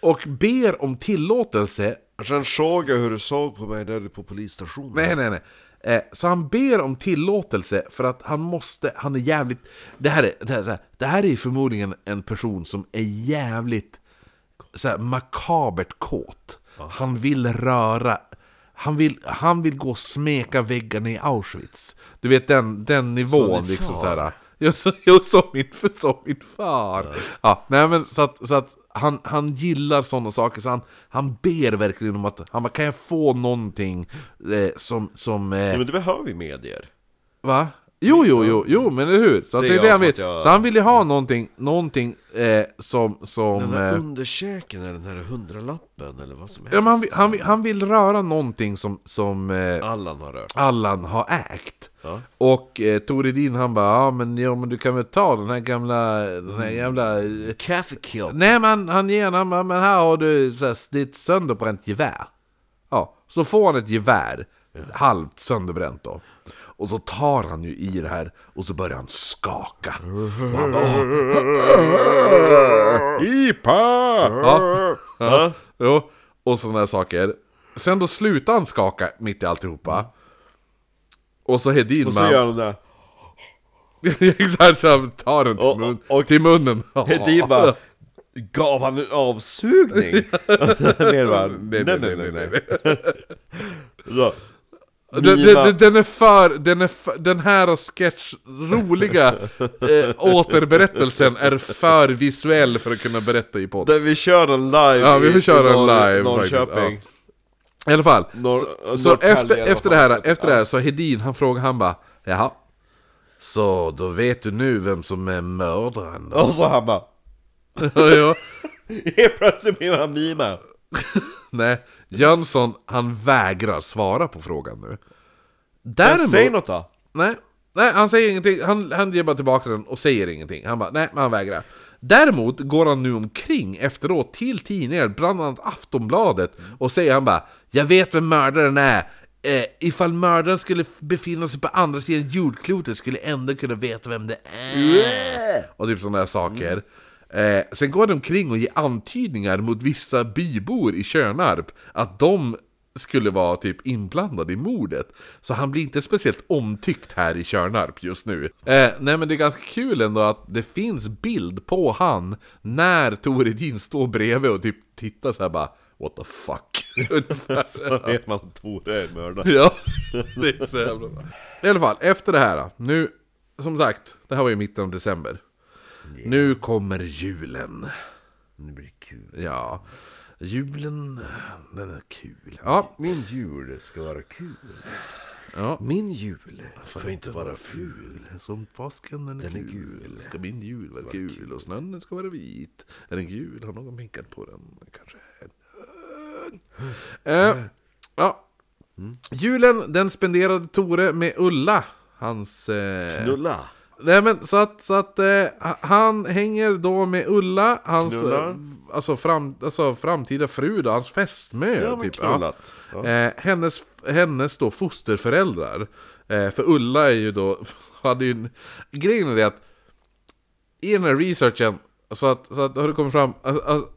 Speaker 2: och ber om tillåtelse.
Speaker 4: Sen såg jag hur du såg på mig där på polisstationen
Speaker 2: Nej, nej, nej. Eh, Så han ber om tillåtelse för att han måste, han är jävligt... Det här är, det här är, så här, det här är ju förmodligen en person som är jävligt så här, makabert kåt. Han vill röra... Han vill, han vill gå och smeka väggarna i Auschwitz. Du vet den, den nivån
Speaker 4: din
Speaker 2: liksom
Speaker 4: far.
Speaker 2: så här. Jag som, jag som, min, som min far. Ja. nej men så att, så att han, han gillar sådana saker så han, han ber verkligen om att han bara, kan jag få någonting eh, som, som eh,
Speaker 4: Ja, men du behöver ju medier
Speaker 2: va? Jo, jo, jo, jo, men eller hur? Så, att det
Speaker 4: Ser
Speaker 2: är
Speaker 4: jag
Speaker 2: det han
Speaker 4: som
Speaker 2: vill.
Speaker 4: att jag-
Speaker 2: Så han ville ha någonting, någonting eh, som... som
Speaker 1: Den här
Speaker 2: eh,
Speaker 1: underkäken eller den här hundralappen eller vad som helst.
Speaker 2: ja, men han, vill- han, vill- han vill röra någonting som, som eh,
Speaker 4: Allan har rört.
Speaker 2: Allan har ägt.
Speaker 4: Ja.
Speaker 2: Och eh, Toredin han bara, ja men, ja men du kan väl ta den här gamla, den
Speaker 4: Mm.
Speaker 2: här jävla... eh,
Speaker 1: Alltså, Kaffekopp.
Speaker 2: Nej men han ger honom, men här har du så här, ditt sönderbränt gevär. Ja, så får han ett gevär, halvt sönderbränt då. Och så tar han ju i det här och så börjar han skaka. Och han bara, "Åh." Ja. Ja. Jo, och sådana där saker. Sen då slutar han skaka mitt i alltihopa. Och så Hedin
Speaker 4: Och så
Speaker 2: bara-
Speaker 4: gör han det.
Speaker 2: Exakt, så han tar den till,
Speaker 4: Och-
Speaker 2: mun,
Speaker 4: och-
Speaker 2: till munnen.
Speaker 4: Hedin typ bara... Gav han en avsugning? Mer bara, nej nej nej nej. Så,
Speaker 2: Den,
Speaker 4: Mina-
Speaker 2: den, den är för, den är för, den här sketch, roliga eh, återberättelsen är för visuell för att kunna berätta i podd.
Speaker 4: där vi kör den live
Speaker 2: Ja, vi får
Speaker 4: i-
Speaker 2: köra den
Speaker 4: i Norr-
Speaker 2: live
Speaker 4: Norrköping.
Speaker 2: faktiskt, I alla fall,
Speaker 4: Norr-
Speaker 2: så,
Speaker 4: äh,
Speaker 2: så
Speaker 4: Norrtälje
Speaker 2: efter,
Speaker 4: eller vad
Speaker 2: efter, det
Speaker 4: fan
Speaker 2: här,
Speaker 4: det heter.
Speaker 2: efter det här så Hedin, han frågar, han bara Jaha, så då vet du nu vem som är mördaren då?
Speaker 4: Och så han bara...
Speaker 2: ja,
Speaker 4: Helt plötsligt blir han mime.
Speaker 2: nej, Jönsson, han vägrar svara på frågan nu.
Speaker 4: Men säg
Speaker 2: Däremot,
Speaker 4: något då.
Speaker 2: Nej, nej han säger ingenting. Han, han ger bara tillbaka den och säger ingenting. Han bara, nej, men han vägrar. Däremot går han nu omkring efteråt till tidningar, bland annat Aftonbladet, och säger han bara Jag vet vem mördaren är! Eh, ifall mördaren skulle f- befinna sig på andra sidan jordklotet skulle jag ändå kunna veta vem det är! Och typ sådana där saker. Eh, sen går de omkring och ger antydningar mot vissa bybor i Tjörnarp att de skulle vara typ inblandad i mordet. Så han blir inte speciellt omtyckt här i Tjörnarp just nu. Eh, nej men det är ganska kul ändå att det finns bild på han när Toredin står bredvid och typ tittar så här bara What the fuck? Ungefär.
Speaker 4: Då vet man att Tore är mördare.
Speaker 2: ja, det är så jävla bra. I alla fall, efter det här då, nu, som sagt, det här var ju mitten av december. Nu kommer julen.
Speaker 1: Nu blir det kul.
Speaker 2: Ja, julen, den är kul. Ja,
Speaker 1: Min jul ska vara kul.
Speaker 2: ja.
Speaker 1: Min jul får inte vara ful.
Speaker 2: Som påsken den är,
Speaker 1: Den är
Speaker 2: gul. Ska min jul vara gul. Och snön den ska vara vit. Är den gul? Har någon pinkat på den? Kanske en hög. Eh, ja. Mm. Julen den spenderade Tore med Ulla. Hans... Eh,
Speaker 1: Knulla.
Speaker 2: Nej men så att, så att eh, han hänger då med Ulla, hans
Speaker 4: Knulla.
Speaker 2: eh, alltså, fram, alltså framtida fru då, hans fästmö.
Speaker 4: Ja, men
Speaker 2: typ.
Speaker 4: knullat. Ja.
Speaker 2: Eh, hennes, hennes då fosterföräldrar. Eh, för Ulla är ju då, hade ju, en- grejen är det att i den här researchen, så att, så att har det kommit fram, alltså, alltså,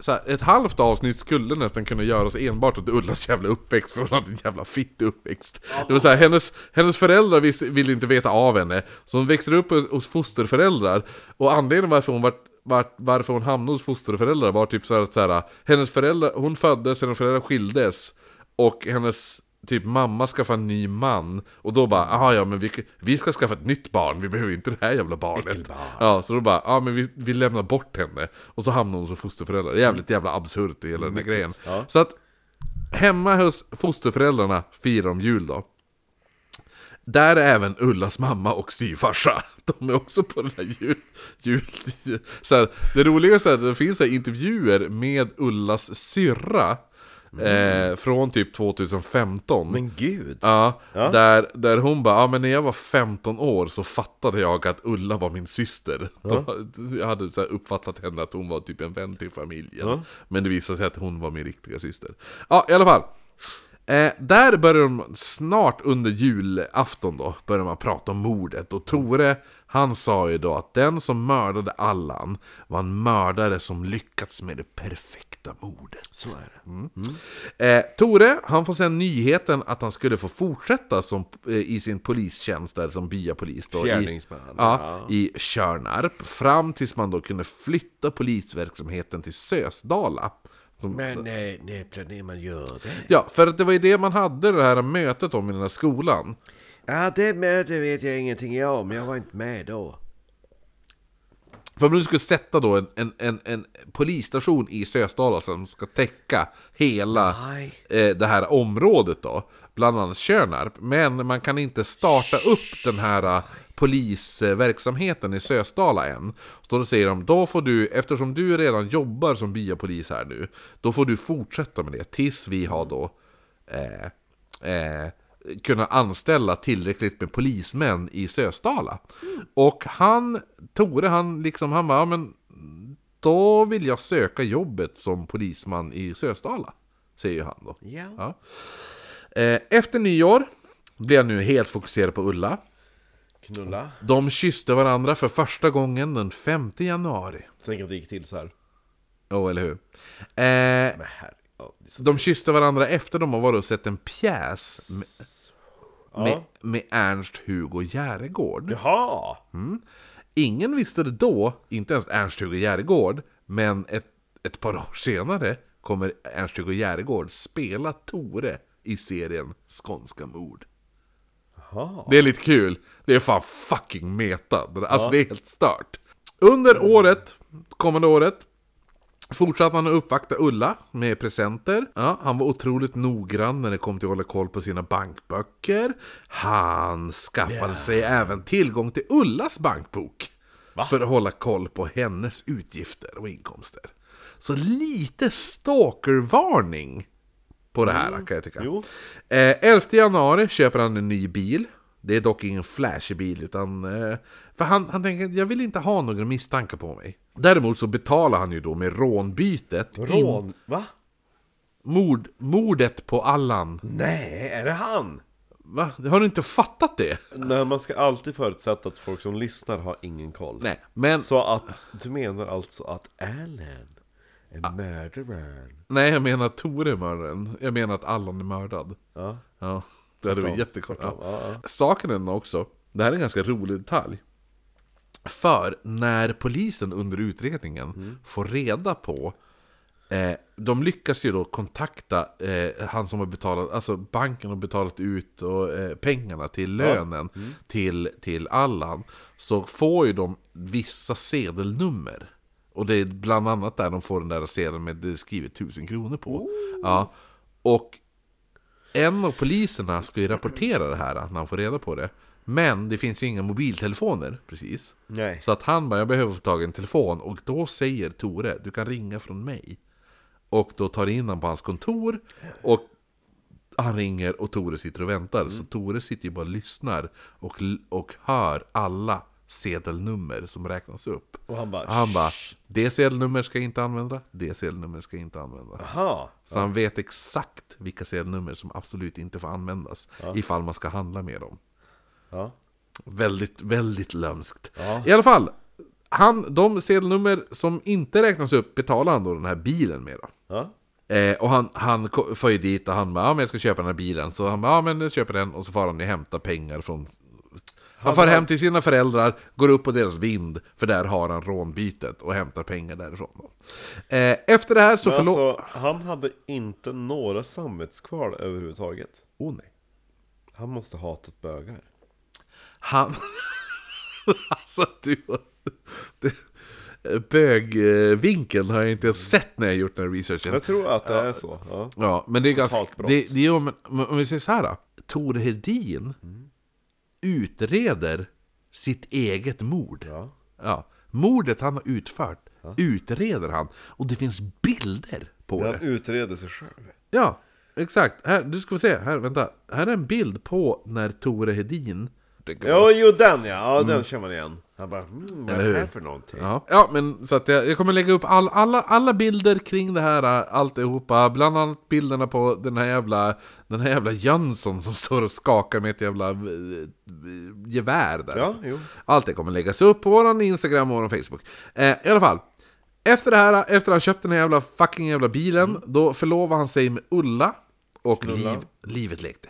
Speaker 2: så här, ett halvt avsnitt skulle nästan kunna göras enbart åt Ullas jävla uppväxt, för hon hade en jävla fitt uppväxt. Det var så här, hennes, hennes föräldrar visste- ville inte veta av henne, så hon växte upp hos- hos fosterföräldrar, och anledningen varför hon vart vart, varför hon hamnade hos fosterföräldrar var typ så här att så här, hennes föräldrar, hon föddes, hennes föräldrar skildes och hennes typ mamma skaffa en ny man och då bara aha, ja men vi, vi ska skaffa ett nytt barn, vi behöver inte det här jävla barnet. Ja, så då bara ja men vi, vi lämnar bort henne och så hamnar hon som fosterföräldrar. Jävligt jävla absurt i hela den här grejen.
Speaker 4: ja.
Speaker 2: Så att hemma hos fosterföräldrarna firar de jul då. Där är även Ullas mamma och styvfarsa. De är också på den här jul... jul så här, det roligaste är att det finns så här intervjuer med Ullas syrra. Eh, från typ 2015.
Speaker 1: Mm. Men gud.
Speaker 2: Ja, Där, där hon bara, ja men när jag var 15 år så fattade jag att Ulla var min syster. De, jag hade så här uppfattat henne att hon var typ en vän till familjen. Men det visade sig att hon var min riktiga syster. Ja, i alla fall. Eh, där börjar de snart under julafton då, börjar man prata om mordet. Och Tore, han sa ju då att den som mördade Allan var en mördare som lyckats med det perfekta mordet.
Speaker 1: Så är det. Mm.
Speaker 2: Eh, Tore, han får sen nyheten att han skulle få fortsätta som, eh, i sin polistjänst där som byapolis då, i,
Speaker 4: Fjärdingsman.
Speaker 2: ja, i Tjörnarp fram tills man då kunde flytta polisverksamheten till Sösdala. Som,
Speaker 1: Men nej, nej, planerar man gör det.
Speaker 2: Ja, för att det var ju det man hade det här mötet om i den här skolan.
Speaker 1: Ja, det mötet vet jag ingenting om. Jag var inte med då.
Speaker 2: För om du skulle sätta då en, en, en, en polisstation i Sösdala som ska täcka hela
Speaker 1: Nej.
Speaker 2: eh, det här området då. bland annat Tjörnarp. Men man kan inte starta upp den här eh, polisverksamheten i Sösdala än. Så då säger de, då får du, eftersom du redan jobbar som byapolis här nu, då får du fortsätta med det tills vi har då eh, eh, kunna anställa tillräckligt med polismän i Sösdala. Och han, Tore, han liksom, han bara, ja, men då vill jag söka jobbet som polisman i Sösdala. Säger ju han då.
Speaker 1: Ja.
Speaker 2: Eh, efter nyår blev jag nu helt fokuserad på Ulla.
Speaker 4: Knulla.
Speaker 2: De kysste varandra för första gången den 5 januari.
Speaker 4: Tänk att det gick till så här.
Speaker 2: Ja, eller hur? Eh,
Speaker 4: Men herre... Ja, det är så-
Speaker 2: de kysste varandra efter de har varit och sett en pjäs med, med,
Speaker 4: ja.
Speaker 2: med Ernst-Hugo Järegård.
Speaker 4: Jaha!
Speaker 2: Ingen visste det då, inte ens Ernst-Hugo Järegård, men ett, ett par år senare kommer Ernst-Hugo Järegård spela Tore i serien Skånska mord.
Speaker 4: Jaha.
Speaker 2: Det är lite kul. Det är fan fucking meta. Det där- Alltså det är helt stört. Under året, kommande året, fortsatte han att uppvakta Ulla med presenter. Ja, han var otroligt noggrann när det kom till att hålla koll på sina bankböcker. Han skaffade sig även tillgång till Ullas bankbok. För att hålla koll på hennes utgifter och inkomster. Så lite stalkervarning på det här kan jag tycka.
Speaker 4: Mm. Jo.
Speaker 2: Eh, 11 januari köper han en ny bil. Det är dock ingen flashig bil utan... Eh, för han, han tänker, jag vill inte ha några misstankar på mig. Däremot så betalar han ju då med rånbytet. In,
Speaker 4: Rån... Va?
Speaker 2: mord, mordet på Allan.
Speaker 4: Nej, är det han?
Speaker 2: Va? Har du inte fattat det?
Speaker 4: Nej, man ska alltid förutsätta att folk som lyssnar har ingen koll.
Speaker 2: Nej, men...
Speaker 4: Så att, du menar alltså att Alan är
Speaker 1: Ah.
Speaker 4: murderern?
Speaker 2: Nej, jag menar Tore är mördaren. Jag menar att Allan är mördad.
Speaker 4: Ja.
Speaker 2: Ja, det hade varit jättekonstigt.
Speaker 4: Tvärtom, ja,
Speaker 2: Ja. Saken är den också, det här är en ganska rolig detalj. För när polisen under utredningen får reda på eh, De lyckas ju då kontakta eh, han som har betalat, alltså banken har betalat ut och, eh, pengarna till lönen till, till Allan. Så får ju de vissa sedelnummer. Och det är bland annat där de får den där sedeln med det är skrivet 1000 kronor på. Ja. Och en av poliserna ska ju rapportera det här när han får reda på det. Men det finns ju inga mobiltelefoner precis.
Speaker 4: Nej.
Speaker 2: Så att han bara, jag behöver få tag i en telefon. Och då säger Tore, du kan ringa från mig. Och då tar in han på hans kontor. Och han ringer och Tore sitter och väntar.
Speaker 4: Mm.
Speaker 2: Så Tore sitter ju bara och lyssnar. Och, och hör alla sedelnummer som räknas upp.
Speaker 4: Och han bara...
Speaker 2: Han bara, det sedelnummer ska jag inte använda, det sedelnummer ska jag inte använda.
Speaker 4: Aha.
Speaker 2: Så han vet exakt vilka sedelnummer som absolut inte får användas ifall man ska handla med dem.
Speaker 4: Ja.
Speaker 2: Väldigt, väldigt lömskt.
Speaker 4: Ja.
Speaker 2: I alla fall, han, de sedelnummer som inte räknas upp betalar han då den här bilen med. Då.
Speaker 4: Ja.
Speaker 2: Eh, och han, han ko- får ju dit och han bara, ja men jag ska köpa den här bilen. Så han bara, ja men jag köper den och så får han ju hämta pengar från... Han far hem till sina föräldrar, går upp på deras vind, för där har han rånbytet och hämtar pengar därifrån. Då. Eh, efter det här så
Speaker 4: Men
Speaker 2: förlåt...
Speaker 4: alltså, han hade inte några samvetskval överhuvudtaget.
Speaker 2: Oh, nej.
Speaker 4: Han måste hatat bögar.
Speaker 2: Han... alltså du... Det... Bögvinkeln har jag inte ens sett när jag gjort den här researchen.
Speaker 4: Jag tror att det är så. Ja.
Speaker 2: Ja, men det är ganska...
Speaker 4: Totalt brott.
Speaker 2: Det, det är om, om vi säger så här då. Tor Hedin utreder sitt eget mord.
Speaker 4: Ja.
Speaker 2: Ja. Mordet han har utfört utreder han. Och det finns bilder på
Speaker 4: Han
Speaker 2: det.
Speaker 4: utreder sig själv.
Speaker 2: Ja, exakt. Här, du ska få se. Här, vänta. Här är en bild på när Tore Hedin...
Speaker 4: Ja, jo den ja. Ja, den känner man igen. Han bara, mm, vad är
Speaker 2: Mm. Eller
Speaker 4: det här
Speaker 2: hur?
Speaker 4: för någonting?
Speaker 2: Ja. ja, men så att jag, jag kommer lägga upp all, alla, alla bilder kring det här, äh, alltihopa. Bland annat bilderna på den här jävla, den här jävla Jönsson som står och skakar med ett jävla eh, eh, gevär där.
Speaker 4: Ja, jo.
Speaker 2: Allt det kommer läggas upp på våran Instagram och våran Facebook. Eh, I alla fall. Efter det här, efter han köpt den här jävla fucking jävla bilen, då förlovar han sig med Ulla. Och liv, livet lekte.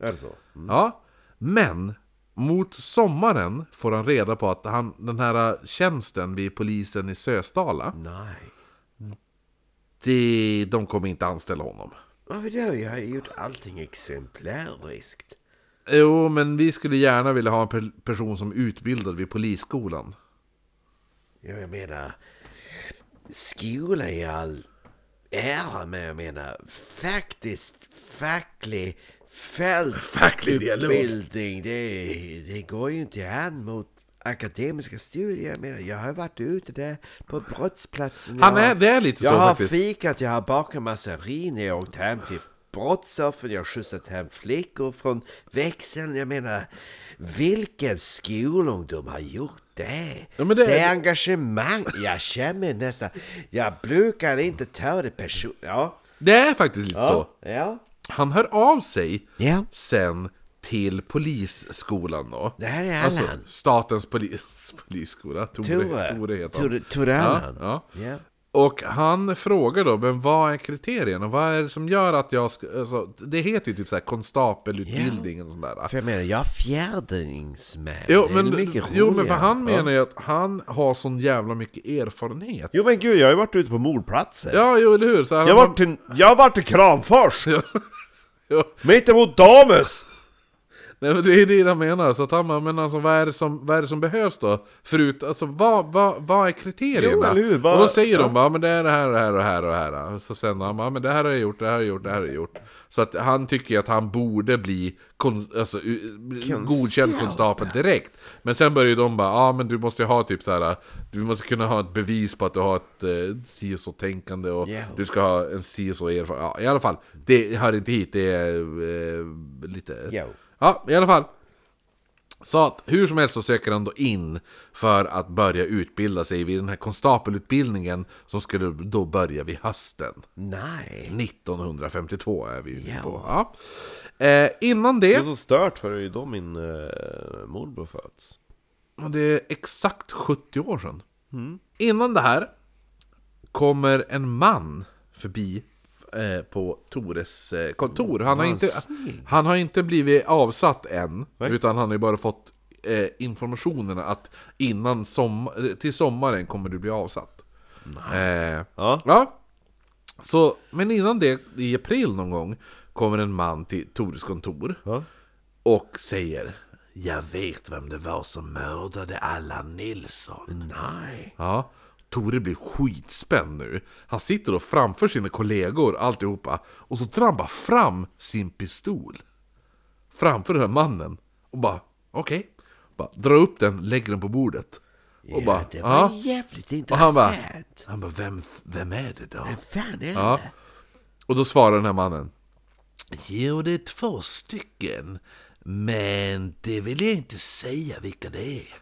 Speaker 4: Är det så? Mm.
Speaker 2: Ja, men mot sommaren får han reda på att han, den här tjänsten vid polisen i Sösdala,
Speaker 4: Nej.
Speaker 2: det, de kommer inte anställa honom.
Speaker 1: Varför då? Jag har gjort allting exemplariskt.
Speaker 2: Jo, men vi skulle gärna vilja ha en per- person som är utbildad vid polisskolan.
Speaker 1: Ja, jag menar... Skola i all ära, men jag menar faktiskt facklig
Speaker 2: Facklig dialog.
Speaker 1: Fältutbildning, det, det går ju inte an mot akademiska studier. Jag, menar, jag har varit ute där på brottsplatsen.
Speaker 2: Han
Speaker 1: Jag har-
Speaker 2: är, det är lite
Speaker 1: Jag
Speaker 2: så
Speaker 1: har
Speaker 2: faktiskt.
Speaker 1: fikat, jag har bakat massarin, jag har åkt hem till brottsoffer, jag har skjutsat hem flickor från växeln. Jag menar, vilken skolungdom har gjort det?
Speaker 2: Ja, men det-
Speaker 1: är engagemang. Jag känner nästan... Jag brukar inte ta det personligt. Ja.
Speaker 2: Det är faktiskt lite så.
Speaker 1: Ja. ja.
Speaker 2: Han hör av sig
Speaker 1: Ja.
Speaker 2: sen till polisskolan då.
Speaker 1: Det här är Allan.
Speaker 2: Alltså, statens polis, polisskola. Tore,
Speaker 1: Tore.
Speaker 2: Tore. heter han.
Speaker 1: Tore, Tore
Speaker 2: Ja,
Speaker 1: Allan.
Speaker 2: ja.
Speaker 1: Ja.
Speaker 2: Och han frågar då, men vad är kriterierna? Vad är det som gör att jag ska... Alltså, det heter ju typ så här konstapelutbildning och sådär.
Speaker 1: För jag menar, jag är fjärdingsman.
Speaker 2: Jo
Speaker 1: Det är
Speaker 2: men,
Speaker 1: mycket
Speaker 2: jo men för
Speaker 1: roligare.
Speaker 2: han menar ju att han har sån jävla mycket erfarenhet.
Speaker 4: Jo men gud, jag har ju varit ute på mordplatser.
Speaker 2: Ja, jo eller hur? Så här,
Speaker 4: Jag
Speaker 2: han-
Speaker 4: har varit till, jag har varit till Kramfors!
Speaker 2: Ja.
Speaker 4: Mittemot Damus!
Speaker 2: Nej, men det är det han menar, så att han bara, men alltså vad är det som, vad är det som behövs då? Förut, alltså vad, vad, vad är kriterierna?
Speaker 4: Jo, eller hur? Vad-
Speaker 2: och då säger
Speaker 4: ja.
Speaker 2: de bara, men det är det här och det här och det här och det här. Så sen han bara, men det här har jag gjort, det här har jag gjort, det här har jag gjort. Så att han tycker ju att han borde bli kon, alltså, u- godkänd konstapel direkt. Men sen börjar ju de bara, ja ah, men du måste ju ha typ så här, du måste kunna ha ett bevis på att du har ett eh, si och så tänkande och
Speaker 1: Ja.
Speaker 2: du ska ha en si och så erfarenhet. Ja, i alla fall, det hör inte hit, det är eh, lite...
Speaker 1: Jo.
Speaker 2: Ja, i alla fall. Så att hur som helst så söker han då in för att börja utbilda sig vid den här konstapelutbildningen som skulle då börja vid hösten.
Speaker 1: Nej.
Speaker 2: 1952 är vi ju
Speaker 1: Ja.
Speaker 2: nu på. Ja. Eh, innan det,
Speaker 4: Det är så stört för det är ju då min eh, morbror föds.
Speaker 2: och det är exakt 70 år sedan. Innan det här kommer en man förbi eh, på Tores eh, kontor. Han har,
Speaker 1: Vad
Speaker 2: inte,
Speaker 1: snygg.
Speaker 2: han har inte blivit avsatt än,
Speaker 4: Nej.
Speaker 2: utan han har ju bara fått eh, informationen att innan som, eh, till sommaren kommer du bli avsatt. Eh,
Speaker 4: Ja.
Speaker 2: ja. Så, men innan det, i april någon gång, kommer en man till Tores kontor
Speaker 4: Ja.
Speaker 2: och säger Jag vet vem det var som mördade Allan Nilsson. Nej. Ja. Tore blir skitspänd nu. Han sitter då framför sina kollegor alltihopa och så drar han bara fram sin pistol. Framför den här mannen. Och bara okej. Bara drar upp den, lägger den på bordet. Och bara
Speaker 1: ja, det var
Speaker 2: ja.
Speaker 1: jävligt
Speaker 2: Och han
Speaker 1: intressant.
Speaker 2: bara, han bara vem, vem är det då?
Speaker 1: Vem fan är
Speaker 2: Ja.
Speaker 1: det?
Speaker 2: Och då svarar den här mannen. Jo, det är två stycken. Men det vill jag inte säga vilka det är.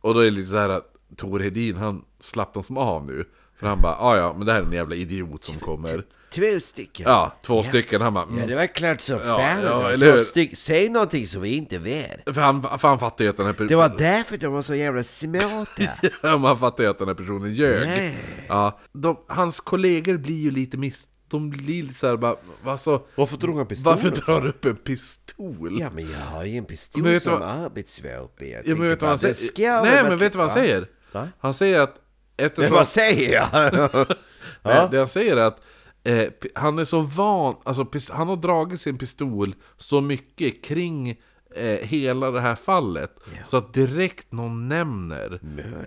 Speaker 2: Och då är det lite så här att Tor Hedin, han slapp dem som av nu. För han bara, "Ah, ja ja, men det här är en jävla idiot som kommer.
Speaker 1: Två stycken.
Speaker 2: Ja, två stycken. Han bara,
Speaker 1: Ja,
Speaker 2: mm.
Speaker 1: det var klart som
Speaker 2: Ja,
Speaker 1: fan
Speaker 2: ja,
Speaker 1: att det
Speaker 2: eller
Speaker 1: var
Speaker 2: hur?
Speaker 1: två styck. Säg någonting som vi inte vet.
Speaker 2: För han, för han fattar ju att den här per-
Speaker 1: Det var därför de var så jävla smarta.
Speaker 2: Ja, man fattar ju att den här personen ljög.
Speaker 1: Nej.
Speaker 2: Ja, de, hans kollegor blir ju lite miss... De blir lite såhär bara, alltså,
Speaker 4: Varför drog han pistolen?
Speaker 2: varför drar du upp en pistol?
Speaker 1: Ja, men jag har ju en pistol
Speaker 2: Men vet du
Speaker 1: som
Speaker 2: vad-
Speaker 1: arbetsvapen. Jag
Speaker 2: Ja, men
Speaker 1: tänkte
Speaker 2: vet du vad han
Speaker 1: bara, det
Speaker 2: säger?
Speaker 1: ska
Speaker 2: Nej,
Speaker 1: vara-
Speaker 2: men vet du vad han
Speaker 1: Va?
Speaker 2: säger?
Speaker 4: Va?
Speaker 2: Han säger att
Speaker 1: Men
Speaker 2: eftersom...
Speaker 1: vad säger jag?
Speaker 2: Nej, det han säger är att eh, p- han är så van, alltså pis- han har dragit sin pistol så mycket kring eh, hela det här fallet så att direkt någon nämner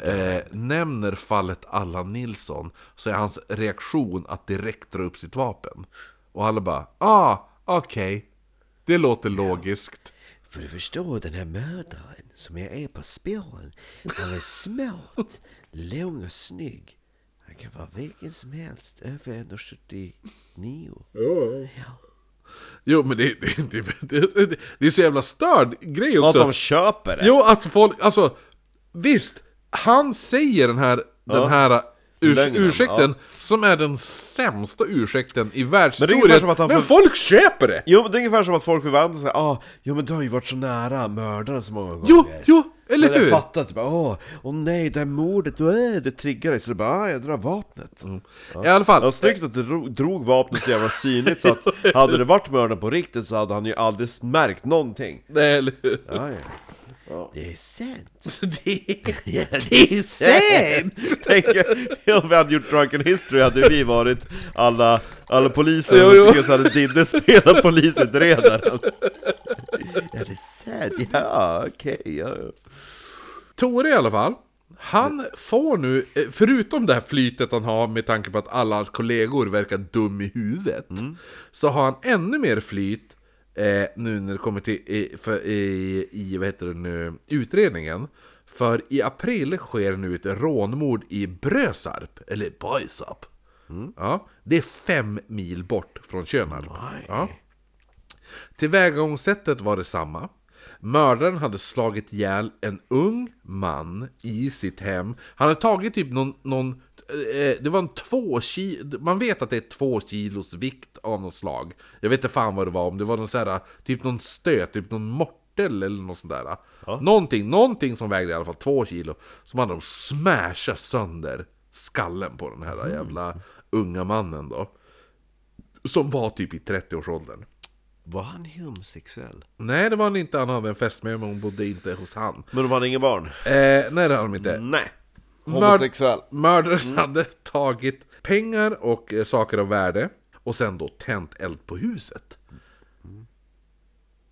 Speaker 2: eh, nämner fallet Allan Nilsson så är hans reaktion att direkt dra upp sitt vapen. Och alla bara ah, okej, det låter logiskt.
Speaker 1: För du förstår, den här mördaren som jag är på spåren, han är smart, lång och snygg. Han kan vara vilken som helst, över 1,79.
Speaker 2: Jo men det, det, det, det, det, det är så jävla störd grej
Speaker 4: Att
Speaker 2: också.
Speaker 4: de köper det?
Speaker 2: Jo, att folk, alltså Visst, han säger den här,
Speaker 4: Ja.
Speaker 2: den här urs
Speaker 4: Lögnen,
Speaker 2: ursäkten
Speaker 4: ja.
Speaker 2: som är den sämsta ursäkten i
Speaker 4: Men det är ungefär
Speaker 2: världshistorien
Speaker 4: som att
Speaker 2: Men,
Speaker 4: han får-
Speaker 2: folk köper det!
Speaker 4: Jo, men det är ungefär som att folk förväntar sig ah, jo men du har ju varit så nära mördaren så många gånger.
Speaker 2: Jo, jo, eller
Speaker 4: så hade jag
Speaker 2: hur?
Speaker 4: fattat, typ, åh, åh nej, det här mordet, äh, det triggar dig. Så det bara, ah, jag drar vapnet.
Speaker 2: I alla fall,
Speaker 4: Det var snyggt att du drog, drog vapnet så jävla synligt så att hade det varit mördaren på riktigt så hade han ju aldrig märkt någonting.
Speaker 2: nej, eller hur?
Speaker 4: Ja, ja.
Speaker 1: Det är sant.
Speaker 2: Det är sant!
Speaker 4: Tänk om vi hade gjort Drunken History hade vi varit alla, alla poliser
Speaker 2: Jo, jo.
Speaker 4: och jo. så hade Didde spelat polisutredaren.
Speaker 1: Ja, det är sant.
Speaker 4: Ja, okej. ja, ja.
Speaker 2: Tore i alla fall, han får nu, eh, förutom det här flytet han har med tanke på att alla hans kollegor verkar dum i huvudet, så har han ännu mer flyt eh, eh, nu när det kommer till i, för, i, i vad heter det nu, utredningen. För i april sker nu ett rånmord i Brösarp, eller Bajsarp. Ja, det är fem mil bort från Tjörnarp. Ja. Tillvägagångssättet var detsamma. Mördaren hade slagit ihjäl en ung man i sitt hem. Han hade tagit typ någon, någon eh, det var en två kilo, man vet att det är två kilos vikt av något slag. Jag vet inte fan vad det var, om det var någon så här, typ någon stöt, typ någon mortel eller något sånt där. Någonting, någonting som vägde i alla fall två kilo. Som hade de smashat sönder skallen på den här jävla unga mannen då. Som var typ i 30-årsåldern.
Speaker 4: Var han homosexuell?
Speaker 2: Nej det var han inte, han hade en fästmö men hon bodde inte hos han.
Speaker 4: Men de hade inga barn?
Speaker 2: Eh, nej det hade de inte.
Speaker 4: Nej!
Speaker 2: Mörd-
Speaker 4: Homosexuell?
Speaker 2: Mördaren hade tagit pengar och eh, saker av värde och sen då tänt eld på huset.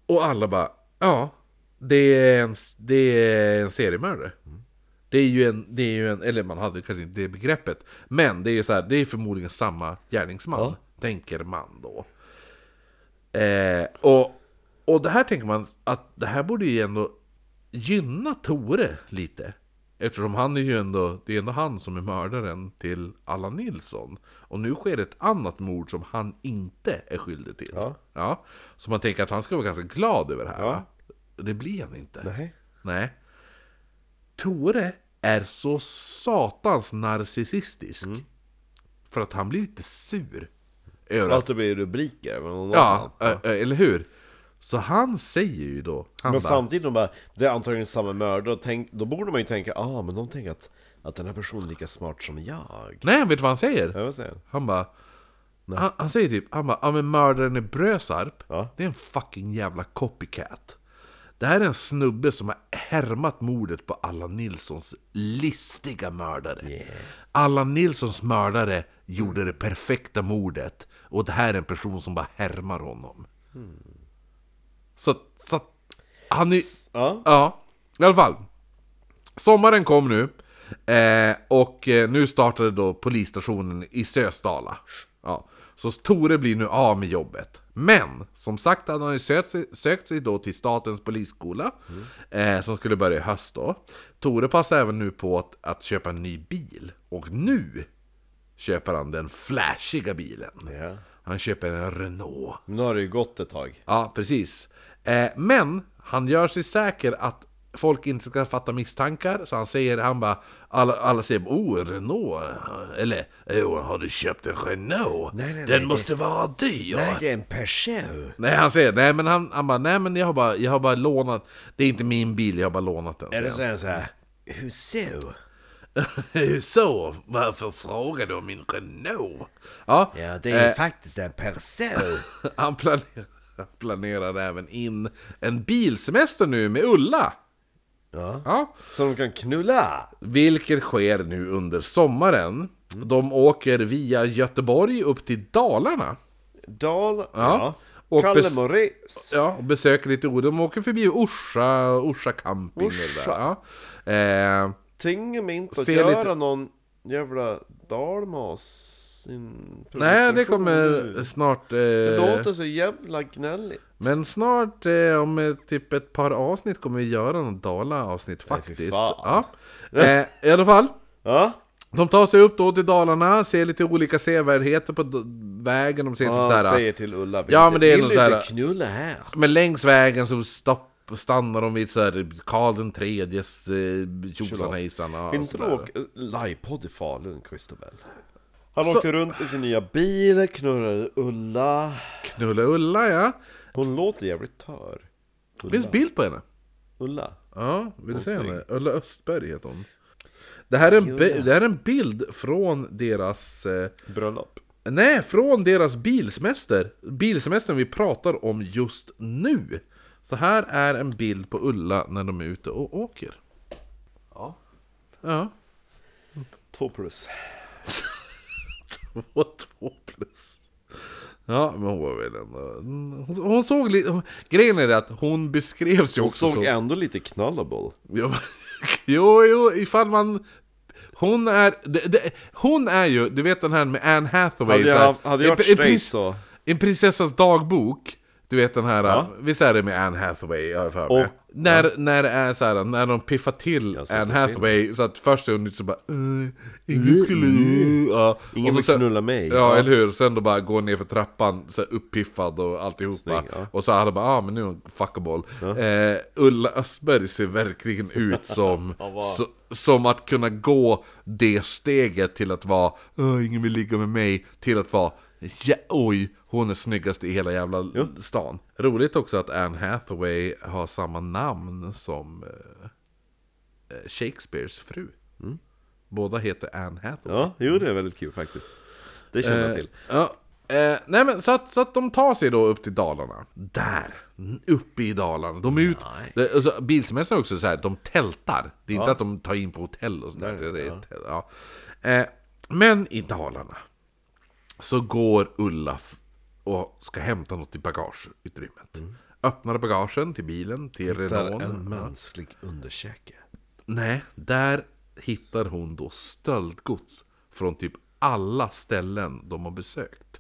Speaker 2: Och alla bara, ja, det är en, det är en seriemördare. Det är ju en, det är ju en, eller man hade kanske inte det begreppet, men det är ju så här, det är förmodligen samma gärningsman, tänker man då. Eh, och, och det här tänker man att det här borde ju ändå gynna Tore lite. Eftersom han är ju ändå, det är ändå han som är mördaren till Allan Nilsson. Och nu sker ett annat mord som han inte är skyldig till.
Speaker 4: Ja.
Speaker 2: Så man tänker att han ska vara ganska glad över det här.
Speaker 4: Ja.
Speaker 2: Det blir han inte.
Speaker 4: Nej.
Speaker 2: Nej. Tore är så satans narcissistisk.
Speaker 4: Mm.
Speaker 2: För att han blir lite sur. Över att
Speaker 4: Att det blir rubriker? Men, någon
Speaker 2: Ja, eh,
Speaker 4: annan.
Speaker 2: ö- ö, eller hur? Så han säger ju då, han
Speaker 4: men
Speaker 2: bara,
Speaker 4: samtidigt, de bara, det är antagligen samma mördare, och tänk, då borde man ju tänka ah, men de tänker att, att den här personen är lika smart som jag.
Speaker 2: nej vet du vad han säger?
Speaker 4: Jag vill säga.
Speaker 2: Han bara, han, han säger typ, han bara, ja men mördaren i Brösarp,
Speaker 4: Ja.
Speaker 2: det är en fucking jävla copycat. Det här är en snubbe som har härmat mordet på Allan Nilssons listiga mördare. Allan Nilssons mördare gjorde det perfekta mordet och det här är en person som bara härmar honom.
Speaker 4: Hmm.
Speaker 2: Så, så att han är...
Speaker 4: Ja.
Speaker 2: Ja, i alla fall. Sommaren kom nu. Eh, och eh, nu startade då polisstationen i Sösdala. Ja. Så Tore blir nu av med jobbet. Men, som sagt hade han ju sökt sig, sökt sig då till Statens polisskola.
Speaker 4: Mm.
Speaker 2: Eh, som skulle börja i höst då. Tore passar även nu på att, att köpa en ny bil. Och nu köper han den flashiga bilen.
Speaker 4: Ja.
Speaker 2: Han köper en Renault.
Speaker 4: Men nu har det ju gått ett tag.
Speaker 2: Ja, precis. Eh, men han gör sig säker att folk inte ska fatta misstankar, så han säger, han bara, alla, alla säger oh, en Renault, eller oh, har du köpt en Renault?
Speaker 1: Nej, nej,
Speaker 2: Den
Speaker 1: nej,
Speaker 2: måste vara dyr!
Speaker 1: Nej, det är en Peugeot.
Speaker 2: Nej, han säger, nej men han, han bara, nej men jag har bara, jag har bara lånat, det är inte min bil, jag har bara lånat den.
Speaker 1: Är det
Speaker 2: säger
Speaker 1: så här, så här? Hur så?
Speaker 2: han. Hur så? Varför frågar du om min Renault? Ja,
Speaker 1: Ja, det är
Speaker 2: eh,
Speaker 1: faktiskt en Peugeot.
Speaker 2: han planerar, planerar även in en bilsemester nu med Ulla.
Speaker 4: Ja.
Speaker 2: Ja.
Speaker 4: Så de kan knulla!
Speaker 2: Vilket sker nu under sommaren. De åker via Göteborg upp till Dalarna.
Speaker 4: Dal... Ja.
Speaker 2: Och
Speaker 4: Kalle
Speaker 2: bes-
Speaker 4: Morris.
Speaker 2: Ja, och besöker lite ord. De åker förbi Orsa, Orsa camping eller där. Ja. Eh,
Speaker 4: Tinge mig inte att
Speaker 2: Ser
Speaker 4: göra
Speaker 2: lite-
Speaker 4: någon jävla dalmas... sin
Speaker 2: nej, det
Speaker 4: pronunciation
Speaker 2: kommer
Speaker 4: nu.
Speaker 2: snart.
Speaker 4: Det
Speaker 2: Eh,
Speaker 4: låter så jävla gnälligt.
Speaker 2: men snart, eh, om eh, typ ett par avsnitt, kommer vi göra något Dala-avsnitt
Speaker 4: Nej, fy
Speaker 2: faktiskt.
Speaker 4: fan.
Speaker 2: Ja. Eh, I alla fall.
Speaker 4: Ja,
Speaker 2: De tar sig upp då till Dalarna, ser lite olika sevärdheter på d- vägen. De ser typ
Speaker 4: ja
Speaker 2: så här,
Speaker 4: säger till Ulla. vi
Speaker 2: Ja,
Speaker 4: inte-
Speaker 2: men det är
Speaker 4: vill
Speaker 2: någon
Speaker 4: inte
Speaker 2: så här-
Speaker 4: knulla här.
Speaker 2: Men längs vägen så stopp, stannar de vid så här Karl den tredjes eh, tjosan
Speaker 4: Tjosan.
Speaker 2: hejsan och
Speaker 4: inte
Speaker 2: sådär.
Speaker 4: åk livepodd i Falun, Christobel. Han
Speaker 2: Så-
Speaker 4: åkte runt i sin nya bil, knullade Ulla.
Speaker 2: Knulla Ulla ja.
Speaker 4: Hon låter jävligt tör.
Speaker 2: Det finns bild på henne.
Speaker 4: Ulla.
Speaker 2: Ja, vill du
Speaker 4: Hon
Speaker 2: se
Speaker 4: är snygg.
Speaker 2: henne? Ulla Östberg heter hon. Det här, är en bi- det här är en bild från deras... Eh,
Speaker 4: Bröllop.
Speaker 2: nej, från deras bilsemester. Bilsemestern vi pratar om just nu. Så här är en bild på Ulla när de är ute och åker.
Speaker 4: Ja.
Speaker 2: Ja.
Speaker 4: Två plus.
Speaker 2: Två, två plus. Ja, men hon var väl ändå... Hon, hon såg lite... hon- Grejen är det att hon beskrevs ju
Speaker 4: Hon
Speaker 2: också
Speaker 4: såg
Speaker 2: så...
Speaker 4: ändå lite knallable.
Speaker 2: Jo, men- jo, jo, ifall man... Hon är... Det, det, hon är ju... Du vet den här med Anne Hathaway.
Speaker 4: Hade
Speaker 2: så här-
Speaker 4: jag, hade jag
Speaker 2: en-
Speaker 4: varit
Speaker 2: en
Speaker 4: straight
Speaker 2: prins-
Speaker 4: så...
Speaker 2: En prinsessas dagbok. Du vet den här,
Speaker 4: Ja.
Speaker 2: visst är det med Anne Hathaway har jag för mig?
Speaker 4: Och-
Speaker 2: när, när det är så här, när de piffar till
Speaker 4: Jag har
Speaker 2: Anne
Speaker 4: sett
Speaker 2: Hathaway så att först är hon lite så bara "Eh, Ingen skulle... Ja.
Speaker 4: Ingen
Speaker 2: Och så
Speaker 4: vill
Speaker 2: sen-
Speaker 4: knulla mig.
Speaker 2: Ja, eller hur? Sen då bara går ner för trappan, så här upppiffad och alltihopa.
Speaker 4: Snygg, ja.
Speaker 2: Och så hade bara, ah men nu är hon fuckable. Eh, Ulla Östberg ser verkligen ut som,
Speaker 4: Ja, vad-
Speaker 2: så, som att kunna gå det steget till att vara, "Åh, ingen vill ligga med mig, till att vara, ja, oj, hon är snyggast i hela jävla stan. Roligt också att Anne Hathaway har samma namn som eh, eh, Shakespeares fru.
Speaker 4: Mm.
Speaker 2: Båda heter Anne Hathaway.
Speaker 4: Ja, jo det är väldigt kul faktiskt. Det känner jag
Speaker 2: Eh,
Speaker 4: till.
Speaker 2: Ja. Eh, nej men så att, så att de tar sig då upp till Dalarna. Där! n- Uppe i Dalarna. De är ut... Det, alltså, bilsemestern är också så här, de tältar. Det är inte att de tar in på hotell och sånt där. Det, det, är tält, ja. eh, men i Dalarna så går Ulla f- och ska hämta något i bagageutrymmet. Öppnar bagagen till bilen, till
Speaker 4: Där
Speaker 2: Renault.
Speaker 4: en mänsklig underkäke.
Speaker 2: Nej, där hittar hon då stöldgods från typ alla ställen de har besökt.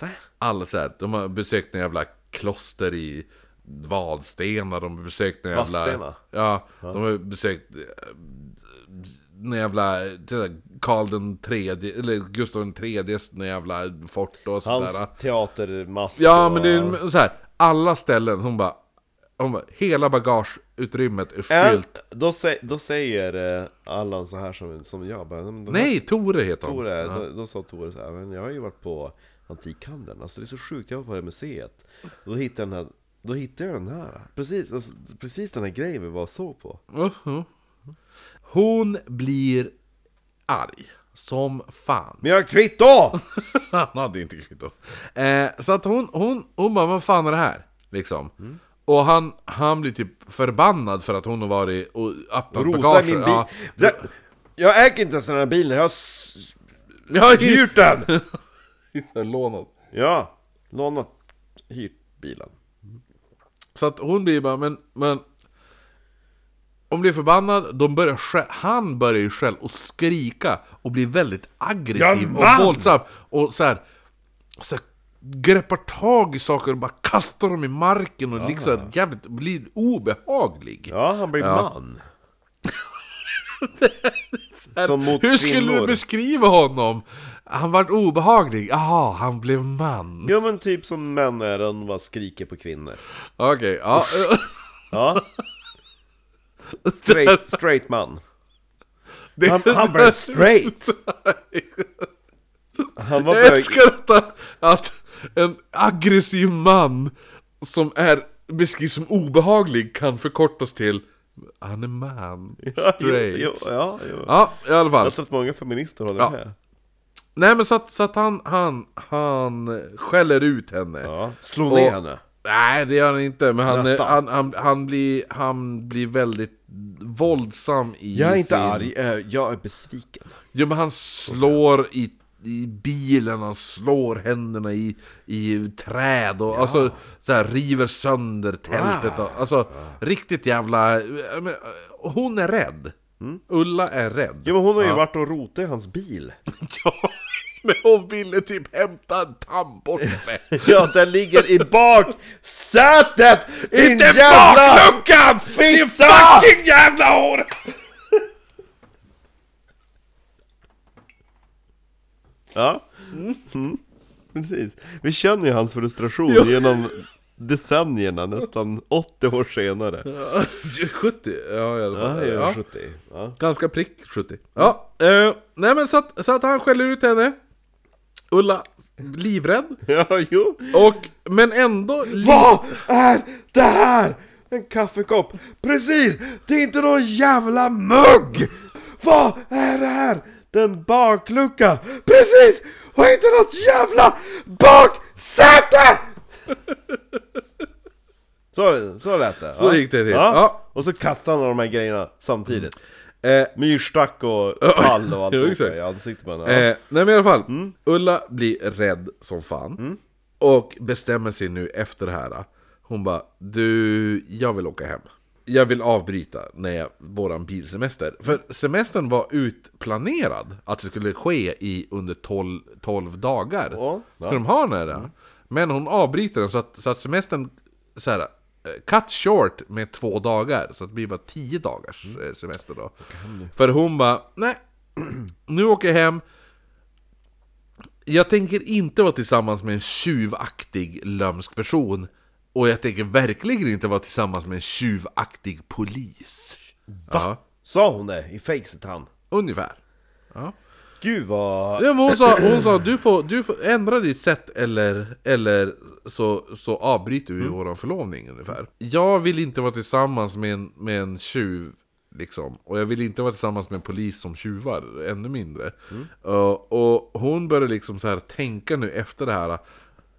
Speaker 1: Va?
Speaker 2: Alla så här, de har besökt en jävla kloster i Vadstena, de har besökt en jävla...
Speaker 4: Vadstena?
Speaker 2: Ja, de har besökt en jävla så här, Karl den tredje, eller Gustav den tredjes någon jävla fort och sådär.
Speaker 4: Hans teatermask
Speaker 2: Ja,
Speaker 4: och-
Speaker 2: men det är så här, alla ställen, hon bara, hon bara, hela bagageutrymmet är
Speaker 4: Äh,
Speaker 2: fyllt.
Speaker 4: då, sä- då säger eh, Allan så här som, som jag bara, "Men de här
Speaker 2: Nej, Tore heter hon.
Speaker 4: Tore, då, då sa Tore så här, men jag har ju varit på antikhandeln, alltså det är så sjukt, jag var på det här museet och då hittade jag den här, då hittade jag den här Precis, alltså, precis den här grejen vi var och såg på
Speaker 2: Mhm. Hon blir arg. Som fan.
Speaker 4: Men jag har kvitto!
Speaker 2: Han hade inte kvitto. Eh, så att hon, hon, hon bara, vad fan är det här? Liksom. Och han, han blir typ förbannad för att hon har varit och öppnat
Speaker 4: Rota i
Speaker 2: bagaget.
Speaker 4: min bil!
Speaker 2: Ja.
Speaker 4: Det- Jag äger inte ens den här bilen, jag har s-
Speaker 2: Jag har hyrt
Speaker 4: hyrt den!
Speaker 2: lånat.
Speaker 4: Ja, lånat, hyrt bilen
Speaker 2: Så att hon blir bara, men, men Hon blir förbannad, de börjar skä- han börjar ju själv och skrika och blir väldigt aggressiv
Speaker 4: Jag vann!
Speaker 2: och våldsam och så här, så här greppar tag i saker och bara kastar dem i marken och liksom jävligt, blir obehaglig.
Speaker 4: Ja, han blir
Speaker 2: Ja.
Speaker 4: man Som mot
Speaker 2: Hur skulle
Speaker 4: kvinnor.
Speaker 2: du beskriva honom? Han vart obehaglig, jaha, han blev man.
Speaker 4: Jo men typ som män är, de bara skriker på kvinnor
Speaker 2: Okej, ja.
Speaker 4: Ja Straight, straight man
Speaker 2: Det-
Speaker 4: Han, han blev straight! Han var
Speaker 2: Jag
Speaker 4: bög...
Speaker 2: älskar detta, att en aggressiv man som är beskrivs som obehaglig kan förkortas till Han är man,
Speaker 4: Ja, jo,
Speaker 2: straight.
Speaker 4: Jo, Alltså- ja, jo.
Speaker 2: Ja, i alla fall.
Speaker 4: Jag tror att många feminister håller
Speaker 2: Ja.
Speaker 4: med.
Speaker 2: Nej men så att, så att han, han, han skäller ut henne.
Speaker 4: Ja. Slå
Speaker 2: Och-
Speaker 4: ner henne.
Speaker 2: Nej det gör han inte, men han,
Speaker 4: Nästan.
Speaker 2: han, han, han, blir, han blir väldigt våldsam i
Speaker 4: Jag är inte
Speaker 2: sin...
Speaker 4: arg, eh, jag är besviken.
Speaker 2: Jo men han slår i, i bilen, han slår händerna i, i träd och alltså så här, river sönder tältet och, alltså riktigt jävla... ja, men, Hon är rädd! Ulla är rädd.
Speaker 4: Jo men hon har ju varit och rotat i hans bil.
Speaker 2: Ja, men hon ville typ hämta en tandborste!
Speaker 4: Ja, den ligger i baksätet! Din
Speaker 2: Inte
Speaker 4: jävla...
Speaker 2: bakluckan! Din
Speaker 4: fitta!
Speaker 2: fucking jävla hår!
Speaker 4: Ja. Mm. Precis. Vi känner ju hans frustration genom decennierna, nästan 80 år senare.
Speaker 2: 70? Ja, i alla
Speaker 4: Ja,
Speaker 2: fall.
Speaker 4: jag är
Speaker 2: Ja.
Speaker 4: 70. Ja.
Speaker 2: Ganska prick 70. Ja, eh, nej men så att, så att han skäller ut henne. Ulla, livrädd.
Speaker 4: ja, jo.
Speaker 2: Och, men ändå... li-
Speaker 4: Vad är det här? En kaffekopp? Precis! Det är inte någon jävla mugg! Vad är det här? Det är en baklucka! Precis! Och inte något jävla baksäte! Så, så lät det.
Speaker 2: Så gick det till, ja.
Speaker 4: Och så kastade han de här grejerna samtidigt.
Speaker 2: Eh,
Speaker 4: Myrstack och tall och
Speaker 2: Jo,
Speaker 4: allt
Speaker 2: exakt.
Speaker 4: i ansiktet på henne. Ja. Mm.
Speaker 2: eh, nej men i alla fall. Ulla blir rädd som fan. Och bestämmer sig nu efter det här. Hon bara, du, jag vill åka hem. Jag vill avbryta när jag, våran bilsemester. För semestern var utplanerad att det skulle ske i under 12, 12 dagar.
Speaker 4: Ja, Mm.
Speaker 2: Skulle de ha den här? Men hon avbryter den så att, så att semestern så här, eh, cut short med två dagar. Så att det blir bara tio dagars
Speaker 4: Mm.
Speaker 2: eh, semester då. För hon bara, nej, nu åker jag hem. Jag tänker inte vara tillsammans med en tjuvaktig lömsk person. Och jag tänker verkligen inte vara tillsammans med en tjuvaktig polis. Ja,
Speaker 4: Sa hon det i facet han?
Speaker 2: ungefär. Ja.
Speaker 4: Gud vad...
Speaker 2: Ja, men hon sa, hon sa du, får, du får ändra ditt sätt eller, eller så, så avbryter vi vår förlovning ungefär. Jag vill inte vara tillsammans med en, med en tjuv. Liksom. Och jag vill inte vara tillsammans med en polis som tjuvar, ännu mindre. Uh, och hon började liksom så här tänka nu efter det här.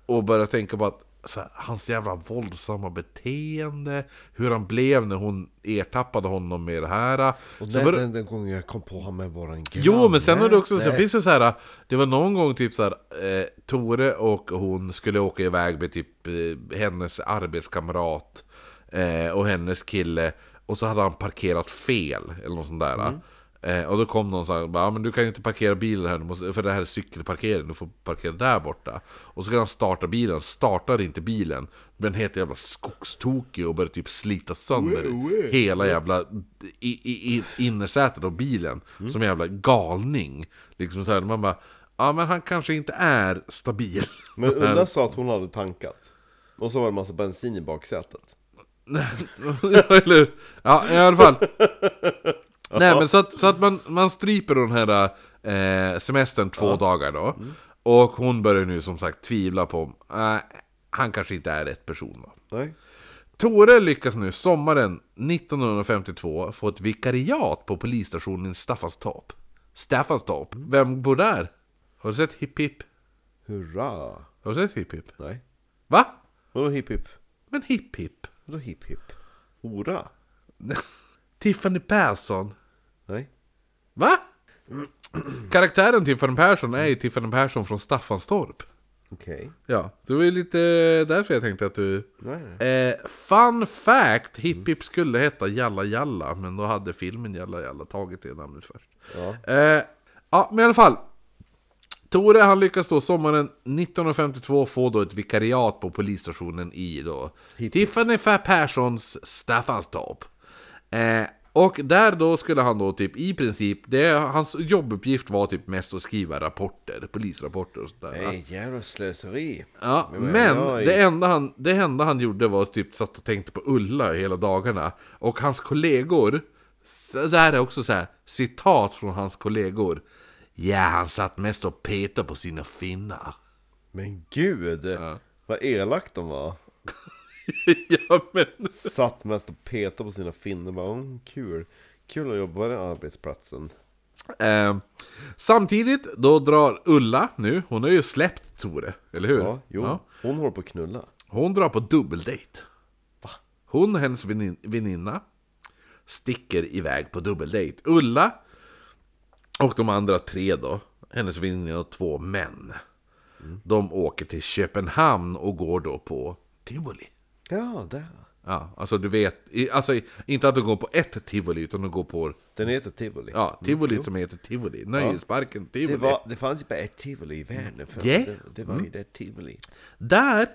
Speaker 2: Och börja tänka på att så här, hans jävla våldsamma beteende. Hur han blev när hon ertappade honom med det här.
Speaker 1: Och
Speaker 2: Så
Speaker 1: den,
Speaker 2: började-
Speaker 1: den, den gången jag kom på honom med våran granne.
Speaker 2: Jo, men sen har det också, sen
Speaker 1: Nej.
Speaker 2: finns det så här, det var någon gång typ så här, eh, Tore och hon skulle åka iväg med typ eh, hennes arbetskamrat eh, och hennes kille och så hade han parkerat fel eller något sånt där.
Speaker 1: Mm.
Speaker 2: Eh, och då kom någon och sa, "Ja, men du kan ju inte parkera bilen här, du måste, för det här är cykelparkering, du får parkera där borta. Och så kan han starta bilen, startar inte bilen, men helt jävla skogstokig och börjar typ slita sönder hela jävla i, i, i, innersätet av bilen som en jävla galning. Liksom så här, man bara, ja men han kanske inte är stabil.
Speaker 4: Men Ulla sa att hon hade tankat. Och så var det en massa bensin i baksätet.
Speaker 2: Eller, ja i alla fall. Nej men så att, så att man, man stryper den här eh, semestern två dagar då.
Speaker 4: Mm.
Speaker 2: Och hon börjar nu som sagt tvivla på, eh, han kanske inte är rätt person då.
Speaker 4: Nej.
Speaker 2: Tore lyckas nu sommaren 1952 få ett vikariat på polisstationen i Staffanstorp. Staffanstorp?
Speaker 4: Mm.
Speaker 2: Vem bor där? Har du sett Hipp Hipp?
Speaker 4: Hurra!
Speaker 2: Har du sett Hipp Hipp?
Speaker 4: Nej.
Speaker 2: Va?
Speaker 4: Vadå hipp hipp?
Speaker 2: Men Hipp Hipp?
Speaker 4: Vadå hipp hipp? Hurra?
Speaker 2: Tiffany Persson?
Speaker 4: Nej.
Speaker 2: Va? Karaktären Tiffany Persson är ju Tiffany Persson från Staffanstorp.
Speaker 4: Okej.
Speaker 2: Ja, det var ju lite därför jag tänkte att du...
Speaker 4: Nej, nej.
Speaker 2: Eh, fun fact! Hipp Hipp skulle heta Jalla Jalla, men då hade filmen Jalla Jalla tagit det namnet först. Ja, eh, ja men i alla fall. Tore han lyckas då sommaren 1952 få då ett vikariat på polisstationen i då Tiffany Fa- Perssons Staffanstorp. Eh, och där då skulle han då typ i princip, det, hans jobbuppgift var typ mest att skriva rapporter, polisrapporter och sådär.
Speaker 1: Nej, jävla slöseri.
Speaker 2: Ja,
Speaker 1: men
Speaker 2: men
Speaker 1: jag är-
Speaker 2: det, enda han, det enda han gjorde var att typ satt och tänkte på Ulla hela dagarna. Och hans kollegor, så det här är också så här, citat från hans kollegor. Ja, han satt mest och petade på sina finnar.
Speaker 4: Men gud! Vad elakt de var.
Speaker 2: ja, men...
Speaker 4: Satt mest och petade på sina finnar. Bara, oh, kul. Kul att jobba på den arbetsplatsen.
Speaker 2: Eh, samtidigt, då drar Ulla nu, hon har ju släppt Tore, eller hur?
Speaker 4: Ja, jo.
Speaker 2: Ja.
Speaker 4: Hon håller på att knulla.
Speaker 2: Hon drar på dubbeldejt. Hon och hennes vänin- väninna sticker iväg på dubbeldejt. Ulla och de andra tre då, hennes väninna och två män. De åker till Köpenhamn och går då på tivoli.
Speaker 4: Ja, där.
Speaker 2: Ja, alltså du vet, i- alltså i- inte att de går på ett tivoli utan de går på,
Speaker 4: Den heter Tivoli.
Speaker 2: ja, tivoli som heter tivoli, nöjesparken tivoli.
Speaker 1: Mm, Det, var, det fanns ju bara ett tivoli i världen för
Speaker 2: Ja. Mm.
Speaker 1: det, det var ju det tivoli.
Speaker 2: Där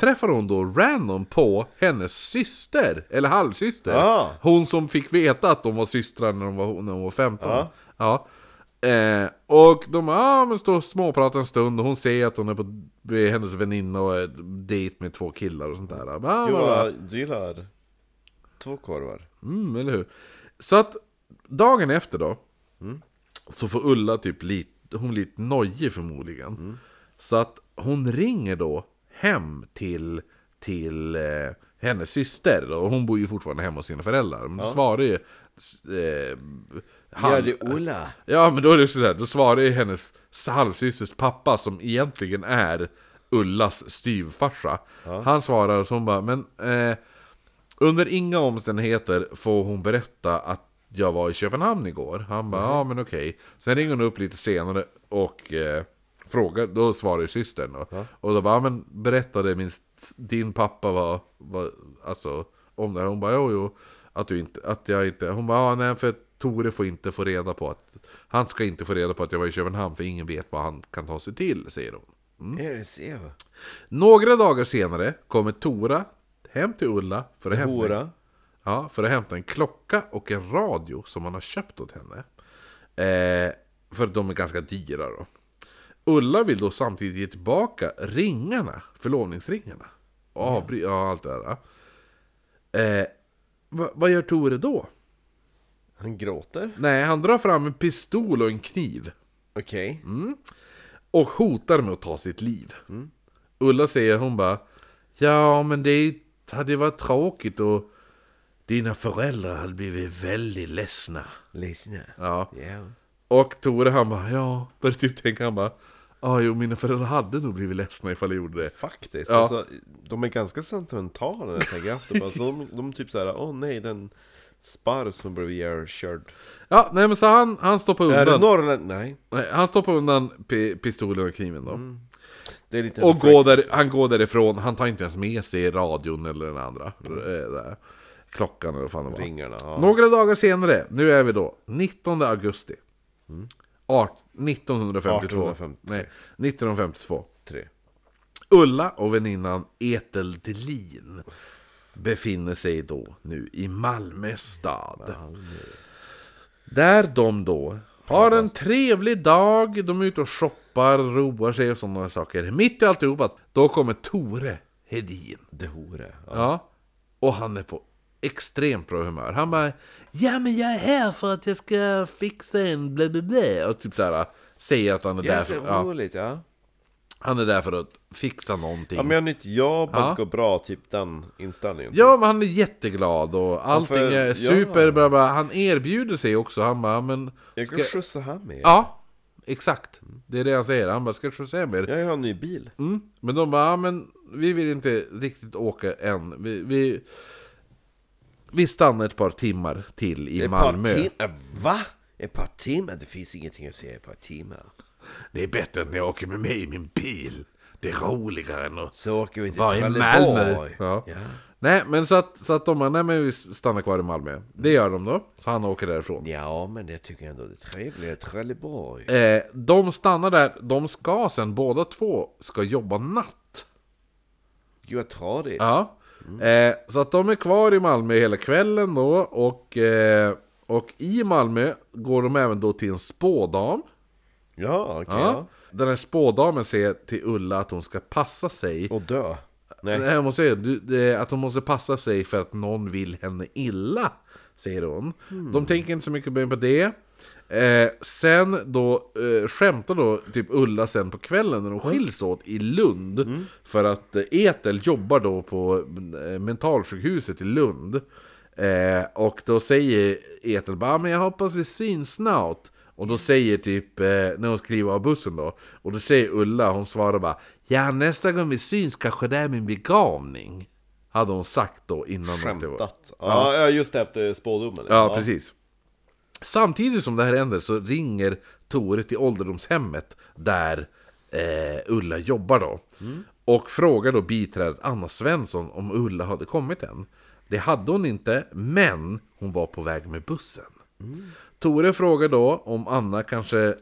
Speaker 2: träffar hon då random på hennes syster, eller halvsyster.
Speaker 4: Ja.
Speaker 2: Hon som fick veta att de var systrar när de var, när hon var 15. Ja. Eh, och de ja, men står och småpratar en stund och hon ser att hon är på med hennes väninna och är dejt med två killar och sånt där. Bla, bla,
Speaker 4: Du
Speaker 2: bla.
Speaker 4: gillar, du gillar två korvar.
Speaker 2: Mm, eller hur? Så att dagen efter då
Speaker 1: Mm.
Speaker 2: Så får Ulla typ lite, hon lite nojig förmodligen
Speaker 1: Mm.
Speaker 2: Så att hon ringer då hem till, till eh, hennes syster då. och hon bor ju fortfarande hemma hos sina föräldrar Men då svarar ju eh, han,
Speaker 1: Ja, det är Ulla.
Speaker 2: Ja men då är det så här, då svarar ju hennes halvsysters pappa som egentligen är Ullas styvfarsa Han svarar och så hon bara, men eh, under inga omständigheter får hon berätta att jag var i Köpenhamn igår Han bara, ja men okej Sen ringer hon upp lite senare och eh, frågar, då svarar ju systern då. Och då bara, ja, men berättade min, din pappa var, var, alltså om det här Hon bara, jo jo att, du inte, att jag inte, hon bara, ja, nej för att Tore får inte få reda på att Han ska inte få reda på att jag var i Köpenhamn för ingen vet vad han kan ta sig till, säger hon
Speaker 1: Ja, det ser jag.
Speaker 2: Några dagar senare kommer Tora hem till Ulla för att, hämta,
Speaker 4: Hora.
Speaker 2: ja, för att hämta en klocka och en radio som han har köpt åt henne. Eh, för de är ganska dyra då. Ulla vill då samtidigt ge tillbaka ringarna, förlovningsringarna. Och avbry- ja, allt det där. Eh, va- vad gör Tore då?
Speaker 4: Han gråter.
Speaker 2: Nej, han drar fram en pistol och en kniv.
Speaker 4: Okej.
Speaker 2: Mm. Och hotar med att ta sitt liv. Ulla säger, hon bara Ja men det hade varit tråkigt och dina föräldrar hade blivit väldigt ledsna.
Speaker 1: Lyssna.
Speaker 2: Ja.
Speaker 1: Ja.
Speaker 2: Och Tore han bara ja, började typ tänka han bara Ja jo mina föräldrar hade nog blivit ledsna ifall jag gjorde det.
Speaker 4: Faktiskt.
Speaker 2: Ja.
Speaker 4: Alltså, de är ganska sentimentala när jag tänker efter. Alltså, de, de typ såhär, åh nej den sparv som blev ihjälkörd.
Speaker 2: Ja nej men så han, han stoppar
Speaker 4: Är det
Speaker 2: undan.
Speaker 4: Norrland? Nej.
Speaker 2: Nej, Han stoppar undan pi- pistolen och kniven då.
Speaker 4: Mm. Det är lite
Speaker 2: Och går där, han går därifrån, han tar inte ens med sig radion eller den andra eh, där, klockan eller vad fan det var.
Speaker 4: Ringarna, ja.
Speaker 2: Några dagar senare, nu är vi då 19 augusti. Art, 1952.
Speaker 4: 1852.
Speaker 2: Nej, 1952.
Speaker 4: Tre.
Speaker 2: Ulla och väninnan Ethel Delin befinner sig då nu i Malmö stad. Där de då har en trevlig dag, de är ute och shoppar, roar sig och sådana saker. Mitt i alltihopa, då kommer Tore Hedin.
Speaker 4: Det hore. Ja.
Speaker 2: Ja. Och han är på extremt bra humör. Han bara Ja men jag är här för att jag ska fixa en bla bla bla. Och typ såhär säger att han är
Speaker 4: Det är
Speaker 2: där
Speaker 4: så
Speaker 2: för, ja,
Speaker 4: roligt, ja.
Speaker 2: Han är där för att fixa någonting.
Speaker 4: Ja men jag har nytt jobb,
Speaker 2: Ja.
Speaker 4: allt går bra, typ den inställningen.
Speaker 2: Ja, men han är jätteglad och allting
Speaker 4: för-
Speaker 2: är
Speaker 4: ja.
Speaker 2: super, bla, bla. han erbjuder sig också, han bara, men...
Speaker 4: Jag kan
Speaker 2: ska-
Speaker 4: skjutsa hem er.
Speaker 2: Ja, exakt. Det är det han säger, han bara, ska jag skjutsa hem er?
Speaker 4: Jag har en ny bil.
Speaker 2: Mm. Men de bara, ja, men vi vill inte riktigt åka än. Vi, vi, vi stannar ett par timmar till i
Speaker 1: Ett
Speaker 2: Malmö.
Speaker 1: par timmar? Va? Ett par timmar? Det finns ingenting att säga i ett par timmar.
Speaker 2: Det är bättre än att jag åker med mig i min bil. Det är roligare än att
Speaker 1: Så åker vi till
Speaker 2: vara i Malmö.
Speaker 1: Trelleborg.
Speaker 2: Ja.
Speaker 1: Ja.
Speaker 2: Nej, men så att, så att de bara, nej men vi stannar kvar i Malmö. Det gör de då, så han åker därifrån.
Speaker 1: ja, men jag tycker ändå det är trevligt. Trelleborg.
Speaker 2: Eh, de stannar där, de ska sen, båda två ska jobba natt.
Speaker 1: Gud vad tradigt.
Speaker 2: Ja. Eh, så att de är kvar i Malmö hela kvällen då och, eh, och i Malmö går de även då till en spådam.
Speaker 4: Ja, okej.
Speaker 2: Ja. Den här spådamen säger till Ulla att hon ska passa sig.
Speaker 4: ja. Och dö. Nej.
Speaker 2: Nej, hon säger du, det, att hon måste passa sig för att någon vill henne illa, säger hon. De tänker inte så mycket mer på det. Eh, sen då eh, skämtar då typ Ulla sen på kvällen när de skiljs åt i Lund. För att eh, Ethel jobbar då på eh, mentalsjukhuset i Lund. Eh, och då säger Ethel bara, "Ah, men jag hoppas vi syns snart. Och då säger typ, eh, när hon skriver av bussen då, och då säger Ulla, hon svarar bara Ja nästa gång vi syns kanske det är min begravning. Hade hon sagt då innan
Speaker 4: Skämtat. Ja, ja, just det, efter spådomen.
Speaker 2: Ja, precis. Samtidigt som det här händer så ringer Tore till ålderdomshemmet där eh, Ulla jobbar då. Och frågar då biträdet Anna Svensson om Ulla hade kommit än. Det hade hon inte, men hon var på väg med bussen. Tore frågar då om Anna kanske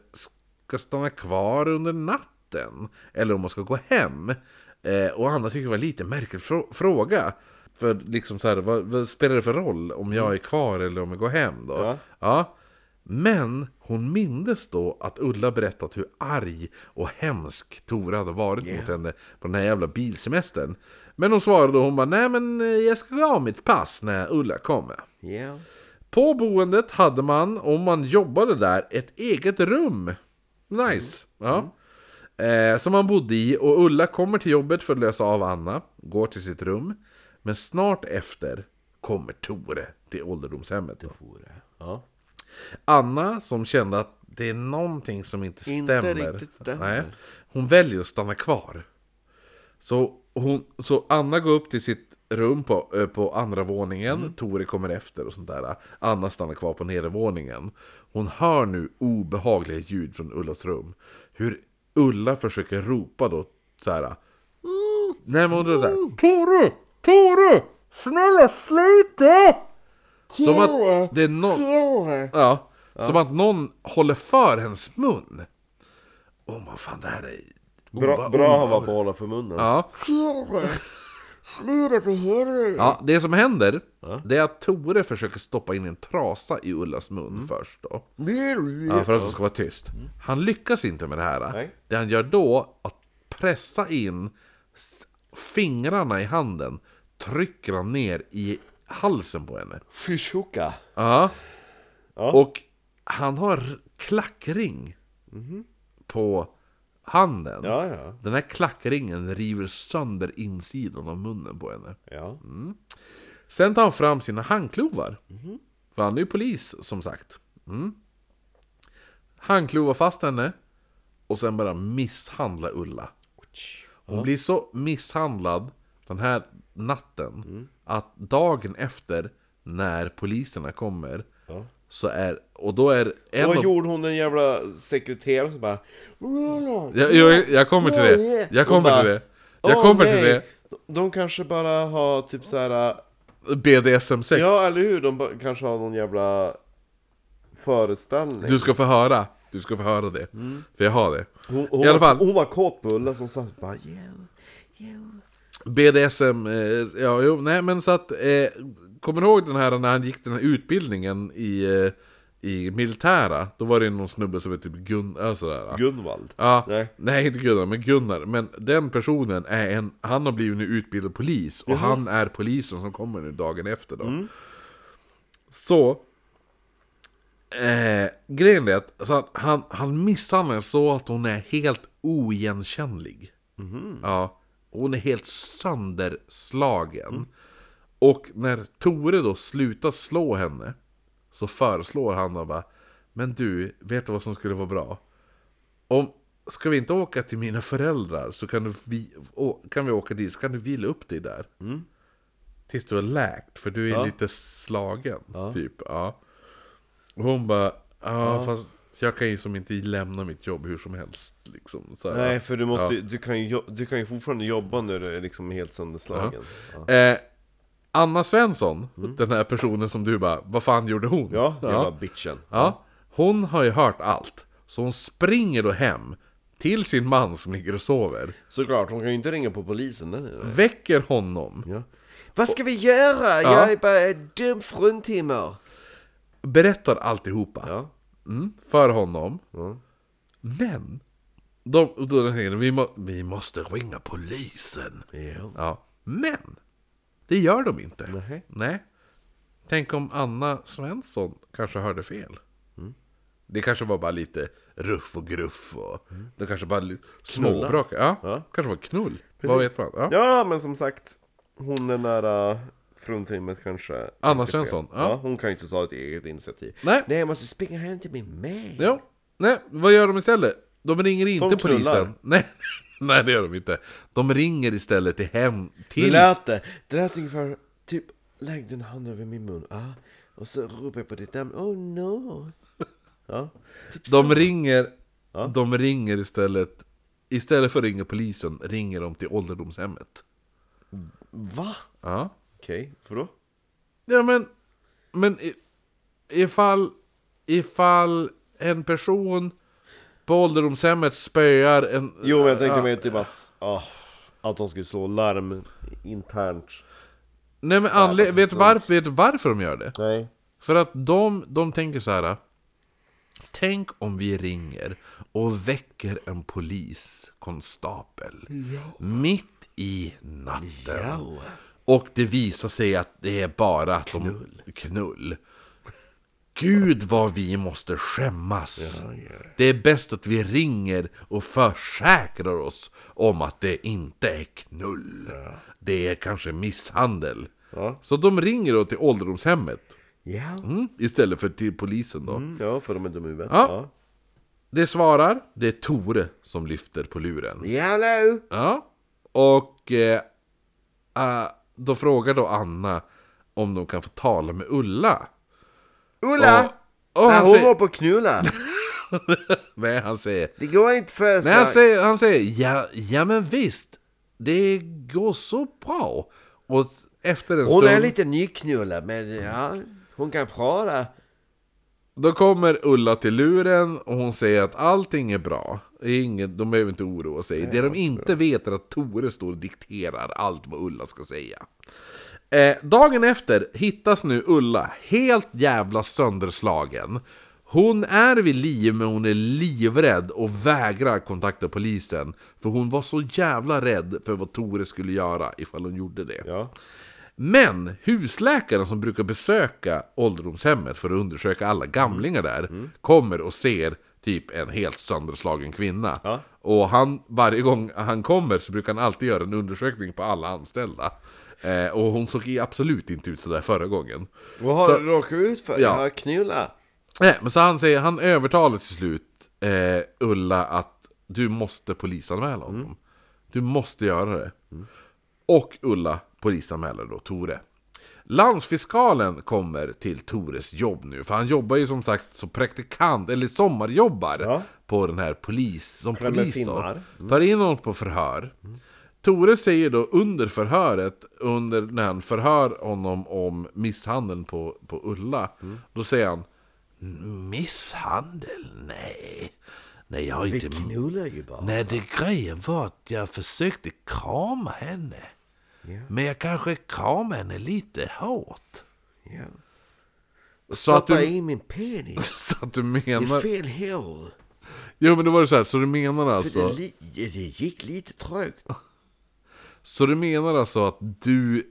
Speaker 2: ska stanna kvar under natten eller om hon ska gå hem. Eh, och Anna tycker det var en lite märklig frå- fråga. För liksom så här, vad, vad spelar det för roll om jag är kvar eller om jag går hem då?
Speaker 4: Ja.
Speaker 2: Ja. Men hon mindes då att Ulla berättat hur arg och hemsk Tora hade varit mot henne på den här jävla bilsemestern. Men hon svarade då, hon bara, nej men eh, jag ska gå av mitt pass när Ulla kommer.
Speaker 1: Ja.
Speaker 2: På boendet hade man, om man jobbade där, ett eget rum. Nice!
Speaker 1: Mm.
Speaker 2: Ja. Eh, som man bodde i och Ulla kommer till jobbet för att lösa av Anna, går till sitt rum. Men snart efter kommer Tore till ålderdomshemmet. Då.
Speaker 4: Ja.
Speaker 2: Anna som kände att det är någonting som inte
Speaker 1: Inte
Speaker 2: stämmer.
Speaker 1: riktigt stämmer.
Speaker 2: Nej, hon väljer att stanna kvar. Så, hon, så Anna går upp till sitt rum på, ö, på andra våningen.
Speaker 4: Mm.
Speaker 2: Tore kommer efter och sånt där. Anna stannar kvar på nedervåningen. Hon hör nu obehagliga ljud från Ullas rum. Hur Ulla försöker ropa då så här. "Mm." Nej men hon drar så här. Tore! Tore! Snälla sluta! Som
Speaker 4: Mm.
Speaker 2: att det är någon... Ja. Som att någon håller för hennes mun. Och man fan det här är
Speaker 4: Bra,
Speaker 2: Oba-
Speaker 4: bra han
Speaker 2: oba-
Speaker 4: var på att hålla för munnen.
Speaker 2: Ja.
Speaker 1: Sluta för helvete!
Speaker 2: ja, det som händer det är att Tore försöker stoppa in en trasa i Ullas mun
Speaker 4: Mm.
Speaker 2: först då. Ja, för att det ska vara tyst. Han lyckas inte med det här.
Speaker 4: Nej.
Speaker 2: Det han gör då, att pressa in s- fingrarna i handen, trycker han ner i halsen på henne.
Speaker 4: Fishhookah.
Speaker 2: Ja.
Speaker 4: Ja.
Speaker 2: Och han har klackring på handen.
Speaker 4: Mhm. Ja, ja.
Speaker 2: Den här klackringen river sönder insidan av munnen på henne.
Speaker 4: Ja.
Speaker 2: Mm. Sen tar han fram sina handklovar. För han är ju polis, som sagt. Mm. Handklovar fast henne. Och sen börjar han misshandla Ulla. Hon blir så misshandlad den här natten.
Speaker 4: Mm.
Speaker 2: Att dagen efter, när poliserna kommer.
Speaker 4: Ja.
Speaker 2: Så är, och då är en
Speaker 4: Vad
Speaker 2: av-
Speaker 4: gjorde hon den jävla sekreteraren som bara...
Speaker 2: jag, jag, jag kommer till det. Jag
Speaker 4: Hon
Speaker 2: kommer
Speaker 4: bara,
Speaker 2: till det. Jag
Speaker 4: "Åh,
Speaker 2: kommer till
Speaker 4: nej.
Speaker 2: det.
Speaker 4: De kanske bara har typ så här.
Speaker 2: BDSM-sex.
Speaker 4: Ja, eller hur? De ba- kanske har någon jävla föreställning.
Speaker 2: Du ska få höra. Du ska få höra det.
Speaker 4: Mm.
Speaker 2: För jag har det.
Speaker 4: Hon, hon,
Speaker 2: I alla fall.
Speaker 4: Var, hon var kåt på Ulla som satt bara yeah.
Speaker 2: BDSM, eh, ja jo, nej men så att eh, Kommer du ihåg den här när han gick den här utbildningen i, eh, i militära? Då var det någon snubbe som hette typ Gunnar, äh, sådär.
Speaker 4: Gunvald.
Speaker 2: ja, nej.
Speaker 4: Nej.
Speaker 2: inte Gunnar, men Gunnar. Men den personen är en, han har blivit nu utbildad polis och han är polisen som kommer nu dagen efter då. Så Eh, grejen är att så att han, han misshandlar henne så att hon är helt oigenkännlig. Ja, hon är helt sönderslagen. Och när Tore då slutar slå henne så föreslår han då bara Men du, vet du vad som skulle vara bra? Om, ska vi inte åka till mina föräldrar så kan, du vi, å, kan vi åka dit så kan du vila upp dig där.
Speaker 4: Mm.
Speaker 2: Tills du har läkt för du är lite slagen. Typ, ja. Och hon bara, ja, fast jag kan ju som inte lämna mitt jobb hur som helst. Liksom, så här.
Speaker 4: Nej, för du, måste,
Speaker 2: Ja.
Speaker 4: ju- du, kan ju, jo- du kan ju fortfarande jobba när du är liksom helt sönderslagen. Ja, Mm.
Speaker 2: Eh, Anna Svensson, den här personen som du bara, vad fan gjorde hon?
Speaker 4: ja jävla
Speaker 2: ja.
Speaker 4: bitchen.
Speaker 2: Ja. Hon har ju hört allt. Så hon springer då hem till sin man som ligger och sover.
Speaker 4: Såklart, hon kan ju inte ringa på polisen. Nej, nej, nej.
Speaker 2: Väcker honom.
Speaker 4: Ja.
Speaker 1: Vad ska vi göra? Jag är bara ett dumt fruntimmer.
Speaker 2: Berättar alltihopa.
Speaker 4: Ja.
Speaker 2: Mm, för honom.
Speaker 4: Ja.
Speaker 2: Men. De, och då tänker de, vi, må, vi måste ringa polisen.
Speaker 4: Ja.
Speaker 2: Ja. Men. Det gör de inte.
Speaker 4: Nej.
Speaker 2: Nej. Tänk om Anna Svensson kanske hörde fel. Det kanske var bara lite ruff och gruff och det kanske bara lite småbråk. Ja,
Speaker 4: Ja.
Speaker 2: kanske var knull. Vad vet man? Ja.
Speaker 4: ja, men som sagt, hon är nära fruntimmet kanske.
Speaker 2: Anna Svensson, ja.
Speaker 4: Ja. hon kan ju inte ta ett eget initiativ.
Speaker 2: Nej.
Speaker 1: Nej, jag måste springa hem till min man.
Speaker 2: Ja. Nej, vad gör de istället? De ringer inte
Speaker 4: knullar.
Speaker 2: polisen. Nej. Nej, det gör de inte. De ringer istället till hem
Speaker 4: Det
Speaker 2: till...
Speaker 4: lät det. Det lät ungefär typ, lägg din hand över min mun. Ah. Och så ropar jag på ditt namn. Oh no. Ja.
Speaker 2: De ringer... De ringer istället... Istället för att ringa polisen ringer de till ålderdomshemmet.
Speaker 4: Va?
Speaker 2: Ja.
Speaker 4: Okej, för då?
Speaker 2: Ja men, men i- ifall, ifall en person på ålderdomshemmet spöar en...
Speaker 4: Jo, men jag tänkte
Speaker 2: Ja.
Speaker 4: mer typ att, ah, att de skulle slå larm internt.
Speaker 2: Nej men anled-
Speaker 4: vad
Speaker 2: vet
Speaker 4: så
Speaker 2: du
Speaker 4: sunt.
Speaker 2: varför, vet du varför de gör det?
Speaker 4: Nej.
Speaker 2: För att de, de tänker så här. Tänk om vi ringer och väcker en poliskonstapel mitt i natten. Och det visar sig att det är bara att knull. de knull. Gud vad vi måste skämmas. Det är bäst att vi ringer och försäkrar oss om att det inte är knull. Det är kanske misshandel.
Speaker 4: Ja.
Speaker 2: Så de ringer då till ålderdomshemmet.
Speaker 4: Ja.
Speaker 2: Mm, istället för till polisen då.
Speaker 4: Mm, ja, för de är dumma i huvudet.
Speaker 2: Ja. Det svarar, det är Tore som lyfter på luren.
Speaker 1: Hallå?
Speaker 2: Ja. Och eh, eh, då frågar då Anna om de kan få tala med Ulla.
Speaker 1: Ulla?
Speaker 2: Och, och
Speaker 1: Nej,
Speaker 2: han,
Speaker 1: hon var
Speaker 2: säger,
Speaker 1: på att knulla.
Speaker 2: nej, han säger,
Speaker 1: Det går inte för
Speaker 2: nej, alltså, han
Speaker 1: sig.
Speaker 2: säger, han säger ja, ja men visst, det går så bra. Och efter en
Speaker 1: Hon
Speaker 2: stund,
Speaker 1: är lite nyknullad, men ja, hon kan prata.
Speaker 2: då kommer Ulla till luren och hon säger att allting är bra. Ingen, de behöver inte oroa sig. Det de inte vet är att Tore står och dikterar allt vad Ulla ska säga. Eh, dagen efter hittas nu Ulla helt jävla sönderslagen. Hon är vid liv men hon är livrädd och vägrar kontakta polisen. För hon var så jävla rädd för vad Tore skulle göra ifall hon gjorde det.
Speaker 4: Ja.
Speaker 2: Men husläkaren som brukar besöka ålderdomshemmet för att undersöka alla gamlingar där kommer och ser typ en helt sönderslagen kvinna.
Speaker 4: Ja.
Speaker 2: Och han, varje gång han kommer så brukar han alltid göra en undersökning på alla anställda. Eh, och hon såg ju absolut inte ut sådär förra gången.
Speaker 1: Vad har
Speaker 2: Så-
Speaker 1: du råkat ut för?
Speaker 2: Ja.
Speaker 1: Jag har knullat.
Speaker 2: Nej, men så han säger, han övertalar till slut eh, Ulla att du måste polisanmäla honom.
Speaker 4: Mm.
Speaker 2: Du måste göra det. Och Ulla polisanmäler då Tore. Landsfiskalen kommer till Tores jobb nu, för han jobbar ju som sagt som praktikant, eller sommarjobbar
Speaker 4: Ja.
Speaker 2: på den här polis, som
Speaker 4: Klämmer
Speaker 2: polis då.
Speaker 4: finnar. Mm.
Speaker 2: Tar in honom på förhör. Tore säger då under förhöret, under när han förhör honom om misshandeln på, på Ulla,
Speaker 4: Mm.
Speaker 2: då säger han Misshandel? Nej. Nej, jag har inte...
Speaker 1: Knullar ju bara.
Speaker 2: Nej, det grejen var att jag försökte krama henne. Men jag kanske kramade henne lite hårt.
Speaker 1: Ja.
Speaker 2: Så att,
Speaker 1: Stoppa
Speaker 2: du,
Speaker 1: i min penis.
Speaker 2: så att du
Speaker 1: I
Speaker 2: menar...
Speaker 1: fel hål.
Speaker 2: Jo men då var det så här, så du menar
Speaker 1: För det,
Speaker 2: alltså...
Speaker 1: li- det gick lite trögt.
Speaker 2: Så du menar alltså att du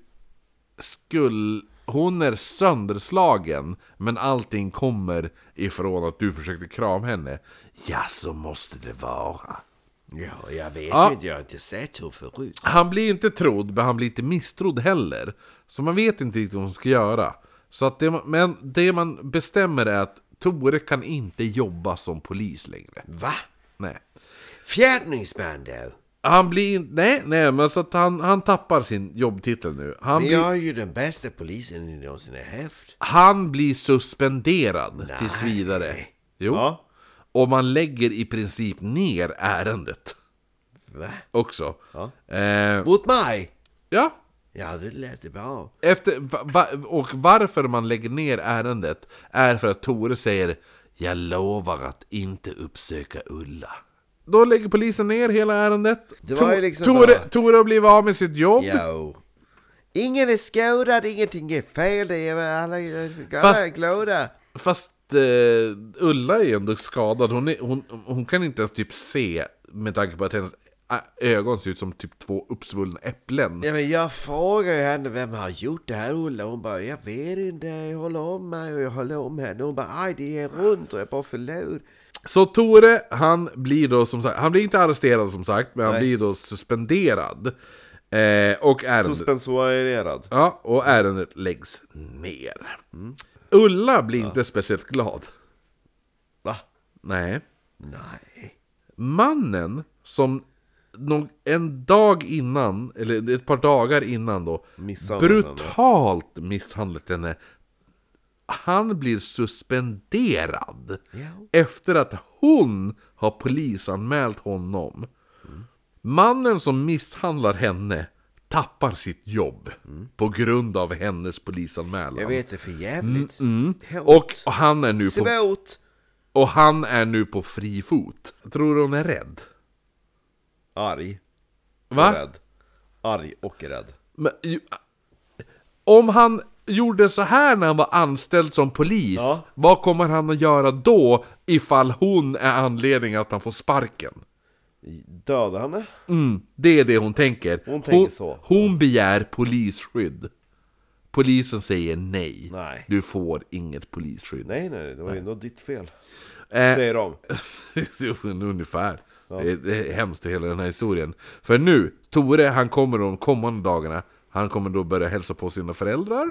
Speaker 2: skulle... Hon är sönderslagen, men allting kommer ifrån att du försökte krama henne. Ja, så måste det vara.
Speaker 1: Ja, jag vet
Speaker 2: Ja.
Speaker 1: inte. Jag har inte sett hur förut.
Speaker 2: Han blir inte trodd, men han blir inte misstrodd heller. Så man vet inte riktigt vad man ska göra. Så att det, man- men det man bestämmer är att Tore kan inte jobba som polis längre.
Speaker 1: Va?
Speaker 2: Nej.
Speaker 1: Fjärdningsman då?
Speaker 2: Han blir in- Nej, nej, men så att han, han tappar sin jobbtitel nu. Han
Speaker 1: Men
Speaker 2: blir,
Speaker 1: jag är ju den bästa polisen ni någonsin har haft.
Speaker 2: han blir suspenderad
Speaker 1: Nej.
Speaker 2: tills vidare. Jo.
Speaker 4: Ja.
Speaker 2: Och man lägger i princip ner ärendet
Speaker 1: Va?
Speaker 2: också.
Speaker 4: Ja.
Speaker 2: Eh,
Speaker 1: Mot mig?
Speaker 2: ja,
Speaker 1: Ja, det lät bra.
Speaker 2: Efter, va, va, och varför man lägger ner ärendet är för att Tore säger Jag lovar att inte uppsöka Ulla. Då lägger polisen ner hela ärendet.
Speaker 1: Det var ju
Speaker 2: To-
Speaker 1: liksom
Speaker 2: Tore,
Speaker 1: bara-
Speaker 2: Tore har blivit av med sitt jobb.
Speaker 1: Jo. Ingen är skadad, ingenting är fel, det är väl alla, alla
Speaker 2: Fast-
Speaker 1: är glada.
Speaker 2: Fast eh, Ulla är ju ändå skadad. Hon, är, hon, hon kan inte ens typ se med tanke på att hennes ä, ögon ser ut som typ två uppsvullna äpplen.
Speaker 1: Ja, men jag frågar ju henne vem har gjort det här Ulla. Hon bara, jag vet inte, jag håller om mig och jag håller om henne. Hon bara, aj det är runt och jag bara förlåt.
Speaker 2: Så Tore, han blir då som sagt, han blir inte arresterad som sagt, men han
Speaker 1: Nej.
Speaker 2: blir då suspenderad. Eh, och ärendet...
Speaker 4: Suspensuarerad.
Speaker 2: Ja, och ärendet läggs ner. Mm. Ulla blir inte speciellt glad.
Speaker 4: Va?
Speaker 2: Nej.
Speaker 1: Nej.
Speaker 2: Mannen som någon, en dag innan, eller ett par dagar innan då,
Speaker 4: Misshandlade henne.
Speaker 2: brutalt misshandlat henne. Han blir suspenderad
Speaker 1: Ja.
Speaker 2: efter att hon har polisanmält honom. Mannen som misshandlar henne tappar sitt jobb på grund av hennes polisanmälan.
Speaker 1: Jag vet det är för jävligt.
Speaker 2: Mm, Och han, är nu på,
Speaker 1: Svårt.
Speaker 2: och han är nu på fri fot. Tror du hon är rädd?
Speaker 4: Arg. Och
Speaker 2: Va?
Speaker 4: rädd. Arg och rädd.
Speaker 2: Men, ju- om han gjorde så här när han var anställd som polis,
Speaker 4: Ja.
Speaker 2: vad kommer han att göra då ifall hon är anledningen att han får sparken?
Speaker 4: Döda henne?
Speaker 2: Mm, det är det hon tänker.
Speaker 4: Hon tänker så.
Speaker 2: hon begär polisskydd. Polisen säger nej.
Speaker 4: Nej.
Speaker 2: Du får inget polisskydd.
Speaker 4: Nej nej, det var ju ändå ditt fel.
Speaker 2: Eh,
Speaker 4: Säger de.
Speaker 2: Jo, Ungefär. Det är- Det är hemskt hela den här historien. För nu, Tore han kommer de kommande dagarna, han kommer då börja hälsa på sina föräldrar.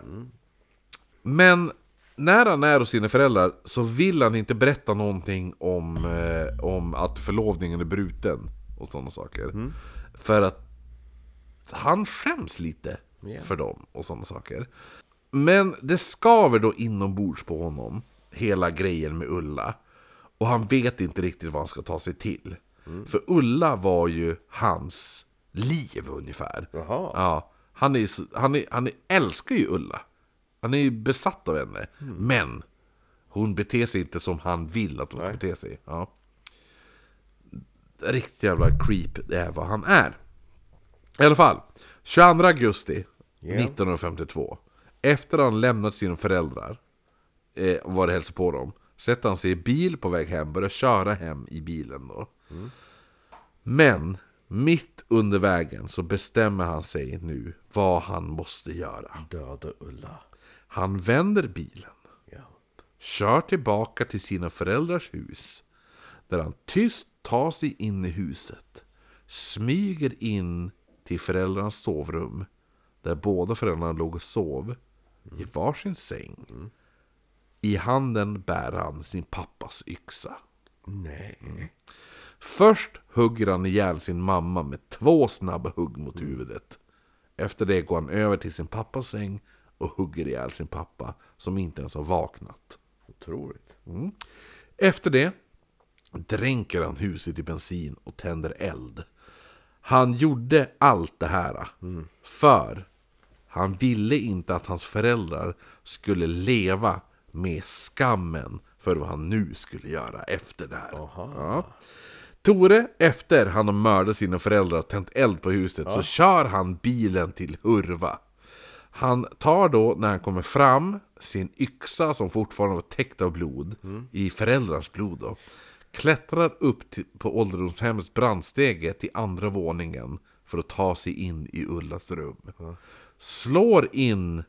Speaker 2: Men när han är hos sina föräldrar så vill han inte berätta någonting om, eh, om att förlovningen är bruten och sådana saker. För att han skäms lite för dem och sådana saker. Men det skaver då inombords på honom, hela grejen med Ulla. Och han vet inte riktigt vad han ska ta sig till. För Ulla var ju hans liv ungefär.
Speaker 4: Jaha.
Speaker 2: Ja, han, är, så- han, är, han är, älskar ju Ulla. Han är ju besatt av henne. Men hon beter sig inte som han vill att hon ska bete sig. Ja. Riktigt jävla creep det är vad han är. I alla fall, 22 augusti 1952. Efter han lämnat sina föräldrar eh, var det hälsa på dem. Sätter han sig i bil på väg hem, börjar köra hem i bilen då.
Speaker 4: Mm.
Speaker 2: Men mitt under vägen så bestämmer han sig nu vad han måste göra.
Speaker 4: Döda Ulla.
Speaker 2: Han vänder bilen,
Speaker 4: Ja.
Speaker 2: kör tillbaka till sina föräldrars hus, där han tyst tar sig in i huset, smyger in till föräldrarnas sovrum, där båda föräldrarna låg och sov, i varsin säng. I handen bär han sin pappas yxa.
Speaker 4: Nej.
Speaker 2: Först hugger han ihjäl sin mamma med två snabba hugg mot huvudet. Efter det går han över till sin pappas säng och hugger ihjäl sin pappa som inte ens har vaknat.
Speaker 4: Otroligt.
Speaker 2: Mm. Efter det dränker han huset i bensin och tänder eld. Han gjorde allt det här mm, för han ville inte att hans föräldrar skulle leva med skammen för vad han nu skulle göra efter det här. Ja. Tore, efter han har mördat sina föräldrar och tänt eld på huset, så kör han bilen till Hurva. Han tar då, när han kommer fram, sin yxa som fortfarande var täckt av blod, i föräldrars blod då, klättrar upp till, på ålderdomshemmets brandstege till andra våningen för att ta sig in i Ullas rum. Slår in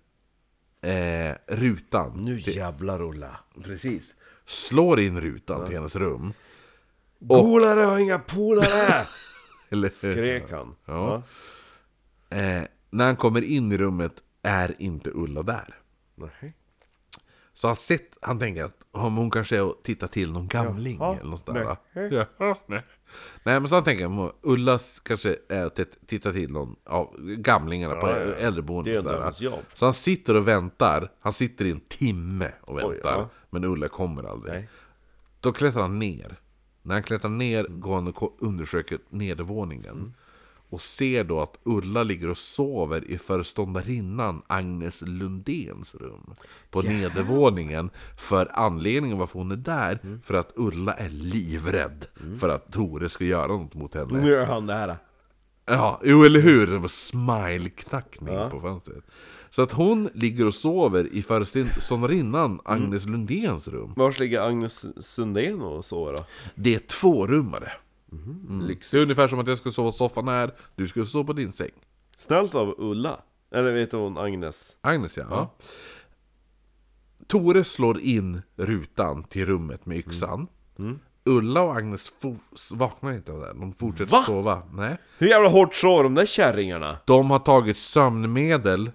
Speaker 2: eh, rutan
Speaker 4: Nu jävlar Ulla.
Speaker 2: Precis. Slår in rutan till hennes rum.
Speaker 4: Polare har inga polare!
Speaker 2: Eller,
Speaker 4: Skrek han.
Speaker 2: Ja. Eh, när han kommer in i rummet är inte Ulla där.
Speaker 4: Nej.
Speaker 2: Så han, sett, han tänker att om hon kanske är och tittar till någon gamling eller något sånt där.
Speaker 4: Nej.
Speaker 2: Ja, nej. nej men så han tänker att Ulla kanske är och tit- tittar till någon av gamlingarna på
Speaker 4: Ja, ja, ja.
Speaker 2: äldreboendet.
Speaker 4: Det är
Speaker 2: och sådär.
Speaker 4: ändå hans jobb.
Speaker 2: Så han sitter och väntar. Han sitter i en timme och väntar.
Speaker 4: ja.
Speaker 2: Men Ulla kommer aldrig.
Speaker 4: Nej.
Speaker 2: Då klättrar han ner. När han klättrar ner går han och ko- undersöker nedervåningen. Och ser då att Ulla ligger och sover i föreståndarinnan Agnes Lundéns rum. På nedervåningen. För anledningen varför hon är där, för att Ulla är livrädd. För att Tore ska göra något mot henne.
Speaker 4: Nu gör han det här.
Speaker 2: Ja, jo eller hur? Det var smile-knackning på fönstret. Så att hon ligger och sover i föreståndarinnan Agnes Lundéns rum.
Speaker 4: Vars ligger Agnes Sundén och så då?
Speaker 2: Det är tvårummare. Mm. Det är ungefär som att jag skulle sova i soffan här, du skulle sova på din säng.
Speaker 4: Snällt av Ulla. Eller vet hon Agnes?
Speaker 2: Agnes ja. ja. Tore slår in rutan till rummet med yxan. Ulla och Agnes fo- vaknar inte av det här. De fortsätter
Speaker 4: Va?
Speaker 2: sova. Nej.
Speaker 4: Hur jävla hårt slår de där kärringarna?
Speaker 2: De har tagit sömnmedel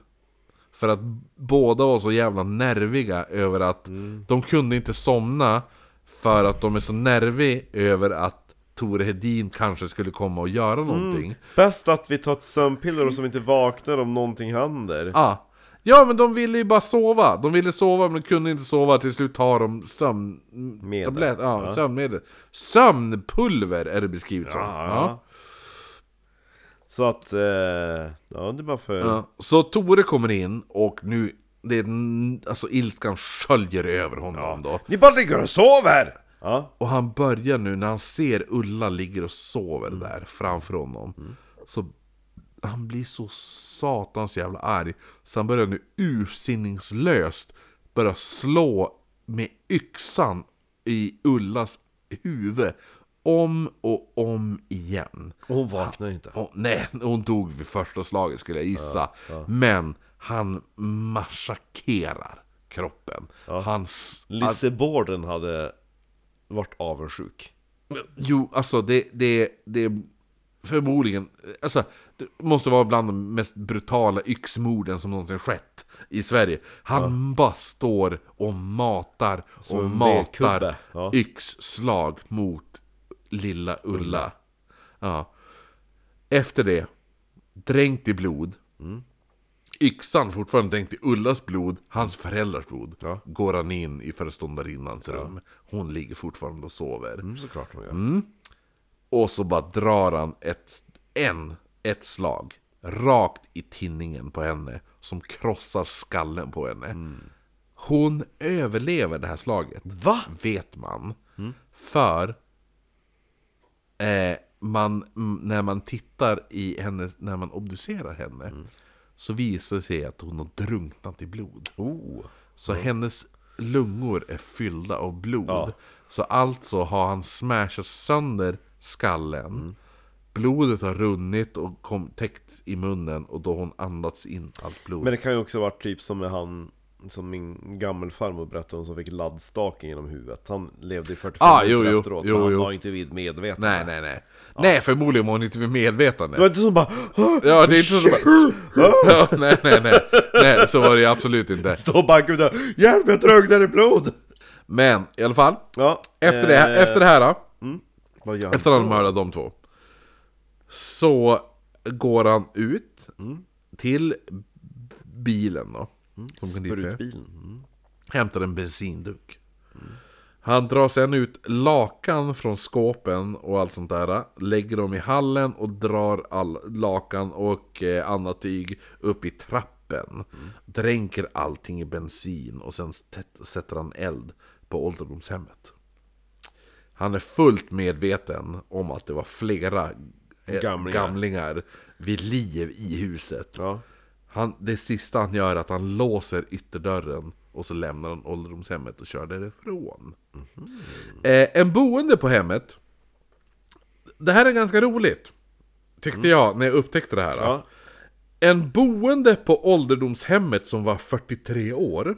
Speaker 2: för att båda var så jävla nerviga över att de kunde inte somna för att de är så nerviga över att Tore Hedin kanske skulle komma och göra någonting.
Speaker 4: Bäst att vi tar ett sömnpiller och som inte vaknar om någonting händer.
Speaker 2: Ah. Ja men de ville ju bara sova, de ville sova men de kunde inte sova, till slut har de sömn...
Speaker 4: Medel.
Speaker 2: Tablett, ja, sömnmedel. Sömnpulver är det beskrivet som.
Speaker 4: Ja.
Speaker 2: Ja.
Speaker 4: Så att, eh, ja det är bara för...
Speaker 2: Ja, Så Tore kommer in och nu, det är, n- alltså ilskan sköljer över honom då.
Speaker 4: Ni bara ligger och sover! Ja,
Speaker 2: Och han börjar nu när han ser Ulla ligger och sover där framför honom. Så han blir så satans jävla arg. Så han börjar nu ursinningslöst börja slå med yxan i Ullas huvud. Om och om igen.
Speaker 4: och hon vaknar inte.
Speaker 2: Och, nej, hon dog vid första slaget skulle jag gissa. Men han massakrerar kroppen. Han s-
Speaker 4: Lisseborden hade varit avundsjuk.
Speaker 2: Jo, alltså det, det, det är förmodligen, alltså det måste vara bland de mest brutala yxmorden som någonsin skett i Sverige. Han bara står och matar och
Speaker 4: en vedkubbe,
Speaker 2: matar
Speaker 4: ja.
Speaker 2: yxslag mot lilla Ulla. Ja. Efter det, dränkt i blod,
Speaker 4: Mm.
Speaker 2: yxan fortfarande dränkt i Ullas blod, hans föräldrars blod,
Speaker 4: Ja.
Speaker 2: går han in i föreståndarinnans rum. Hon ligger fortfarande och sover.
Speaker 4: Mm, Såklart hon gör.
Speaker 2: Och så bara drar han ett, en, ett slag rakt i tinningen på henne som krossar skallen på henne. Hon överlever det här slaget.
Speaker 4: Va?
Speaker 2: Vet man. För eh, man, m- när man tittar i henne, när man obducerar henne, så visar det sig att hon har drunknat i blod. Så hennes lungor är fyllda av blod.
Speaker 4: Ja.
Speaker 2: Så alltså har han smashat sönder skallen. Blodet har runnit och kom, täckt i munnen och då har hon andats in allt blod.
Speaker 4: Men det kan ju också ha varit typ som med han Som min gammelfarmor berättade om som fick laddstaken genom huvudet Han levde i 45
Speaker 2: Ah,
Speaker 4: minuter
Speaker 2: jo, jo,
Speaker 4: efteråt
Speaker 2: jo,
Speaker 4: men han
Speaker 2: jo.
Speaker 4: var inte vid medvetande
Speaker 2: Nej, nej, nej. Nej, förmodligen var hon inte vid medvetande.
Speaker 4: Det var inte som bara
Speaker 2: Ja, det är inte så bara... ja, nej, nej, nej, nej. Så var det ju absolut inte.
Speaker 4: Stå bara gud Hjälp jag drunknar i blod!
Speaker 2: Men i alla fall.
Speaker 4: Ja,
Speaker 2: Efter det här,
Speaker 4: eh,
Speaker 2: efter det här då.
Speaker 4: Vad gör han?
Speaker 2: Efter att han mördat de två. Så går han ut
Speaker 4: Mm.
Speaker 2: till bilen då. Som kan dit med.
Speaker 4: Sprutbilen Mm.
Speaker 2: hämtar en bensindunk. Han drar sen ut lakan från skåpen och allt sånt där. Lägger dem i hallen och drar all lakan och eh, annat tyg upp i trappen. Dränker allting i bensin och sen tä- sätter han eld på ålderdomshemmet. Han är fullt medveten om att det var flera eh,
Speaker 4: Gamlingar.
Speaker 2: gamlingar vid liv i huset.
Speaker 4: Ja,
Speaker 2: Han, det sista han gör är att han låser ytterdörren och så lämnar han ålderdomshemmet och kör därifrån. Eh, en boende på hemmet. Det här är ganska roligt. Tyckte jag när jag upptäckte det här.
Speaker 4: Ja.
Speaker 2: En boende på ålderdomshemmet som var 43 år.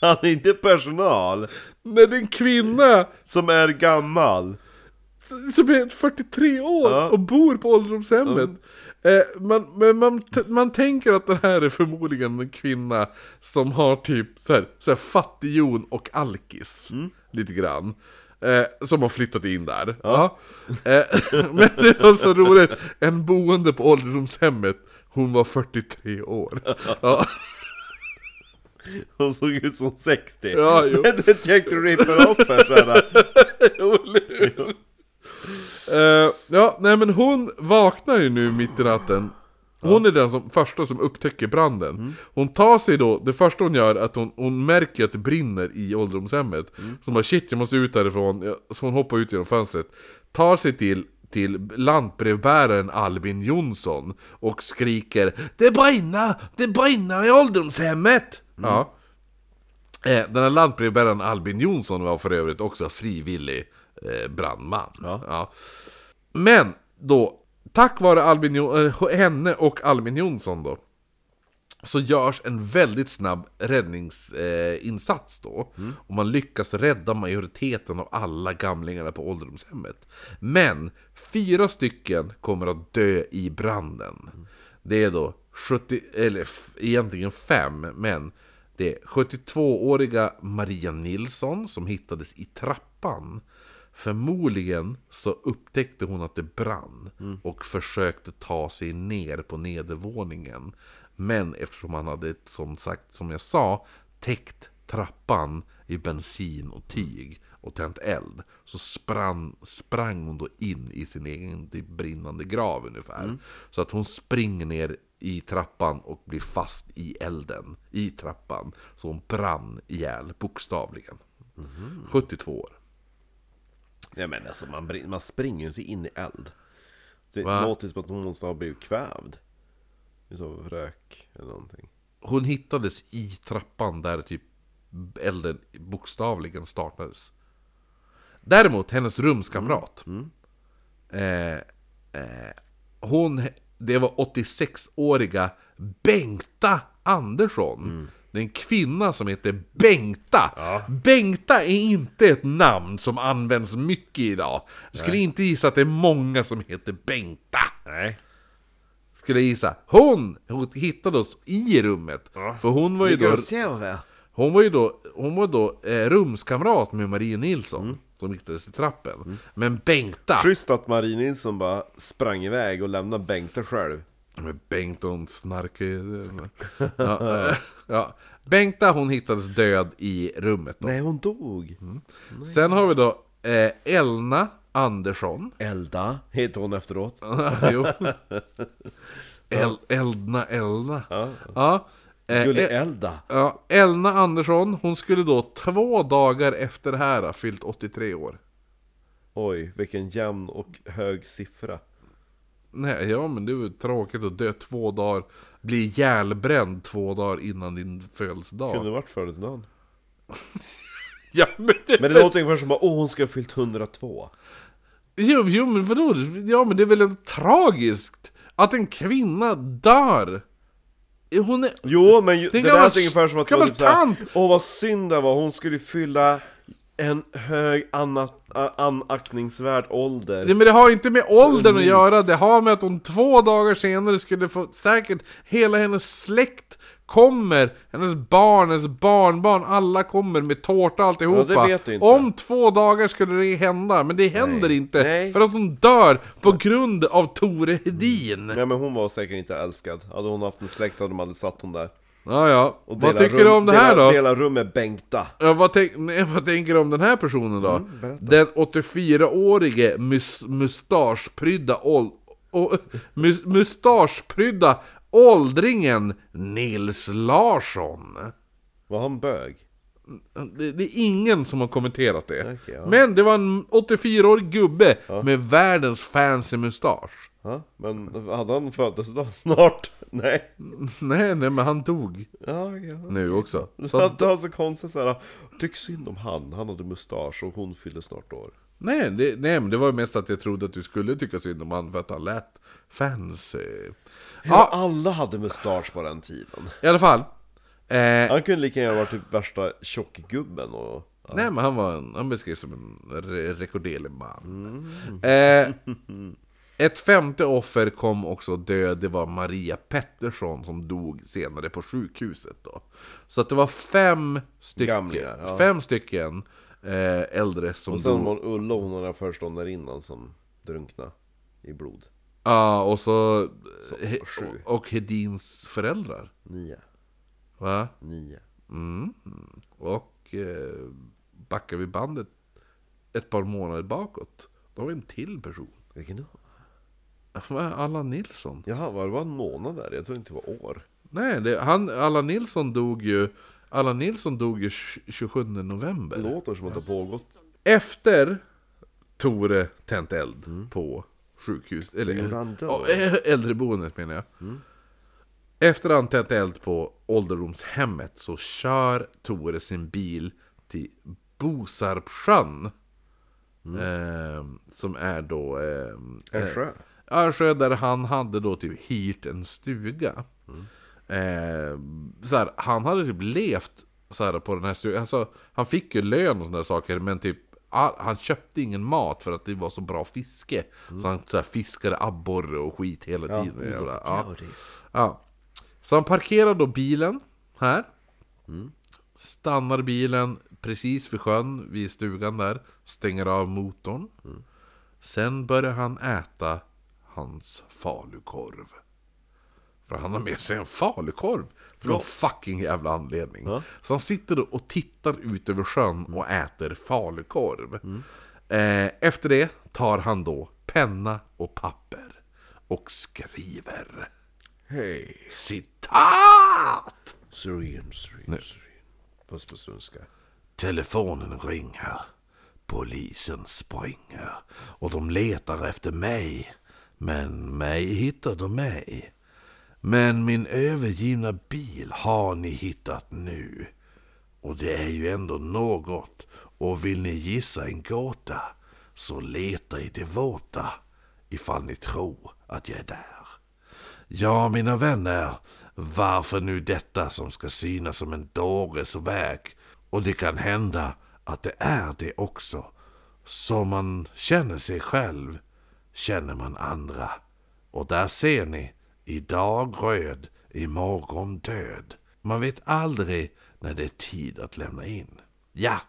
Speaker 4: Han är inte personal
Speaker 2: När det är en kvinna
Speaker 4: som är gammal
Speaker 2: som är 43 år
Speaker 4: Ja.
Speaker 2: och bor på ålderdomshemmet. Eh, man, men man, t- man tänker att det här är förmodligen en kvinna som har typ så här, så här fattighjon och alkis. Lite grann. Eh, som har flyttat in där. Ja. Eh, men det var så roligt, en boende på ålderdomshemmet, hon var 43 år. Ja.
Speaker 4: Hon såg ut som 60
Speaker 2: Ja, jo.
Speaker 4: Det är ett gäng du rippar upp här såhär
Speaker 2: Jo, eller hur? Eh, ja, nej men hon vaknar ju nu mitt i natten. Hon är den som, första som upptäcker branden. Hon tar sig då, det första hon gör är att hon, hon märker att det brinner i ålderdomshemmet. Så hon bara shit, jag måste ut härifrån. Ja, Så hon hoppar ut genom fönstret. Tar sig till, till lantbrevbäraren Albin Jonsson och skriker Det brinner! Det brinner i ålderdomshemmet! Ja. Eh, Den här lantbrevbäraren Albin Jonsson var för övrigt också frivillig eh, brandman.
Speaker 4: Ja.
Speaker 2: Men då, tack vare Albin, Jo- eh, henne och Albin Jonsson då, så görs en väldigt snabb räddningsinsats eh, insats då. Och man lyckas rädda majoriteten av alla gamlingarna på ålderdomshemmet. Men fyra stycken kommer att dö i branden. Det är då 70, eller f- egentligen fem, men det är 72-åriga Maria Nilsson som hittades i trappan. Förmodligen så upptäckte hon att det brann och försökte ta sig ner på nedervåningen. Men eftersom han hade, som sagt, som jag sa, täckt trappan i bensin och tyg och tänt eld så sprang, sprang hon då in i sin egen typ brinnande grav ungefär. Så att hon springer ner i trappan och blir fast i elden i trappan. Så hon brann ihjäl bokstavligen. 72 år.
Speaker 4: Nej men alltså man, brin- man springer ju inte in i eld Det
Speaker 2: Va?
Speaker 4: låter som att hon måste ha blivit kvävd Utav rök eller någonting
Speaker 2: Hon hittades i trappan där typ elden bokstavligen startades. Däremot hennes rumskamrat.
Speaker 4: Mm,
Speaker 2: Eh, eh, hon, det var 86-åriga Bengta Andersson.
Speaker 4: Mm.
Speaker 2: Det är en kvinna som heter Bengta. Bengta är inte ett namn som används mycket idag. Jag skulle inte gissa att det är många som heter Bengta
Speaker 4: Nej
Speaker 2: skulle jag gissa. Hon, hon hittade oss i rummet. För hon var ju
Speaker 4: Ligger
Speaker 2: då,
Speaker 4: och sover?
Speaker 2: hon var ju då, hon var då eh, rumskamrat med Marie Nilsson. Som hittades i trappen. Men Bengta.
Speaker 4: Schysst att Marie Nilsson bara sprang iväg och lämnade Bengta själv
Speaker 2: Men Bengt hon snarkar ju- ja, eh, ja. Bengta hon hittades död i rummet då.
Speaker 4: Nej hon dog!
Speaker 2: Sen har vi då eh, Elna Andersson.
Speaker 4: Elda heter hon
Speaker 2: Eh,
Speaker 4: efteråt
Speaker 2: jo. El, eldna, eldna. Ja. Eh, eh,
Speaker 4: Gullelda.
Speaker 2: Ja, Elna Andersson, hon skulle då två dagar efter det här ha fyllt 83 år.
Speaker 4: Oj, vilken jämn och hög siffra.
Speaker 2: Nej, ja men det är väl tråkigt att dö två dagar, bli ihjälbränd två dagar innan din födelsedag.
Speaker 4: Kunde det varit födelsedagen?
Speaker 2: Ja men det...
Speaker 4: Men det låter ungefär som att åh, hon ska ha fyllt 102.
Speaker 2: Jo, jo men vadå? Ja men det är väl en tragiskt att en kvinna dör? Hon är...
Speaker 4: Jo, men ju,
Speaker 2: Det
Speaker 4: det,
Speaker 2: är gammal-
Speaker 4: lät ungefär som att det var
Speaker 2: gammal
Speaker 4: typ såhär,
Speaker 2: tant.
Speaker 4: åh vad synd det var, hon skulle fylla en hög ana, a- anaktningsvärd ålder.
Speaker 2: Nej, men det har inte med åldern att
Speaker 4: unikt.
Speaker 2: göra, det har med att hon två dagar senare skulle få säkert hela hennes släkt kommer, hennes barn, hennes barnbarn, alla kommer med tårta och alltihopa.
Speaker 4: Ja, det vet du inte.
Speaker 2: Om två dagar skulle det hända, men det händer
Speaker 4: Nej.
Speaker 2: inte.
Speaker 4: Nej.
Speaker 2: För att hon dör på grund av Tore Hedin.
Speaker 4: Nej men hon var säkert inte älskad, hade hon haft en släkt hade de aldrig satt hon där.
Speaker 2: Ja, ja.
Speaker 4: Och
Speaker 2: Vad
Speaker 4: dela
Speaker 2: tycker du om det här
Speaker 4: dela,
Speaker 2: då?
Speaker 4: Dela rum med Bengta.
Speaker 2: Ja, vad, tänk, nej, vad tänker du om den här personen då?
Speaker 4: Mm,
Speaker 2: den 84-årige mus, mustaschprydda ål, å, mus, mustaschprydda åldringen Nils Larsson.
Speaker 4: Var han bög?
Speaker 2: Det, det är ingen som har kommenterat det.
Speaker 4: Okej, ja.
Speaker 2: Men det var en 84-årig gubbe med världens fancy mustasch.
Speaker 4: Ja, men hade han födelsedag snart? Nej.
Speaker 2: Nej, nej, men han dog
Speaker 4: Ja, ja.
Speaker 2: nu också. Så
Speaker 4: Så
Speaker 2: att,
Speaker 4: det var så konstigt såhär, tyck synd om han, han hade mustasch och hon fyllde snart år.
Speaker 2: nej, det, nej, men det var mest att jag trodde att du skulle tycka synd om han för att han lät fancy. Ja,
Speaker 4: Alla hade mustasch på den tiden.
Speaker 2: I alla fall. Eh,
Speaker 4: Han kunde lika gärna varit typ värsta tjockgubben och...
Speaker 2: Nej men han var en, han beskrevs som en re- rekorderlig man.
Speaker 4: Mm.
Speaker 2: Eh, ett femte offer kom också död, det var Maria Pettersson som dog senare på sjukhuset då. Så att det var fem stycken,
Speaker 4: Gamlingar, ja.
Speaker 2: fem stycken eh, äldre som
Speaker 4: Och sen
Speaker 2: dog.
Speaker 4: var det Ulla och hon den där föreståndarinnan som drunkna i blod.
Speaker 2: Ja, och så, he,
Speaker 4: sju.
Speaker 2: och, och Hedins föräldrar.
Speaker 4: Nio.
Speaker 2: Va?
Speaker 4: Nio.
Speaker 2: Och eh, backar vi bandet ett par månader bakåt, då har vi en till person.
Speaker 4: Vilken då?
Speaker 2: Allan Nilsson.
Speaker 4: Jaha, var det bara en månad där? Jag trodde inte det var år.
Speaker 2: Nej, det, han, Allan Nilsson dog ju Allan Nilsson dog ju 27 november.
Speaker 4: Det låter som att det har pågått.
Speaker 2: Efter Tore tänt eld på sjukhus, eller
Speaker 4: Mm. Gjorde han Mm. då?
Speaker 2: ja, ä- äldreboendet menar jag. Efter han tänt eld på ålderdomshemmet så kör Tore sin bil till Bosarpsjön.
Speaker 4: Mm.
Speaker 2: Ehm, som är då... ehm,
Speaker 4: En sjö.
Speaker 2: Örsjö där han hade då typ hyrt en stuga. Eh, så här, han hade typ levt så här, på den här stugan. Alltså, han fick ju lön och sådana saker men typ all, han köpte ingen mat för att det var så bra fiske. Så han så här, fiskade abborre och skit hela tiden. Jävla- ja. Ja. Så han parkerar då bilen här. Stannar bilen precis vid sjön, vid stugan där. Stänger av motorn. Sen börjar han äta hans falukorv. För han har med sig en falukorv. För någon fucking jävla anledning. Så han sitter då och tittar ut över sjön och äter falukorv. Eh, efter det tar han då penna och papper. Och skriver.
Speaker 4: Hej.
Speaker 2: Citat!
Speaker 4: Syrin, syrin, syrin. Fast på svenska.
Speaker 2: Telefonen ringer. Polisen springer. Och de letar efter mig. Men mig hittar de mig. Men min övergivna bil har ni hittat nu. Och det är ju ändå något. Och vill ni gissa en gåta så leta i det våta ifall ni tror att jag är där. Ja, mina vänner, varför nu detta som ska synas som en dåres väg? Och det kan hända att det är det också. Som man känner sig själv känner man andra. Och där ser ni, idag röd, imorgon död. Man vet aldrig när det är tid att lämna in. Ja,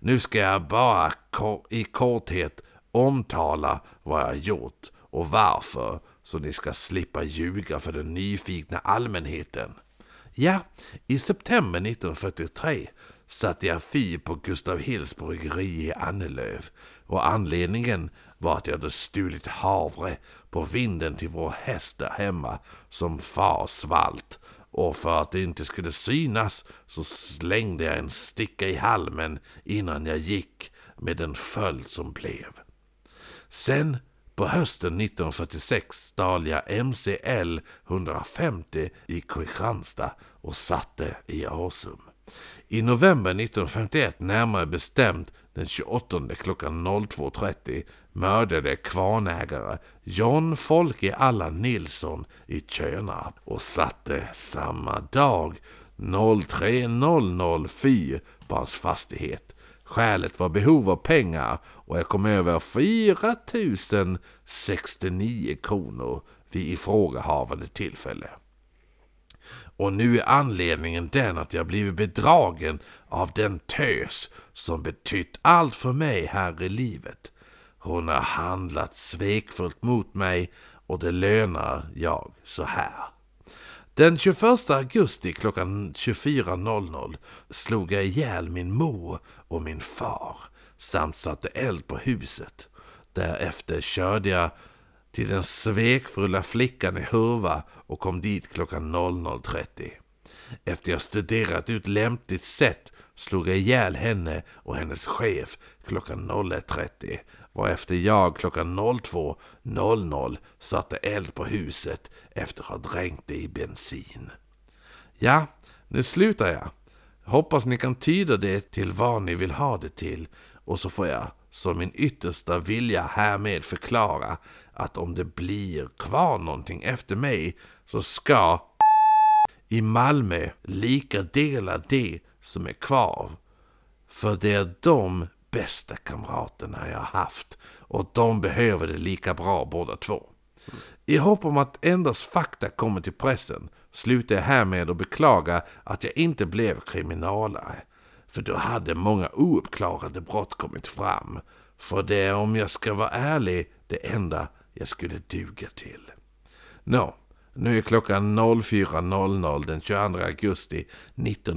Speaker 2: nu ska jag bara ko- i korthet omtala vad jag gjort och varför så ni ska slippa ljuga för den nyfikna allmänheten. Ja, i september 1943 satte jag fyr på Gustav Hills bryggeri i Annelöv och anledningen var att jag hade stulit havre på vinden till vår häst där hemma som far svalt och för att det inte skulle synas så slängde jag en sticka i halmen innan jag gick med den följd som blev. Sen på hösten 1946 stal jag MCL 150 i Kristianstad och satte i Asum. I november 1951, närmare bestämt den 28 klockan 02.30 mördade kvarnägare John Folke Allan Nilsson i Tjörnarp och satte samma dag 03004 på hans fastighet. Skälet var behov av pengar och jag kom över 4069 kronor vid ifrågahavande tillfälle. Och nu är anledningen den att jag blivit bedragen av den tös som betytt allt för mig här i livet. Hon har handlat svekfullt mot mig och det lönar jag så här. Den 21 augusti klockan 24.00 slog jag ihjäl min mor och min far samt satte eld på huset. Därefter körde jag till den svekfulla flickan i Hurva och kom dit klockan 00.30. Efter jag studerat ut lämpligt sätt slog jag ihjäl henne och hennes chef klockan 01.30 varefter jag klockan 02.00 satte eld på huset efter att ha dränkt det i bensin. Ja, nu slutar jag. Hoppas ni kan tyda det till vad ni vill ha det till och så får jag som min yttersta vilja härmed förklara att om det blir kvar någonting efter mig så ska i Malmö lika dela det som är kvar. För det är de bästa kamraterna jag har haft och de behöver det lika bra båda två. I hopp om att endast fakta kommer till pressen slutar jag härmed och beklaga att jag inte blev kriminalare. För då hade många ouppklarade brott kommit fram. För det är om jag ska vara ärlig det enda jag skulle duga till. Nå, nu är klockan 04.00 den 22 augusti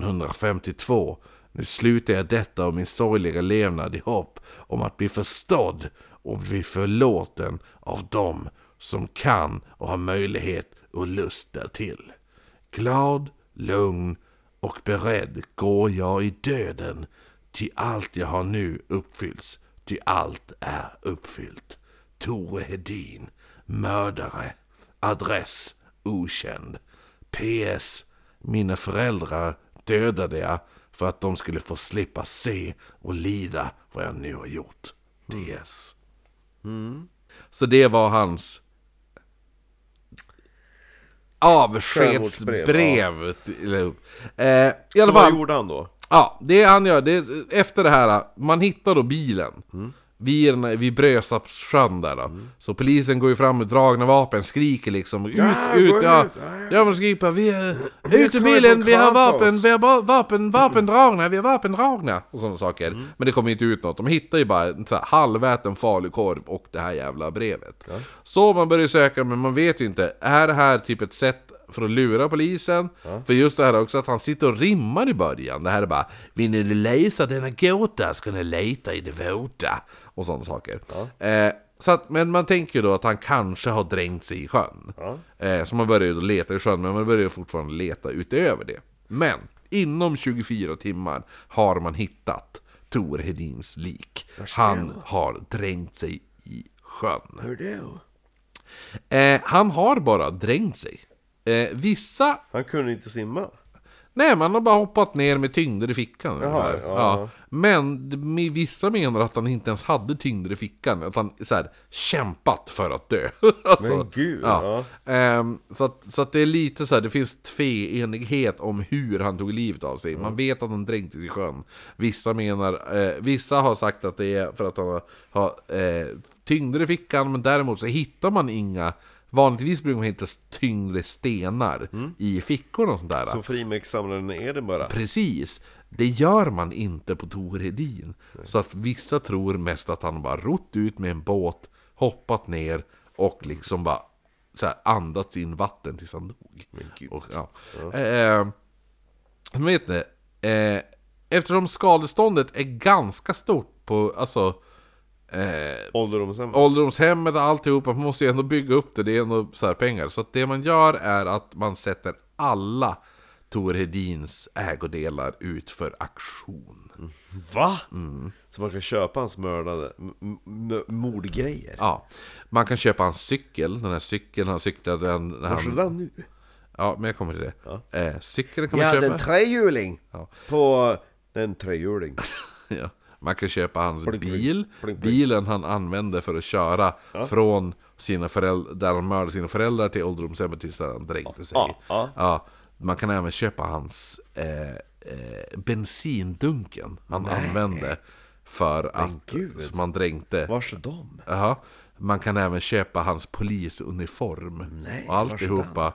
Speaker 2: 1952. Nu slutar jag detta och min sorgliga levnad i hopp om att bli förstådd och bli förlåten av dem som kan och har möjlighet och lust därtill. Glad, lugn och beredd går jag i döden, ty allt jag har nu uppfylls, ty allt är uppfyllt. Tore Hedin, mördare, adress okänd. PS. Mina föräldrar dödade jag för att de skulle få slippa se och lida vad jag nu har gjort. DS.
Speaker 5: Så det var hans avskedsbrev.
Speaker 4: Självmordsbrev,
Speaker 5: till- Eh, I
Speaker 4: Så
Speaker 5: alla
Speaker 4: vad
Speaker 5: fall,
Speaker 4: gjorde han då?
Speaker 5: ja, det han gör, det, efter det här, man hittar då bilen. Vid, den- vid Brösarps sjön där då. Så polisen går ju fram med dragna vapen, skriker liksom ut,
Speaker 1: Ja,
Speaker 5: ut,
Speaker 1: gå
Speaker 5: ja.
Speaker 1: ut, ja, ja.
Speaker 5: Ja men skriker bara, vi är ut ur
Speaker 1: kommer
Speaker 5: bilen,
Speaker 1: från
Speaker 5: vi har
Speaker 1: Kramfors."
Speaker 5: vapen, vi har ba- vapen, vapen dragna, vi har vapen dragna. Och sådana saker. Men det kommer inte ut något, de hittar ju bara en så här halväten falukorv och det här jävla brevet. Så man börjar söka, men man vet ju inte, är det här typ ett sätt för att lura polisen. För just det här också att han sitter och rimmar i början. Det här är bara Vill ni lösa denna gåta ska ni leta i det våta. Och sådana saker. Eh, så att, men man tänker ju då att han kanske har dränkt sig i sjön. Eh, så man börjar ju då leta i sjön, men man börjar ju fortfarande leta utöver det. Men inom 24 timmar har man hittat Tor Hedins lik. Han har dränkt sig i sjön.
Speaker 1: Hur då?
Speaker 5: Eh, han har bara dränkt sig. Eh, vissa
Speaker 4: Han kunde inte simma.
Speaker 5: Nej, man har bara hoppat ner med tyngder i fickan ungefär.
Speaker 4: ja,
Speaker 5: Ja.
Speaker 4: ja.
Speaker 5: Men d- med- vissa menar att han inte ens hade tyngder i fickan, att han så här, kämpat för att dö. alltså,
Speaker 4: Men gud,
Speaker 5: Ehm, så att, så att det är lite så här, det finns tveenighet om hur han tog livet av sig. Man vet att han dränktes i sjön. Vissa menar, eh, vissa har sagt att det är för att han har, har eh, tyngder i fickan, men däremot så hittar man inga Vanligtvis brukar man hitta tyngre stenar i fickorna och sånt där.
Speaker 4: Som frimärkssamlaren i Edinburgh.
Speaker 5: Precis. Det gör man inte på Tor Hedin. Så att vissa tror mest att han bara rott ut med en båt, hoppat ner och liksom bara så här, andats in vatten tills han dog. Och, ja. Eh, men vet ni, eh, eftersom skadeståndet är ganska stort på, alltså
Speaker 4: Ålderdomshem.
Speaker 5: ålderdomshemmet och alltihopa, man måste ju ändå bygga upp det, det är ändå så här pengar. Så att det man gör är att man sätter
Speaker 2: alla Tor Hedins ägodelar ut för auktion.
Speaker 4: Va? Så man kan köpa hans mördade m- m- mordgrejer?
Speaker 2: Ja, man kan köpa hans cykel, den här cykeln han cyklade den, när
Speaker 4: Varför
Speaker 2: han,
Speaker 4: är den nu?
Speaker 2: Ja, men jag kommer till det. Eh, cykeln kan man
Speaker 4: Ja,
Speaker 2: köpa.
Speaker 4: den trehjuling!
Speaker 2: Ja.
Speaker 4: På... Den trehjuling.
Speaker 2: Ja. Man kan köpa hans
Speaker 4: Blink, blink,
Speaker 2: bil,
Speaker 4: blink, blink.
Speaker 2: bilen han använde för att köra från sina föräldrar, där han mördade sina föräldrar till ålderdomshemmet tills där han dränkte sig.
Speaker 4: Ja, ja.
Speaker 2: Man kan även köpa hans eh, eh, bensindunken han använde för att,
Speaker 4: gud.
Speaker 2: som han dränkte.
Speaker 4: Vars är de?
Speaker 2: Jaha. Man kan även köpa hans polisuniform och alltihopa.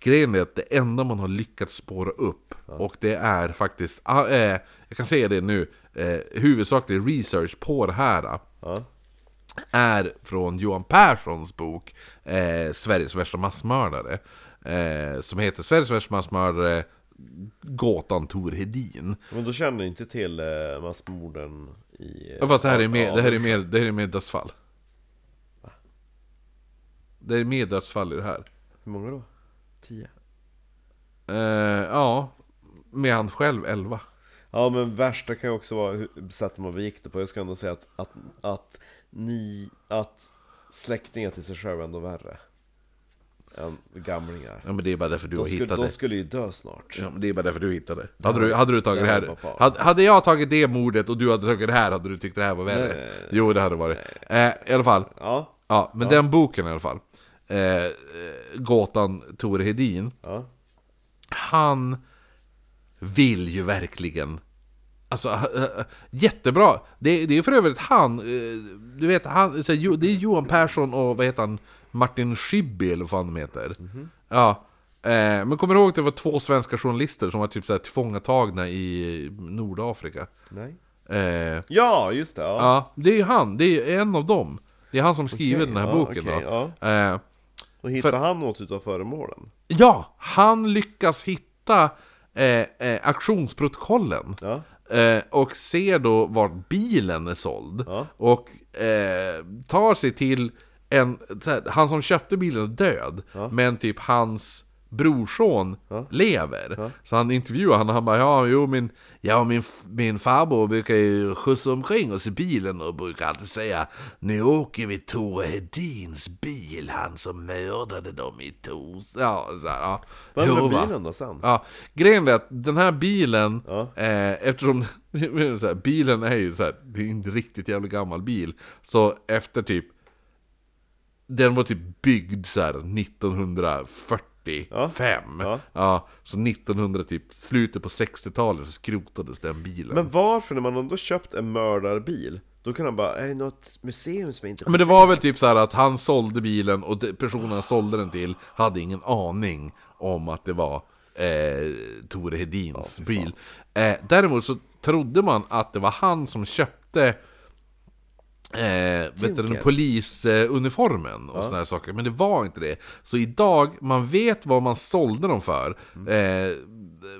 Speaker 2: Grejen är att det enda man har lyckats spåra upp och det är faktiskt, ah, eh, jag kan säga det nu, eh, huvudsaklig research på det här
Speaker 4: Ja.
Speaker 2: är från Johan Perssons bok eh, Sveriges värsta massmördare. Eh, som heter Sveriges värsta massmördare Gåtan Tor Hedin.
Speaker 4: Men då känner ni inte till eh, massmorden i... eh,
Speaker 2: Ja, fast det här är
Speaker 4: av-
Speaker 2: mer, det här är
Speaker 4: av-
Speaker 2: mer, det här är mer dödsfall. Det är mer dödsfall i det här.
Speaker 4: Hur många då? Tio?
Speaker 2: Eh, ja, med han själv 11.
Speaker 4: Ja men värsta kan ju också vara hur- sättet man begick det på. Jag ska ändå säga att, att, att ni... Att släktingar till sig själv är ändå värre. Än gamlingar.
Speaker 2: Ja men det är bara därför du
Speaker 4: De
Speaker 2: har
Speaker 4: skulle,
Speaker 2: hittat
Speaker 4: de
Speaker 2: det.
Speaker 4: skulle ju dö snart.
Speaker 2: Ja, men det är bara därför du hittade det. Hade du, hade du tagit
Speaker 4: det
Speaker 2: det
Speaker 4: här
Speaker 2: här,
Speaker 4: var bara-
Speaker 2: hade, hade jag tagit det mordet och du hade tagit det här, hade du tyckt det här var värre?
Speaker 4: Nej, nej, nej.
Speaker 2: jo, det hade det varit. Eh, I alla fall,
Speaker 4: Ja,
Speaker 2: ja, men den boken i alla fall. Eh, eh, Gåtan Tore Hedin.
Speaker 4: ja.
Speaker 2: han vill ju verkligen Alltså, eh, eh, jättebra! Det, det är för övrigt han, eh, du vet, han, så här, Jo- det är Johan Persson och vad heter han, Martin Schibbye eller vad fan de heter.
Speaker 4: Mhm.
Speaker 2: Ja, eh, men kommer du ihåg att det var två svenska journalister som var typ så här tillfångatagna i Nordafrika?
Speaker 4: Nej.
Speaker 2: Eh,
Speaker 4: Ja, just det. Ja.
Speaker 2: ja, det är ju han, det är ju en av dem. Det är han som skriver
Speaker 4: Okej,
Speaker 2: den här
Speaker 4: ja,
Speaker 2: boken
Speaker 4: okej,
Speaker 2: då. Eh,
Speaker 4: Och hittar
Speaker 2: för-
Speaker 4: han något utav föremålen?
Speaker 2: Ja, han lyckas hitta eh, eh, auktionsprotokollen.
Speaker 4: Ja.
Speaker 2: Eh, och ser då vart bilen är såld.
Speaker 4: Ja.
Speaker 2: Och eh, tar sig till en, så här, han som köpte bilen är död. Men typ hans brorson lever. Så han intervjuar honom och han bara ja, jo min, ja, min, min farbror brukar ju skjutsa omkring oss i bilen och brukar alltid säga nu åker vi Tore Hedins bil, han som mördade dem i tors... Ja, så här, ja.
Speaker 4: Vem
Speaker 2: Jo,
Speaker 4: blev
Speaker 2: va.
Speaker 4: bilen då sen?
Speaker 2: Ja, grejen är att den här bilen,
Speaker 4: Ja.
Speaker 2: eh, eftersom så här, bilen är ju så här, det är en riktigt jävla gammal bil, så efter typ, den var typ byggd så här 1945.
Speaker 4: Ja. Ja.
Speaker 2: Ja, så 1900, typ slutet på 60-talet så skrotades den bilen.
Speaker 4: Men varför, när man ändå köpt en mördarbil, då kan han bara, är det något museum som är intresserat?
Speaker 2: Men det var väl typ så här att han sålde bilen och de- personen han sålde den till hade ingen aning om att det var eh, Tore Hedins bil. Eh, däremot så trodde man att det var han som köpte Eh, vet du, den
Speaker 4: Tinker.
Speaker 2: polisuniformen och sådana här saker. Men det var inte det. Så idag, man vet vad man sålde dem för. Eh,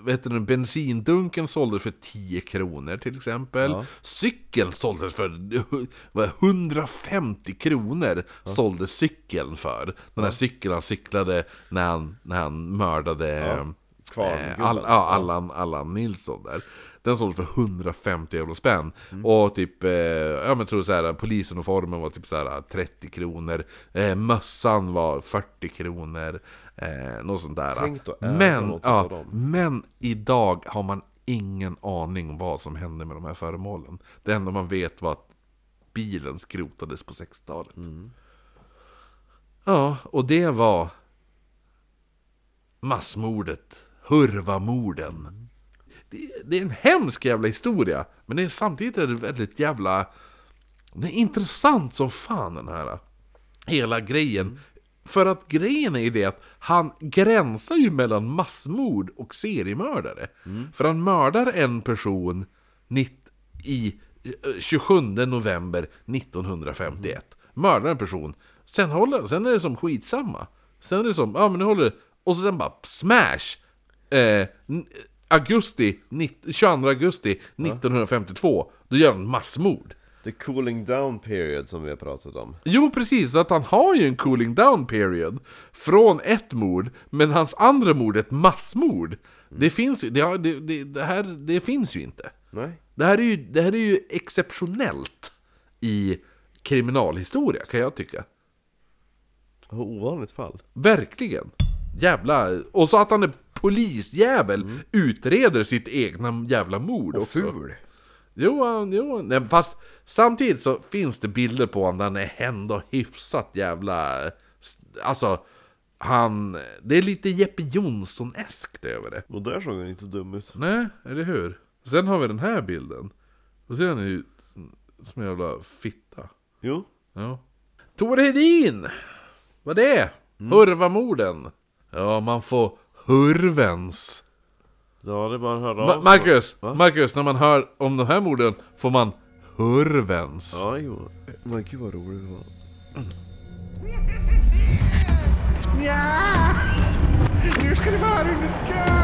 Speaker 2: vet du, den bensindunken såldes för 10 kronor till exempel. Cykeln såldes för vad, 150 kronor. Såldes cykeln för. Den här cykeln han cyklade när han, när han mördade
Speaker 4: Kvarngubben.
Speaker 2: eh, all, ja, Allan, Allan Nilsson där. Den sålde för 150 euro spänn.
Speaker 4: Mm.
Speaker 2: Och typ, eh, ja men jag tror såhär, polisuniformen var typ såhär 30 kronor. Eh, mössan var 40 kronor. Eh, något sånt där.
Speaker 4: Tänk då, eh, äga
Speaker 2: men,
Speaker 4: något utav
Speaker 2: ja,
Speaker 4: dem.
Speaker 2: men idag har man ingen aning om vad som hände med de här föremålen. Det enda man vet var att bilen skrotades på 60-talet.
Speaker 4: Mm.
Speaker 2: Ja, och det var massmordet, Hurvamorden. Det, det är en hemsk jävla historia, men det är, samtidigt är det väldigt jävla... Det är intressant som fan den här hela grejen. För att grejen är ju det att han gränsar ju mellan massmord och seriemördare. För han mördar en person nitt, i eh, 27 november 1951. Mördar en person. Sen, håller, sen är det som skitsamma. Sen är det som, ja men nu håller det. Och så sen bara smash! Eh, n- augusti, nitt- 22 augusti 1952. Då gör han massmord.
Speaker 4: The cooling down period som vi har pratat om.
Speaker 2: Jo, precis. så Att han har ju en cooling down period från ett mord, men hans andra mord är ett massmord. Det finns ju, det, har- det, det, det, här, det finns ju inte.
Speaker 4: Nej?
Speaker 2: Det här är ju, det här är ju exceptionellt i kriminalhistoria, kan jag tycka.
Speaker 4: Oh, Ovanligt fall.
Speaker 2: Verkligen. Jävla... Och så att han är polisjävel, utreder sitt egna jävla mord också. Jo, han- jo, nej, fast samtidigt så finns det bilder på honom där han är ändå hyfsat jävla... Alltså, han... Det är lite Jeppe Jonsson-eskt över det.
Speaker 4: Och där såg han inte dum ut.
Speaker 2: Nej, eller hur? Sen har vi den här bilden. Då ser han ut som en jävla fitta.
Speaker 4: Jo.
Speaker 2: Ja. Tore Hedin! Vad det är?
Speaker 4: Mm.
Speaker 2: Hurvamorden. Ja, man får hurvens.
Speaker 4: Ja, det är bara att höra
Speaker 2: Ma-
Speaker 4: av sig.
Speaker 2: Marcus,
Speaker 4: Va?
Speaker 2: Marcus, när man hör om de här morden får man hurvens.
Speaker 4: Ja, jo. Men gud vad rolig du var.
Speaker 6: Ja! Nu ska det vara under